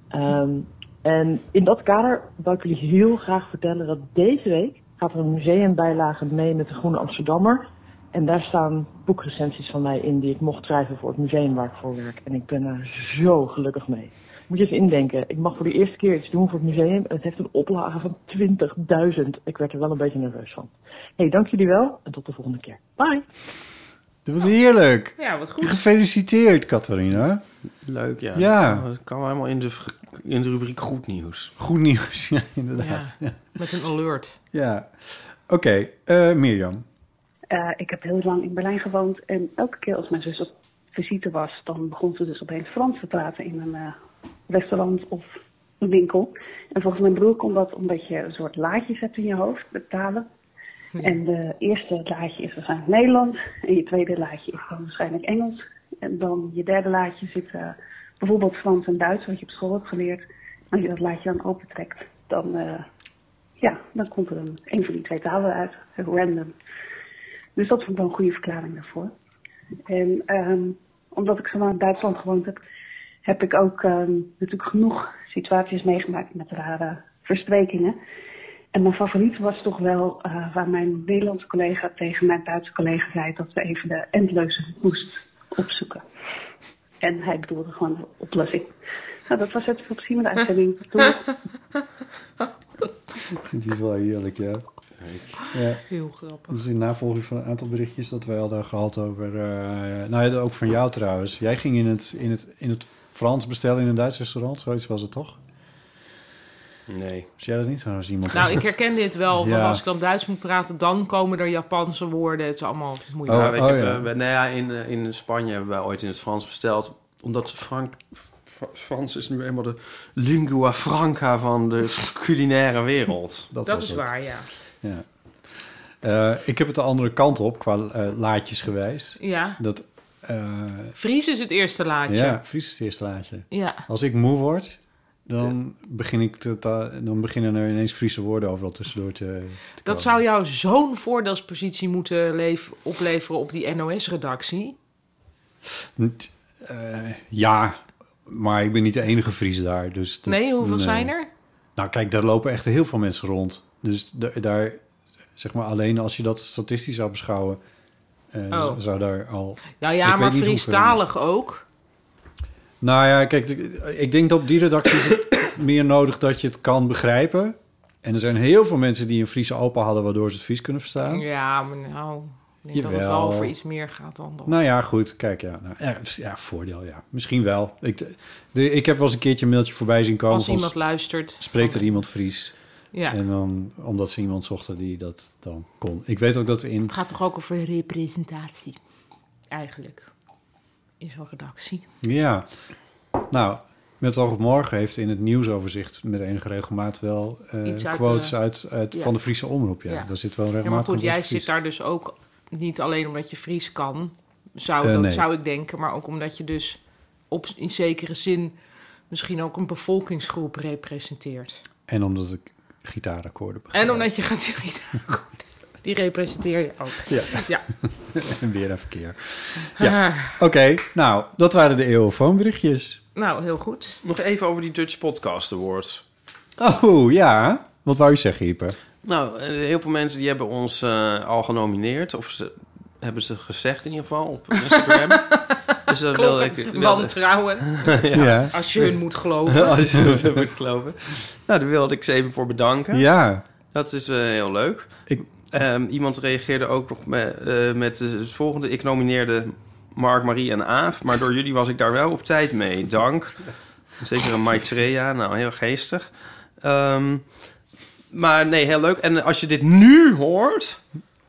S9: Ehm, en in dat kader wou ik jullie heel graag vertellen dat deze week gaat er een museumbijlage mee met de Groene Amsterdammer. En daar staan boekrecensies van mij in die ik mocht schrijven voor het museum waar ik voor werk. En ik ben daar zo gelukkig mee. Moet je eens indenken, ik mag voor de eerste keer iets doen voor het museum. En het heeft een oplage van 20.000. Ik werd er wel een beetje nerveus van. Hé, hey, dank jullie wel en tot de volgende keer. Bye!
S2: Dat was heerlijk.
S3: Ja, wat goed.
S2: Gefeliciteerd, Catharina.
S1: Leuk, ja.
S2: Ja.
S1: Dat kan wel helemaal in de, v- in de rubriek goed nieuws.
S2: Goed nieuws, ja, inderdaad.
S3: Ja, met een alert.
S2: Ja. Oké, eh, Mirjam.
S10: Eh, ik heb heel lang in Berlijn gewoond en elke keer als mijn zus op visite was, dan begon ze dus opeens Frans te praten in een eh, restaurant of een winkel. En volgens mijn broer komt dat omdat je een soort laadjes hebt in je hoofd, met talen. En de eerste laadje is waarschijnlijk Nederlands en je tweede laadje is dan waarschijnlijk Engels. En dan je derde laadje zit eh, bijvoorbeeld Frans en Duits, wat je op school hebt geleerd. Als je dat laadje dan opentrekt, dan, eh, ja, dan komt er een, een van die twee talen uit, random. Dus dat vond ik wel een goede verklaring daarvoor. En ehm, omdat ik zo lang in Duitsland gewoond heb, heb ik ook ehm, natuurlijk genoeg situaties meegemaakt met rare versprekingen. En mijn favoriet was toch wel eh, waar mijn Nederlandse collega tegen mijn Duitse collega zei dat we even de endleuze moest opzoeken. En hij bedoelde gewoon de oplossing. Nou, dat was het voor precies mijn uitzending. Doei.
S2: Die is wel heerlijk, ja. ja.
S3: Heel grappig.
S2: Dus in navolging van een aantal berichtjes dat wij hadden gehad over... eh, nou ja, ook van jou trouwens. Jij ging in het, in het, in het Frans bestellen in een Duits restaurant. Zoiets was het toch?
S1: Nee.
S2: Als jij dat niet zou zien.
S3: Nou, ik herken dit wel. Want
S2: Ja.
S3: als ik dan Duits moet praten, dan komen er Japanse woorden. Het is allemaal moeilijk.
S2: Oh,
S1: Ja, ik heb, eh, we- nou ja, in, eh, in Spanje hebben wij ooit in het Frans besteld. Omdat Frank, Fra- Frans is nu eenmaal de lingua franca van de culinaire wereld.
S2: Dat,
S3: dat
S2: was
S3: is
S2: het.
S3: waar, ja.
S2: Ja. Eh, ik heb het de andere kant op, qua eh, laadjes gewijs.
S3: Ja.
S2: Dat, eh,
S3: Fries is het eerste laadje.
S2: ja, Fries is het eerste laadje.
S3: Ja.
S2: Als ik moe word, dan, begin ik te, ta- dan beginnen er ineens Friese woorden overal tussendoor te, te
S3: Dat zou jou zo'n voordelspositie moeten leef- opleveren op die NOS-redactie.
S2: komen. Niet- eh, ja, maar ik ben niet de enige Fries daar. Dus dat-
S3: Nee, hoeveel
S2: nee.
S3: zijn er?
S2: Nou, kijk, daar lopen echt heel veel mensen rond. Dus da- daar, zeg maar, alleen als je dat statistisch zou beschouwen, eh,
S3: Oh.
S2: z- zou daar al.
S3: Nou
S2: Ik
S3: ja,
S2: weet
S3: maar
S2: niet hoeveel.
S3: Friestalig ook.
S2: Nou ja, kijk, ik- ik denk dat op die redactie is het meer nodig dat je het kan begrijpen. En er zijn heel veel mensen die een Friese opa hadden, waardoor ze het Fries kunnen verstaan.
S3: Ja, maar nou, ik denk dat het
S2: Jawel.
S3: wel over iets meer gaat dan dat.
S2: Nou ja, goed, kijk, ja, nou, ja, ja, voordeel, ja. Misschien wel. Ik, de- ik heb wel eens een keertje een mailtje voorbij zien komen
S3: Als
S2: van,
S3: iemand luistert.
S2: Spreekt er iemand Fries?
S3: Ja.
S2: En dan, omdat ze iemand zochten die dat dan kon. Ik weet ook dat in
S3: Het gaat toch ook over representatie, eigenlijk. Is wel redactie.
S2: Ja. Nou, met het oog op morgen heeft in het nieuwsoverzicht met enige regelmaat wel eh,
S3: Iets uit
S2: quotes
S3: de-
S2: uit, uit
S3: ja.
S2: van de Friese omroep. Ja.
S3: Ja.
S2: Daar zit wel
S3: Ja,
S2: regelmatig.
S3: maar goed,
S2: wat
S3: jij
S2: Fries.
S3: zit daar dus ook niet alleen omdat je Fries kan, zou,
S2: Eh,
S3: dat
S2: nee.
S3: zou ik denken, maar ook omdat je dus op, in zekere zin misschien ook een bevolkingsgroep representeert.
S2: En omdat ik gitaarakkoorden
S3: En omdat je gaat die representeer je ook.
S2: Ja.
S3: ja.
S2: en weer een verkeer. Ja. Oké, nou, dat waren de eeuwenfoonberichtjes.
S3: Nou, heel goed.
S1: Nog even over die Dutch Podcast Awards.
S2: Oh, ja. Wat wou je zeggen, Ieper?
S1: Nou, eh, heel veel mensen die hebben ons eh, al genomineerd. Of ze, hebben ze gezegd in ieder geval op Instagram. dus dat wilde ik...
S3: Klokken,
S1: wilde-
S3: wantrouwend.
S1: Ja.
S3: Als je hun moet geloven.
S1: Als je ze moet geloven. Nou, daar wilde ik ze even voor bedanken.
S2: Ja.
S1: Dat is eh, heel leuk. Ehm, iemand reageerde ook nog me- eh, met het volgende. Ik nomineerde Mark, Marie en Aaf. Maar door jullie was ik daar wel op tijd mee. Dank. Zeker een Maitreya. Nou, heel geestig. Ehm, maar nee, heel leuk. En als je dit nu hoort...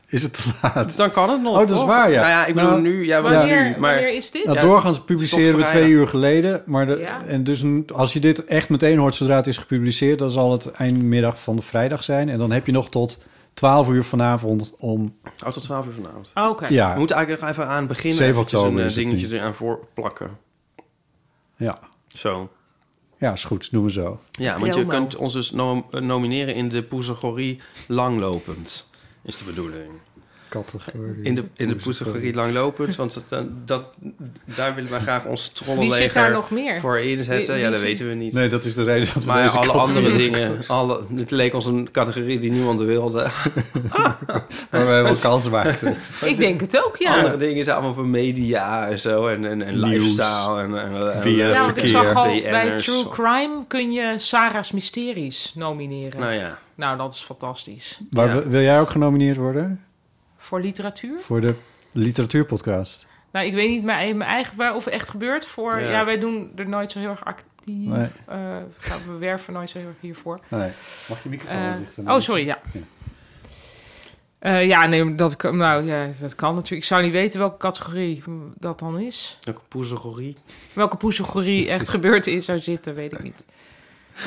S2: Is het te laat?
S1: Dan kan het nog.
S2: Oh, dat is
S1: toch?
S2: waar, ja.
S1: Nou ja, ik bedoel
S2: Nou,
S1: nu... Ja,
S3: Wanneer-
S1: nu, maar,
S3: wanneer is dit?
S2: Nou,
S1: Ja,
S2: doorgaans
S1: het is toch
S2: publiceren we twee
S1: vrijdag.
S2: uur geleden. Maar de,
S3: Ja.
S2: en dus n- als je dit echt meteen hoort zodra het is gepubliceerd... dan zal het eindmiddag van de vrijdag zijn. En dan heb je nog tot 12 uur vanavond om...
S1: Oh, tot 12 uur vanavond.
S3: Oh, oké.
S2: Ja.
S1: We moeten eigenlijk nog even aan het begin...
S2: 7
S1: eventjes
S2: oktober
S1: een
S2: is
S1: eh,
S2: het
S1: dingetje eraan voor plakken.
S2: Ja,
S1: Zo.
S2: ja is goed. Doen we zo.
S1: Ja, want je
S3: Promo.
S1: kunt ons dus nom- eh, nomineren in de categorie langlopend, is de bedoeling.
S2: Categorie.
S1: In de, in de categorie langlopend, want dat, dat, dat- daar willen wij graag ons trollenleger
S3: Wie zit daar nog meer?
S1: voor inzetten.
S3: Wie-
S1: ja,
S3: wie
S1: dat
S3: zit-
S1: weten we niet.
S2: Nee, dat is de reden dat we
S1: maar
S2: deze
S1: alle
S2: categorie
S1: andere
S2: hebben
S1: dingen, alle, het leek ons een categorie die niemand wilde.
S2: Waar wij wel kans maakten.
S3: Ik denk het ook, ja.
S1: Andere dingen zijn allemaal van media en zo, en, en, en
S2: Nieuws.
S1: lifestyle en, en, en
S2: Weer
S3: Ja, want ik zag al bij
S1: BN'ers.
S3: True Crime kun je Sarah's Mysteries nomineren.
S1: Nou ja.
S3: Nou, dat is fantastisch.
S2: Maar
S1: Ja.
S2: wil- wil jij ook genomineerd worden
S3: Voor literatuur?
S2: voor de literatuurpodcast?
S3: Nou, ik weet niet mijn, mijn eigen waar- of echt gebeurt voor.
S2: Ja.
S3: Ja. wij doen er nooit zo heel erg actief.
S2: Nee.
S3: eh, gaan- we werven nooit zo heel erg hiervoor.
S2: Nee. Mag je microfoon
S3: Eh,
S2: dichter
S3: Oh,
S2: maken?
S3: sorry, ja.
S2: Ja.
S3: Eh, ja, nee, dat, kan- nou, ja, dat kan natuurlijk. Ik zou niet weten welke categorie dat dan is.
S1: Welke categorie?
S3: Welke poesegorie echt gebeurd is zou zitten, weet ik niet.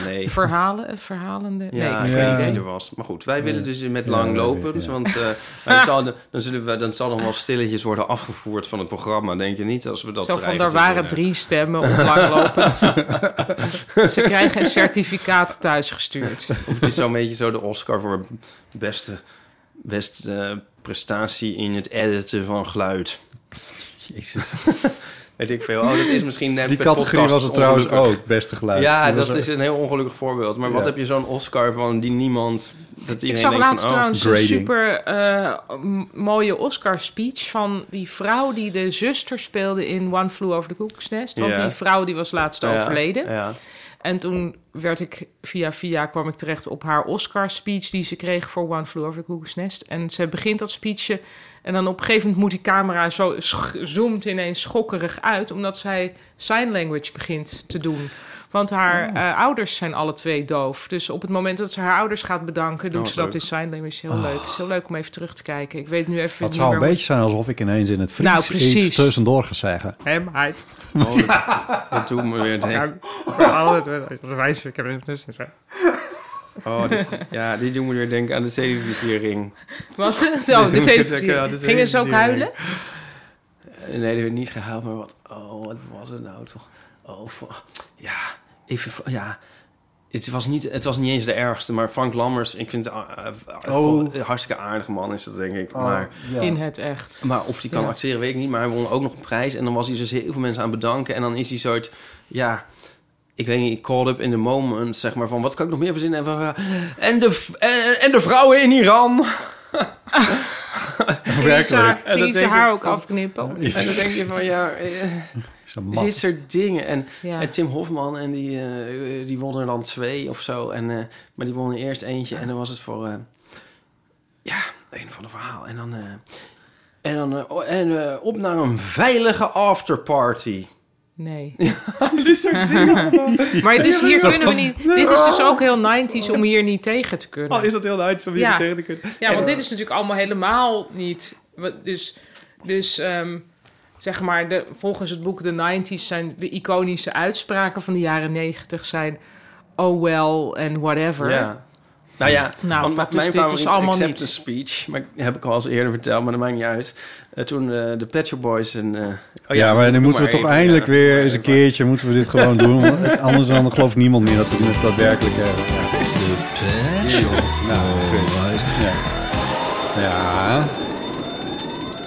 S1: Nee.
S3: Verhalen, eh, verhalende? nee,
S1: Ja,
S3: ik
S1: ik
S3: heb geen
S1: weet niet
S3: idee.
S1: wie er was. Maar goed, wij willen dus met
S2: Ja, dat weet
S1: langlopend.
S2: ik, ja.
S1: Want eh, wij zouden- dan, zullen we, dan zal nog wel stilletjes worden afgevoerd van het programma, denk je niet? Als we dat
S3: Zo van,
S1: krijgen
S3: er
S1: te
S3: waren
S1: winnen.
S3: drie stemmen op langlopend. Ze krijgen een certificaat thuisgestuurd.
S1: Of het is zo'n beetje zo de Oscar voor beste, beste eh, prestatie in het editen van geluid. Jezus. Weet ik veel. Oh, dat is misschien net
S2: Die
S1: per
S2: categorie
S1: podcast
S2: was het trouwens
S1: ongelukkig.
S2: ook, beste geluid.
S1: Ja,
S2: Die
S1: dat
S2: was ook-
S1: is een heel ongelukkig voorbeeld. Maar wat
S2: Ja.
S1: heb je zo'n Oscar van die niemand... Dat iedereen
S3: Ik zag
S1: denkt van,
S3: laatst
S1: oh,
S3: trouwens een super eh, m- mooie Oscar-speech van die vrouw die de zuster speelde in One Flew Over the Cuckoo's Nest. Want
S1: Ja.
S3: die vrouw die was laatst
S1: Ja,
S3: overleden.
S1: ja.
S3: En toen werd ik via via kwam ik terecht op haar Oscar-speech die ze kreeg voor One Flew Over the Cuckoo's Nest. En ze begint dat speechje en dan op een gegeven moment moet die camera zo sch- zoomt ineens schokkerig uit omdat zij sign language begint te doen. Want haar
S2: Oh.
S3: eh, ouders zijn alle twee doof. Dus op het moment dat ze haar ouders gaat bedanken, doet
S2: Oh,
S3: ze dat
S2: leuk.
S3: in sign language. Is heel
S2: Oh.
S3: leuk. Is heel leuk om even terug te kijken. Ik weet nu even
S2: Het
S3: niet
S2: zou
S3: meer
S2: een
S3: hoe-
S2: beetje zijn alsof ik ineens in het Fries
S3: Nou, precies.
S2: iets tussendoor ga zeggen.
S3: Hé, maar...
S1: Oh, dat, dat doet me weer
S3: Ja,
S1: denken.
S3: maar alle- wijze- ik heb het dus niet zo.
S1: Oh, dit, ja, die doen me weer denken aan de televisiering.
S3: Wat?
S1: Die
S3: Oh,
S1: doen
S3: de
S1: me
S3: televisiering.
S1: denken aan de
S3: Gingen ze ook
S1: televisiering. Eh, Nee, die werd niet gehuild, maar wat... Oh, wat was het nou toch? Oh, fu- ja, even... fu- Ja, het was, niet, het was niet eens de ergste, maar Frank Lammers... Ik vind het eh, eh,
S3: Oh.
S1: een hartstikke aardige man, is dat denk ik.
S3: Oh,
S1: maar,
S3: ja. In het echt.
S1: Maar of hij kan
S3: Ja.
S1: acteren, weet ik niet. Maar hij won ook nog een prijs. En dan was hij dus heel veel mensen aan het bedanken. En dan is hij soort... Ja, ik weet niet, called up in the moment, zeg maar. Van, wat kan ik nog meer verzinnen? En, van, eh, en, de, v- en, en de vrouwen in Iran...
S3: Gingen ze haar-
S1: En dan
S3: gingen ze
S1: denk
S3: haar
S1: ik
S3: ook
S1: van-
S3: afknippen?
S1: En dan denk je van, ja... eh,
S2: mat.
S1: dit soort dingen. En,
S3: Ja.
S1: en Tim Hofman, en die, eh, die won er dan twee of zo. En, eh, maar die won er eerst eentje. En dan was het voor... eh, ja, een van de verhaal. En dan... eh, en dan eh, o- en, eh, op naar een veilige afterparty.
S3: Nee.
S1: Dit soort dingen.
S3: Maar dus hier
S1: Zo.
S3: kunnen we niet... Dit is dus ook heel 90s om hier niet tegen te kunnen.
S1: Oh, is dat heel Duits om hier niet tegen te kunnen?
S3: Ja, want
S1: Ja.
S3: dit is natuurlijk allemaal helemaal niet... wat- Dus, dus ehm, zeg maar, de, volgens het boek de 90s zijn de iconische uitspraken van de jaren 90 zijn... Oh well en whatever.
S1: Ja. Nou ja,
S3: Nou,
S1: want
S3: dat is-
S1: mijn
S3: dit is
S1: favoriet
S3: allemaal
S1: acceptance speech, maar heb ik al eens eerder verteld, maar dat maakt niet uit. Eh, toen eh, de Pet Shop Boys en... eh, oh
S2: ja, maar
S1: doe
S2: dan moeten we toch
S1: even,
S2: eindelijk
S1: ja.
S2: weer eens een keertje moeten we dit gewoon doen. want Anders dan gelooft niemand meer dat we het daadwerkelijk hebben. Ja, goed. Ja. Ja.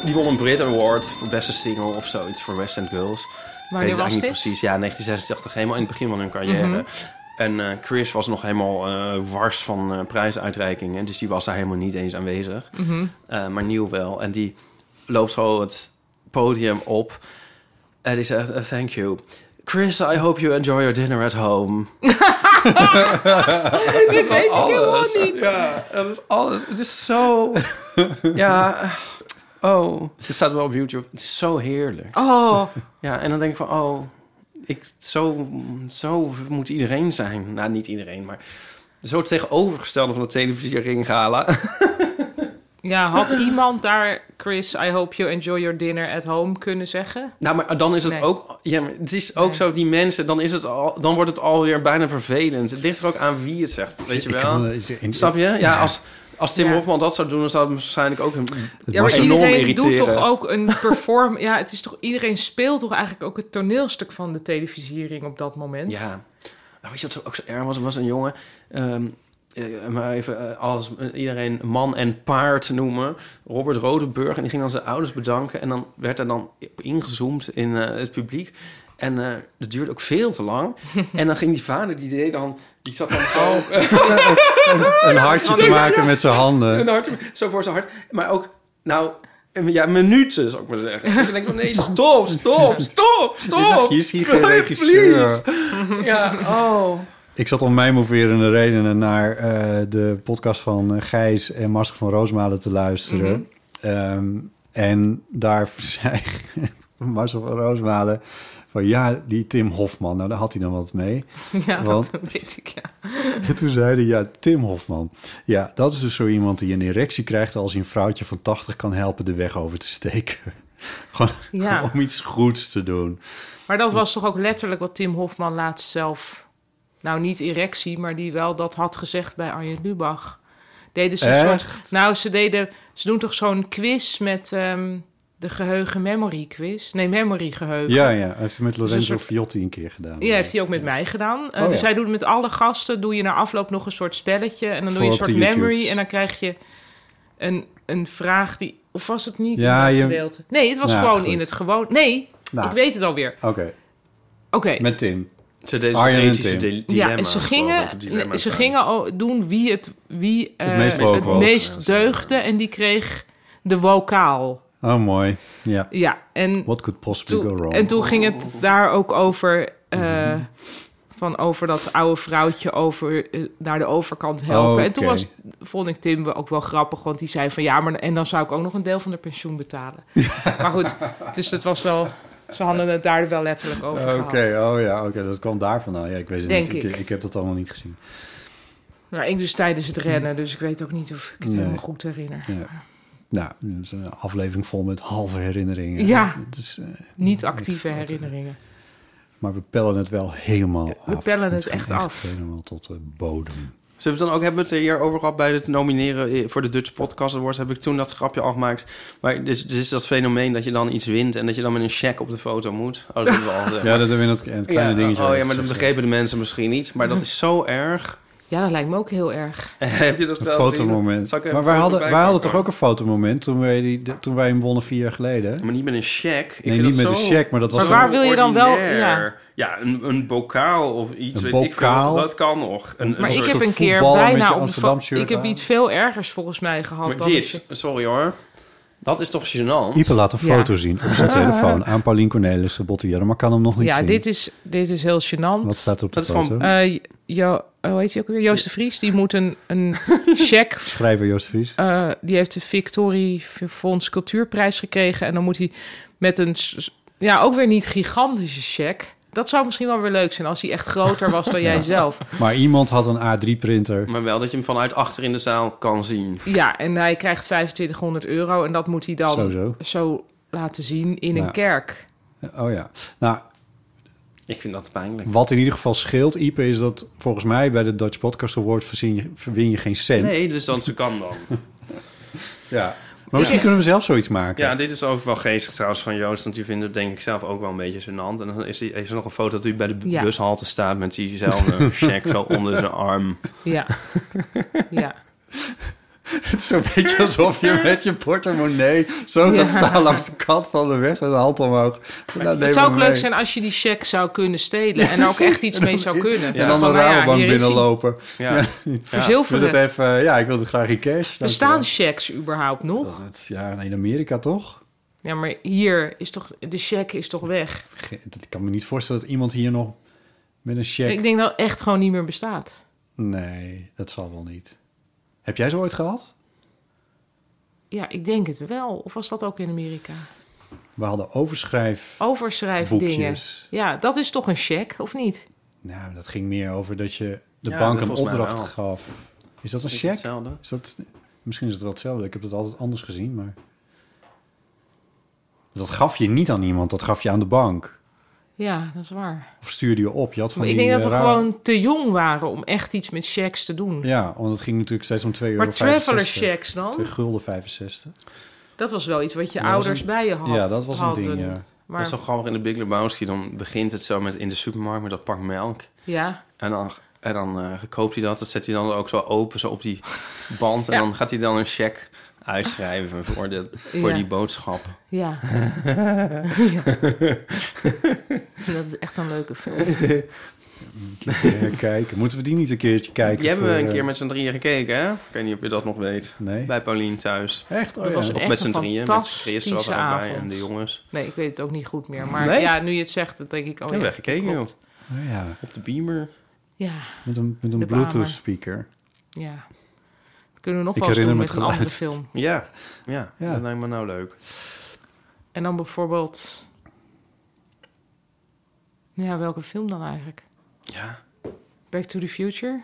S1: Die won een Brit Award voor beste single of zoiets voor West End Girls.
S3: Wanneer
S1: Ik weet het eigenlijk
S3: was
S1: niet
S3: dit?
S1: Precies, ja, 1986, helemaal in het begin van hun carrière.
S3: Mhm.
S1: En eh, Chris was nog helemaal eh, wars van eh prijsuitreikingen, dus die was daar helemaal niet eens aanwezig.
S3: Mhm.
S1: Eh, maar Nieuw wel. En die loopt zo het podium op en die zegt, eh, thank you. Chris, I hope you enjoy your dinner at home.
S3: Dit weet ik helemaal
S1: Alles.
S3: niet.
S1: Ja, dat is alles. Het is zo... ja, oh. Het staat wel op YouTube. Het is zo heerlijk.
S3: Oh.
S1: Ja, en dan denk ik van, oh, ik, zo, zo moet iedereen zijn. Nou, niet iedereen, maar zo het tegenovergestelde van de televisiering gala.
S3: Ja, had iemand daar, Chris, I hope you enjoy your dinner at home kunnen zeggen?
S1: nou, maar dan is het
S3: Nee.
S1: ook, ja, maar het is ook zo, die mensen, dan, is het al, dan wordt het alweer bijna vervelend. Het ligt er ook aan wie het zegt, weet je
S2: Ik
S1: wel.
S2: kan, eh, is- in-
S1: Snap je? Ja,
S2: Ja.
S1: Als, als Tim
S3: Ja.
S1: Hofman dat zou doen, dan zou het waarschijnlijk ook een
S3: Ja, maar
S1: enorm
S3: iedereen
S1: irriteren.
S3: doet toch ook een perform... ja, het is toch... Iedereen speelt toch eigenlijk ook het toneelstuk van de televisiering op dat moment?
S1: Ja. Nou, weet je wat zo- ook zo erg was? Er was een jongen, ehm, eh, maar even eh, alles, eh, iedereen man en paard noemen. Robert Rodenburg. En die ging dan zijn ouders bedanken. En dan werd er dan op ingezoomd in eh, het publiek. En eh, dat duurde ook veel te lang. en dan ging die vader, die deed dan... Die zat dan zo...
S2: Een hartje te maken met zijn
S1: Een
S2: handen.
S1: hart, zo voor zijn hart. Maar ook, nou, een- ja, minuten zou ik maar zeggen. En dan denk ik van, nee, stop, stop, stop, stop.
S2: Hier is hier geen regisseur.
S1: Oh, Please. Ja, oh.
S2: Ik zat om mijn moverende redenen naar eh, de podcast van eh, Gijs en Marcel van Roosmalen te luisteren.
S1: Mhm.
S2: Ehm, en daar zei Marcel van Roosmalen van ja, die Tim Hofman, nou daar had hij dan wat mee.
S3: Ja,
S2: Want-
S3: dat weet ik, ja.
S2: En toen zei hij, ja, Tim Hofman. Ja, dat is dus zo iemand die een erectie krijgt als hij een vrouwtje van 80 kan helpen de weg over te steken. Gewoon
S3: Ja.
S2: om iets goeds te doen.
S3: Maar dat was toch ook letterlijk wat Tim Hofman laatst zelf... Nou, niet erectie, maar die wel dat had gezegd bij Arjen Lubach. Deden ze een
S2: Echt?
S3: soort... Nou, ze deden... Ze doen toch zo'n quiz met ehm, de geheugen memory quiz? Nee, memory geheugen.
S2: Ja, ja. Hij heeft het met
S3: Dus een
S2: Lorenzo
S3: soort-
S2: Fiotti een keer gedaan.
S3: Ja, heeft hij ook met mij gedaan. Eh,
S2: Oh,
S3: Dus
S2: ja.
S3: hij doet met alle gasten, doe je na afloop nog een soort spelletje. En dan doe je een
S2: Voor op
S3: soort
S2: de YouTubes.
S3: memory. En dan krijg je een, een vraag die... Of was het niet
S2: Ja,
S3: in dat
S2: je-
S3: gedeelte? Nee, het was
S2: Nou,
S3: gewoon
S2: goed.
S3: in het gewoon... Nee,
S2: Nou.
S3: ik weet het alweer.
S2: Oké,
S3: Oké.
S2: met Tim.
S1: Ze deden
S2: Arjen
S1: zo'n
S2: en
S1: ethische
S2: Tim.
S1: di- dilemma.
S3: Ja, en ze
S1: geloof
S3: gingen,
S1: ik, dilemma's
S3: ze
S1: aan.
S3: gingen o- doen wie het, wie, eh,
S2: meest woke
S3: het
S2: was.
S3: meest deugde. En die kreeg de wokaal.
S2: Oh, mooi. Ja.
S3: Ja, en
S2: What could possibly go
S3: Toen-
S2: wrong? Mhm.
S3: en toen ging het daar ook over, eh, van over dat oude vrouwtje over, eh, naar de overkant helpen.
S2: Oh, Oké.
S3: En toen was, vond ik Tim ook wel grappig, want die zei van ja, maar en dan zou ik ook nog een deel van de pensioen betalen. maar goed, dus dat was wel Ze hadden het daar wel letterlijk over
S2: Oké,
S3: gehad.
S2: oh ja, oké, dat kwam daar vandaan. Ja, ik weet het
S3: Denk
S2: niet. Ik.
S3: ik.
S2: ik heb dat allemaal niet gezien.
S3: Maar ik dus tijdens het rennen, dus ik weet ook niet of ik het
S2: Nee.
S3: helemaal goed herinner.
S2: Ja. Nou, dat is een aflevering vol met halve herinneringen.
S3: Ja.
S2: Het is, eh,
S3: Niet actieve herinneringen.
S2: maar we pellen het wel helemaal af.
S3: we pellen het
S2: ging
S3: echt af.
S2: helemaal tot de bodem.
S1: Zullen we het dan ook, hebben we het er hier over gehad bij het nomineren eh, voor de Dutch Podcast Awards? Heb ik toen dat grapje al gemaakt. Maar dus, dus is dat fenomeen dat je dan iets wint en dat je dan met een check op de foto moet. Oh, dat hebben we al gezegd.
S2: Ja, dat hebben we in dat- in het kleine dingetje
S1: Oh
S2: al
S1: ja, maar dat begrepen de mensen misschien niet. Maar dat is zo erg.
S3: Ja, dat lijkt me ook heel erg.
S1: Heb je dat
S2: Een
S1: wel gezien?
S2: fotomoment.
S1: Zal ik even
S2: Maar
S1: een
S2: wij
S1: foto
S2: hadden,
S1: bij
S2: wij hadden
S1: pakken?
S2: toch ook een fotomoment toen wij, die, de- toen wij hem wonnen vier jaar geleden?
S1: Maar niet met een check. Ik
S2: Nee,
S1: vind
S2: niet
S1: dat
S2: met
S1: zo-
S2: een check, maar dat was
S1: zo
S2: zo-
S3: wil je dan wel-
S1: ordinair. Ja, een, een bokaal of iets.
S2: Een
S1: weet ik veel.
S2: bokaal?
S1: dat kan nog. Een,
S3: Maar ik
S1: soort-
S3: heb een keer
S2: voetballer met je
S3: bijna op de
S2: Amsterdam
S3: fo-
S2: shirt
S3: Ik heb
S2: aan.
S3: iets veel ergers volgens mij gehad.
S1: Maar
S3: dan
S1: dit,
S3: dat
S1: sorry hoor. Dat is toch gênant?
S2: Ipe laat een
S3: Ja.
S2: foto zien op zijn telefoon aan Paulien Cornelis de Bottejeren, maar kan hem nog
S3: je-
S2: niet
S3: ja,
S2: zien.
S3: dit is, dit is heel gênant.
S2: Wat staat er op de
S1: Dat is
S2: foto?
S1: gewoon-
S3: Eh, jo, hoe heet hij ook weer? Joost de Vries, die moet een, een check...
S2: Schrijver Joost Vries.
S3: eh, die heeft de Victorie Fonds Cultuurprijs gekregen. En dan moet hij met een... s- Ja, ook weer niet gigantische check. Dat zou misschien wel weer leuk zijn als hij echt groter was dan jij zelf.
S2: Maar iemand had een A3-printer.
S1: Maar wel dat je hem vanuit achter in de zaal kan zien.
S3: Ja, en hij krijgt 2500 euro. En dat moet hij dan
S2: Zo,
S3: zo,
S2: zo.
S3: laten zien in
S2: Ja.
S3: een kerk.
S2: Oh ja. Nou,
S1: Ik vind dat pijnlijk.
S2: wat in ieder geval scheelt, Ipe, is dat volgens mij bij de Dutch Podcast Award verzin je- win je geen cent.
S1: Nee, dus dan ze kan dan.
S2: Ja. Maar misschien kunnen we zelf zoiets maken.
S1: Ja, dit is ook wel geestig trouwens van Joost. Want die vindt het denk ik zelf ook wel een beetje gênant. En dan is, die, is er nog een foto dat hij bij de bu-
S3: Ja.
S1: bushalte staat... met diezelfde check zo onder zijn arm.
S3: Ja. ja.
S2: Het is zo'n beetje alsof je met je portemonnee zo
S3: Ja.
S2: gaat staan langs de kant van de weg met de hand omhoog. Nou, neem
S3: Het zou
S2: hem
S3: ook
S2: mee.
S3: leuk zijn als je die check zou kunnen stelen.
S2: Ja,
S3: en er ook
S2: precies.
S3: echt iets mee zou kunnen.
S2: En dan
S3: Van,
S2: de
S3: nou ja,
S2: Rabobank
S3: hier is hij.
S2: binnenlopen.
S1: Ja.
S2: Ik wil het
S3: Verzilveren.
S2: even, ja, ik wil het graag in cash.
S3: Bestaan checks überhaupt nog?
S2: Dankjewel. Dat- Ja, in Amerika toch?
S3: Ja, maar hier is toch... De check is toch weg?
S2: Ge- dat- Ik kan me niet voorstellen dat iemand hier nog met een check...
S3: Ik denk dat het echt gewoon niet meer bestaat.
S2: Nee, dat zal wel niet. Heb jij zo ooit gehad?
S3: Ja, ik denk het wel. Of was dat ook in Amerika?
S2: We hadden overschrijf...
S3: Overschrijfdingen.
S2: Boekjes.
S3: Ja, dat is toch een check, of niet?
S2: Nou, dat ging meer over dat je de
S1: Ja,
S2: bank
S1: dat
S2: een
S1: volgens mij
S2: opdracht
S1: wel.
S2: gaf. Is dat een
S1: Is
S2: check?
S1: hetzelfde?
S2: Is dat, misschien is het wel hetzelfde. Ik heb dat altijd anders gezien, maar... Dat gaf je niet aan iemand, dat gaf je aan de bank.
S3: Ja, dat is waar.
S2: Of stuurde je op. Je had van
S3: Maar ik
S2: die,
S3: denk dat we
S2: eh, raar-
S3: gewoon te jong waren om echt iets met checks te doen.
S2: Ja, want het ging natuurlijk steeds om 2,65 euro.
S3: maar traveler checks
S2: Twee
S3: dan?
S2: gulden 65.
S3: Dat was wel iets wat je
S2: Ja, dat was
S3: ouders
S2: een-
S3: bij je had.
S2: ja, dat was een
S3: hadden.
S2: ding, ja.
S3: Maar,
S1: Dat is toch grappig in de Big Lebowski. Dan begint het zo met in de supermarkt met dat pak melk.
S3: ja.
S1: En dan, en dan eh, koopt hij dat. Dat zet hij dan ook zo open zo op die band. En
S3: Ja.
S1: dan gaat hij dan een check uitschrijven voor, de, voor
S3: Ja.
S1: die boodschap.
S3: Ja. ja. dat is echt een leuke film.
S2: Eh, kijken. Moeten we die niet een keertje kijken?
S1: Die hebben we
S2: voor,
S1: een
S2: eh,
S1: keer met z'n drieën gekeken, hè? Ik weet niet of je dat nog weet.
S2: Nee.
S1: Bij Paulien thuis.
S2: Echt? Oh,
S3: Dat
S2: ja.
S3: was
S1: Of
S3: Echt
S1: met
S3: een
S1: z'n drieën. Met Chris was er ook bij
S3: fantastische
S1: en de
S3: avond. Oh
S1: jongens.
S3: Nee, ik weet het ook niet goed meer. Maar
S1: Nee?
S3: ja, nu je het zegt, dan denk ik... Oh,
S1: hebben
S3: ja,
S1: we gekeken, joh.
S3: klopt.
S2: Oh, ja.
S1: Op de beamer.
S3: Ja,
S2: Met een, met een
S3: De Bahamer.
S2: Bluetooth speaker.
S3: ja. Dat kunnen we nog
S2: Ik
S3: wel eens doen
S2: herinner me
S3: met
S2: het
S3: een andere
S2: geluid.
S3: film.
S1: Ja, ja,
S2: Ja.
S1: dat lijkt me nou leuk.
S3: En dan bijvoorbeeld... Ja, welke film dan eigenlijk?
S1: Ja.
S3: Back to the Future?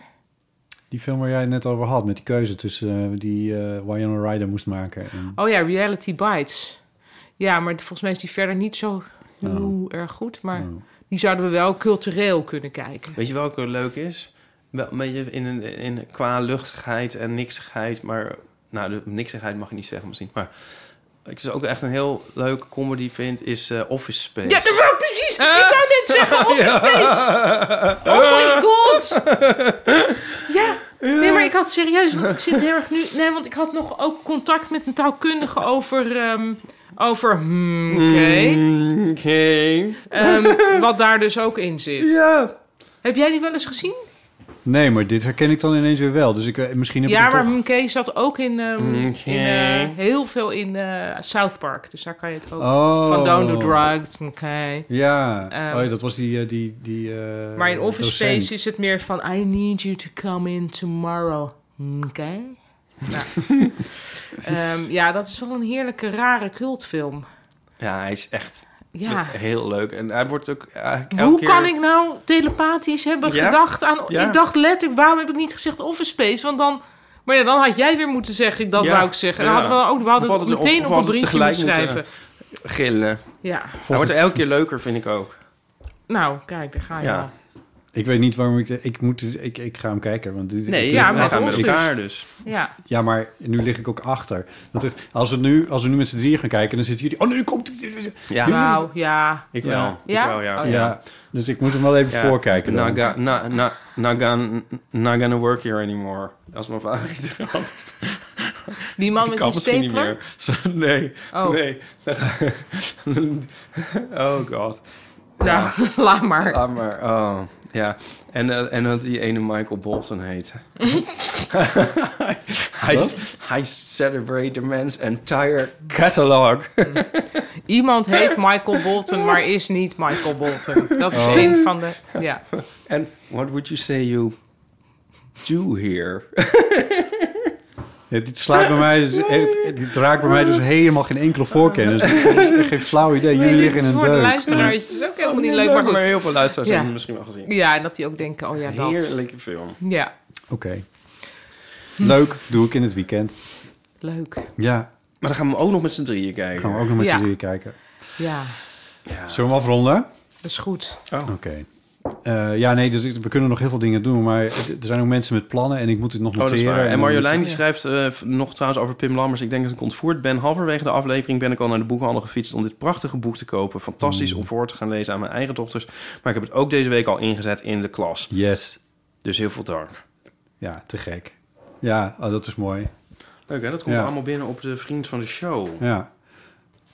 S2: Die film waar jij het net over had, met die keuze tussen eh, die eh Wyona Ryder moest maken. En,
S3: Oh ja, Reality Bites. Ja, maar volgens mij is die verder niet zo heel erg goed. Maar
S2: Oh.
S3: die zouden we wel cultureel kunnen kijken.
S1: Weet je welke leuk is? Wel een beetje in, een- in, qua luchtigheid en niksigheid, maar... Nou, de niksigheid mag ik niet zeggen misschien, maar... Ik is ook echt een heel leuke comedy vind, is eh, Office Space.
S3: Ja, dat wou precies. Ik wou net zeggen Office Space. Oh my god. Ja. Nee, maar ik had serieus... want Ik zit heel erg nu... Nee, want ik had nog ook contact met een taalkundige over... ehm, over... hmm, Oké.
S1: Mm, Oké.
S3: Ehm, wat daar dus ook in zit.
S1: Ja.
S3: Heb jij die wel eens gezien?
S2: Nee, maar dit herken ik dan ineens weer wel. Dus ik, eh, misschien heb
S3: Ja,
S2: ik het
S3: maar
S2: toch...
S3: Mkay zat ook in, ehm,
S1: Mkay.
S3: in, eh, heel veel in eh, South Park. Dus daar kan je het ook...
S2: Oh.
S3: Van Don't Do Drugs, Mkay.
S2: Ja.
S3: Ehm.
S2: oh ja, dat was die... eh, die, die eh,
S3: Maar in Office
S2: docent.
S3: Space is het meer van... I need you to come in tomorrow. Oké? Nou. Ehm, ja, dat is wel een heerlijke, rare cultfilm.
S1: Ja, hij is echt
S3: Ja.
S1: Heel leuk. En hij wordt ook eigenlijk elke
S3: Hoe
S1: keer...
S3: kan ik nou telepathisch hebben
S1: Ja?
S3: gedacht aan...
S1: Ja.
S3: Ik dacht letterlijk, waarom heb ik niet gezegd office space? Want dan... Maar ja, dan had jij weer moeten zeggen, ik dat
S1: Ja.
S3: wou ik zeggen. Dan
S1: Ja.
S3: hadden we, ook, we
S1: Of
S3: hadden het
S1: hadden ze-
S3: meteen
S1: of
S3: op een
S1: hadden ze
S3: briefje moeten
S1: tegelijk
S3: schrijven.
S1: moeten Gillen.
S3: Ja.
S1: Hij wordt elke keer leuker, vind ik ook.
S3: Nou, kijk, daar ga je
S1: Ja.
S3: al.
S2: Ik weet niet waarom ik... Ik, moet, dus- ik, ik ga hem kijken. Want dit,
S1: Nee,
S2: dit-
S1: ja,
S2: dit-
S1: maar
S2: wij gaan
S1: ons
S2: met
S1: dus.
S2: elkaar
S1: dus.
S3: Ja.
S2: Ja, maar nu lig ik ook achter. Want het- als, we nu, als we nu met z'n drieën gaan kijken, dan zitten jullie... Oh, nu komt...
S1: Ja.
S3: Nou, ja.
S1: Ik wel. Ik
S3: Ja?
S1: wel, Oh, ja.
S2: ja. Dus ik moet hem wel even
S1: Ja.
S2: voorkijken. dan.
S1: Not, ga- na- na- not gonna, not gonna work here anymore. Dat is mijn favoriete rand.
S3: Die man met
S1: kan
S3: die
S1: misschien niet
S3: stapler?
S1: meer. Zo, Nee,
S3: Oh.
S1: nee. Dan ga- oh god.
S3: Ja, laat maar.
S1: Laat maar, oh. Ja, en, eh, en dat die ene Michael Bolton heet. hij, hij celebrate the man's entire catalog.
S3: Iemand heet Michael Bolton, maar is niet Michael Bolton. Dat is
S1: Oh.
S3: een van de... Ja.
S1: And what would you say you do here?
S2: Ja, dit slaat bij mij... Dus, het, dit raakt bij mij dus helemaal geen enkele voorkennis. Ik geen flauw idee. Jullie
S3: Nee, dit
S2: liggen
S3: is
S2: in een
S3: voor de
S2: deuk.
S3: luisteraars ook helemaal niet Oh, leuk, maar goed.
S1: Maar heel veel luisteraars
S3: Ja.
S1: hebben het misschien wel gezien.
S3: Ja, en dat die ook denken, oh ja, dat.
S1: Heerlijke film.
S3: Ja,
S2: Oké. Leuk, doe ik in het weekend.
S3: leuk.
S2: Ja,
S1: Maar dan gaan we ook nog met z'n drieën kijken.
S2: gaan we ook nog met
S3: Ja.
S2: z'n drieën kijken.
S3: Ja,
S2: Zullen we hem afronden?
S3: dat is goed.
S2: Oké. Eh, ja, nee, dus ik- we kunnen nog heel veel dingen doen, maar het- er zijn ook mensen met plannen en ik moet dit nog
S1: Oh, dat
S2: noteren.
S1: is waar. En
S2: dan
S1: Marjolein die
S2: moet-
S1: schrijft eh, v- nog trouwens over Pim Lammers. Ik denk dat ik ontvoerd ben. Halverwege de aflevering ben ik al naar de boekhandel gefietst om dit prachtige boek te kopen. Fantastisch om voor te gaan lezen aan mijn eigen dochters. Maar ik heb het ook deze week al ingezet in de klas.
S2: Yes.
S1: Dus heel veel dank.
S2: Ja, te gek. Ja, oh, dat is mooi.
S1: Leuk hè, dat komt
S2: Ja.
S1: allemaal binnen op de vriend van de show.
S2: Ja.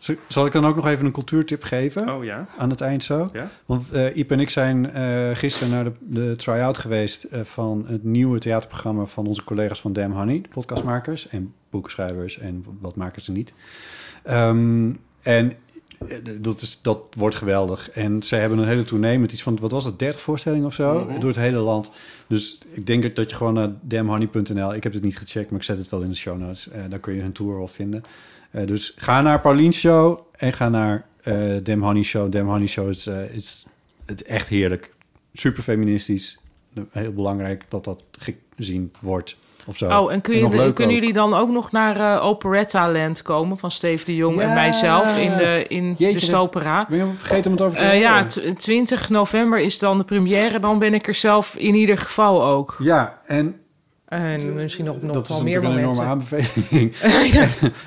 S2: Zal- Zal ik dan ook nog even een cultuurtip geven?
S1: Oh ja.
S2: Aan het eind zo.
S1: Ja.
S2: Want eh Iep en ik zijn eh, gisteren naar de, de try-out geweest... eh, van het nieuwe theaterprogramma van onze collega's van Damn Honey. De podcastmakers en boekschrijvers en wat maken ze niet. Ehm, en eh, dat, is, dat wordt geweldig. En zij hebben een hele tournee met iets van... wat was het, 30 voorstellingen of zo?
S1: Mhm.
S2: Door het hele land. Dus ik denk dat je gewoon naar damhoney.nl... ik heb het niet gecheckt, maar ik zet het wel in de show notes. Eh, daar kun je hun tour wel vinden. Eh, dus ga naar Paulien's show en ga naar eh Dem Honey Show. Dem Honey Show is, eh, is het echt heerlijk. Super feministisch. Heel belangrijk dat dat gezien wordt. Of zo.
S3: Oh, en, kun je
S2: nog leuk
S3: kunnen
S2: ook.
S3: jullie dan ook nog naar eh, Operetta Land komen van Steve de Jong
S2: Ja.
S3: en mijzelf in de, in
S2: Jeetje,
S3: de
S2: dat-
S3: Stopera?
S2: Ik ben helemaal vergeten om het over te
S3: Eh,
S2: hebben.
S3: ja, t- 20 november is dan de première. Dan ben ik er zelf in ieder geval ook.
S2: Ja, en
S3: En misschien nog, nog
S2: dat is
S3: wel
S2: natuurlijk
S3: meer
S2: een enorme
S3: momenten.
S2: aanbeveling.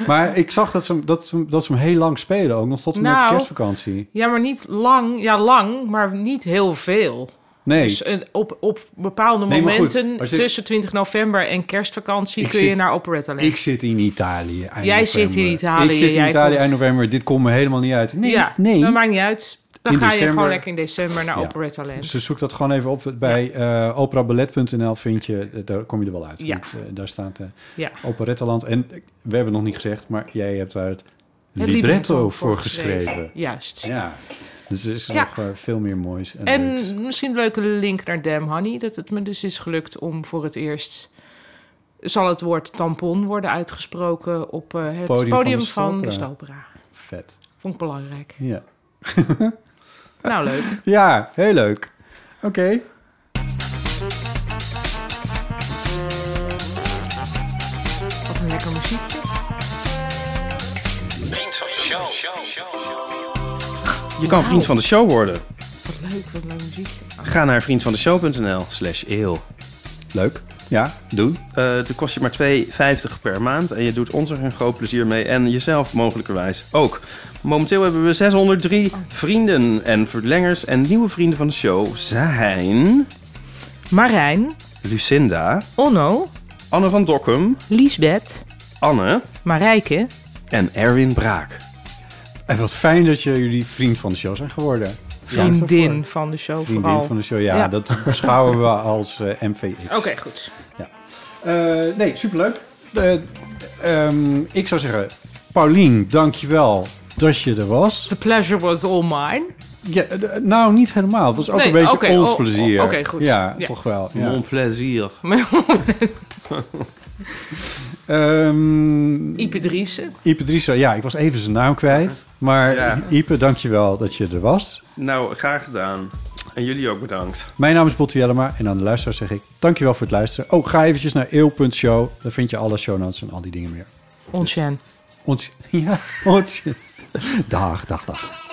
S2: maar ik zag dat ze, hem- dat, ze, hem- dat ze hem heel lang spelen. Ook nog tot en met
S3: Nou.
S2: de kerstvakantie.
S3: Ja, maar niet lang. Ja, lang, maar niet heel veel.
S2: Nee,
S3: Dus eh, op, op bepaalde
S2: Nee, maar goed,
S3: momenten
S2: als je-
S3: tussen 20 november en kerstvakantie
S2: Ik
S3: kun je
S2: zit-
S3: naar Operetta Land.
S2: ik zit in Italië. eind
S3: eh, Jij zit in
S2: november.
S3: Italië,
S2: Ik zit in
S3: jij
S2: Italië
S3: komt-
S2: eind november. Dit komt me helemaal niet uit. Nee,
S3: ja,
S2: nee.
S3: Dat maakt niet uit. Dan
S2: In
S3: ga je
S2: december-
S3: gewoon lekker in december naar
S2: Ja.
S3: Operetta Land.
S2: Dus zoek dat gewoon even op. Bij eh operaballet.nl vind je, eh, daar kom je er wel uit.
S3: Ja.
S2: Want, eh, daar staat eh
S3: Ja.
S2: Operetteland. En eh, we hebben nog niet gezegd, maar jij hebt daar het,
S3: Het
S2: libretto, voor geschreven.
S3: Juist.
S2: Ja, dus er is
S3: Ja.
S2: nog eh, veel meer moois. En,
S3: En
S2: leuks.
S3: misschien een leuke link naar Dam Honey. Dat het me dus is gelukt om voor het eerst... Zal het woord tampon worden uitgesproken op eh, het
S2: Podium
S3: podium,
S2: van de
S3: van de
S2: Stopera.
S3: Stopera?
S2: vet.
S3: Vond ik belangrijk.
S2: Ja.
S3: Nou, leuk.
S2: ja, heel leuk. Oké.
S3: Wat een lekker muziekje.
S5: Vriend van de show. show, show, show.
S1: Je kan vriend van de show worden.
S3: Wat leuk, wat een leuk muziekje.
S1: Ga naar vriendvandeshow.nl slash eeuw.
S2: Leuk. Ja, doen.
S1: Eh het kost je maar 2,50 per maand en je doet ons er een groot plezier mee en jezelf mogelijkerwijs ook. Momenteel hebben we 603 vrienden en verlengers en nieuwe vrienden van de show zijn
S3: Marijn,
S1: Lucinda,
S3: Onno,
S1: Anne van Dokkum,
S3: Liesbeth,
S1: Anne
S3: Marijke.
S1: en Erwin Braak.
S2: En wat fijn dat je jullie vriend van de show zijn geworden. Dank daarvoor.
S3: Vriendin van de show
S2: Vriendin
S3: vooral.
S2: van de show, ja,
S3: Ja.
S2: dat beschouwen we als eh, MVX.
S3: Oké, goed.
S2: Eh, nee, superleuk. Eh, ehm, ik zou zeggen, Paulien, dankjewel dat je er was.
S3: The pleasure was all mine.
S2: Ja, d- nou, niet helemaal. Het was ook
S3: Nee,
S2: een beetje
S3: oké,
S2: ons
S3: oh,
S2: plezier.
S3: oh, oké, goed.
S2: Ja,
S3: Ja.
S2: toch wel. Ja.
S1: Mon plaisir.
S2: Ehm
S3: Ipe Driessen.
S2: Ipe Driessen, ja, ik was even zijn naam kwijt. Maar
S1: Ja.
S2: Ipe, dankjewel dat je er was.
S1: Nou, graag gedaan. En jullie ook bedankt.
S2: Mijn naam is Botte Jellema en aan de luisteraar zeg ik dankjewel voor het luisteren. Oh, ga eventjes naar eeuw.show. Daar vind je alle show notes en al die dingen meer.
S3: Ontsjen.
S2: Ons, ja, ons. Dag, dag, dag.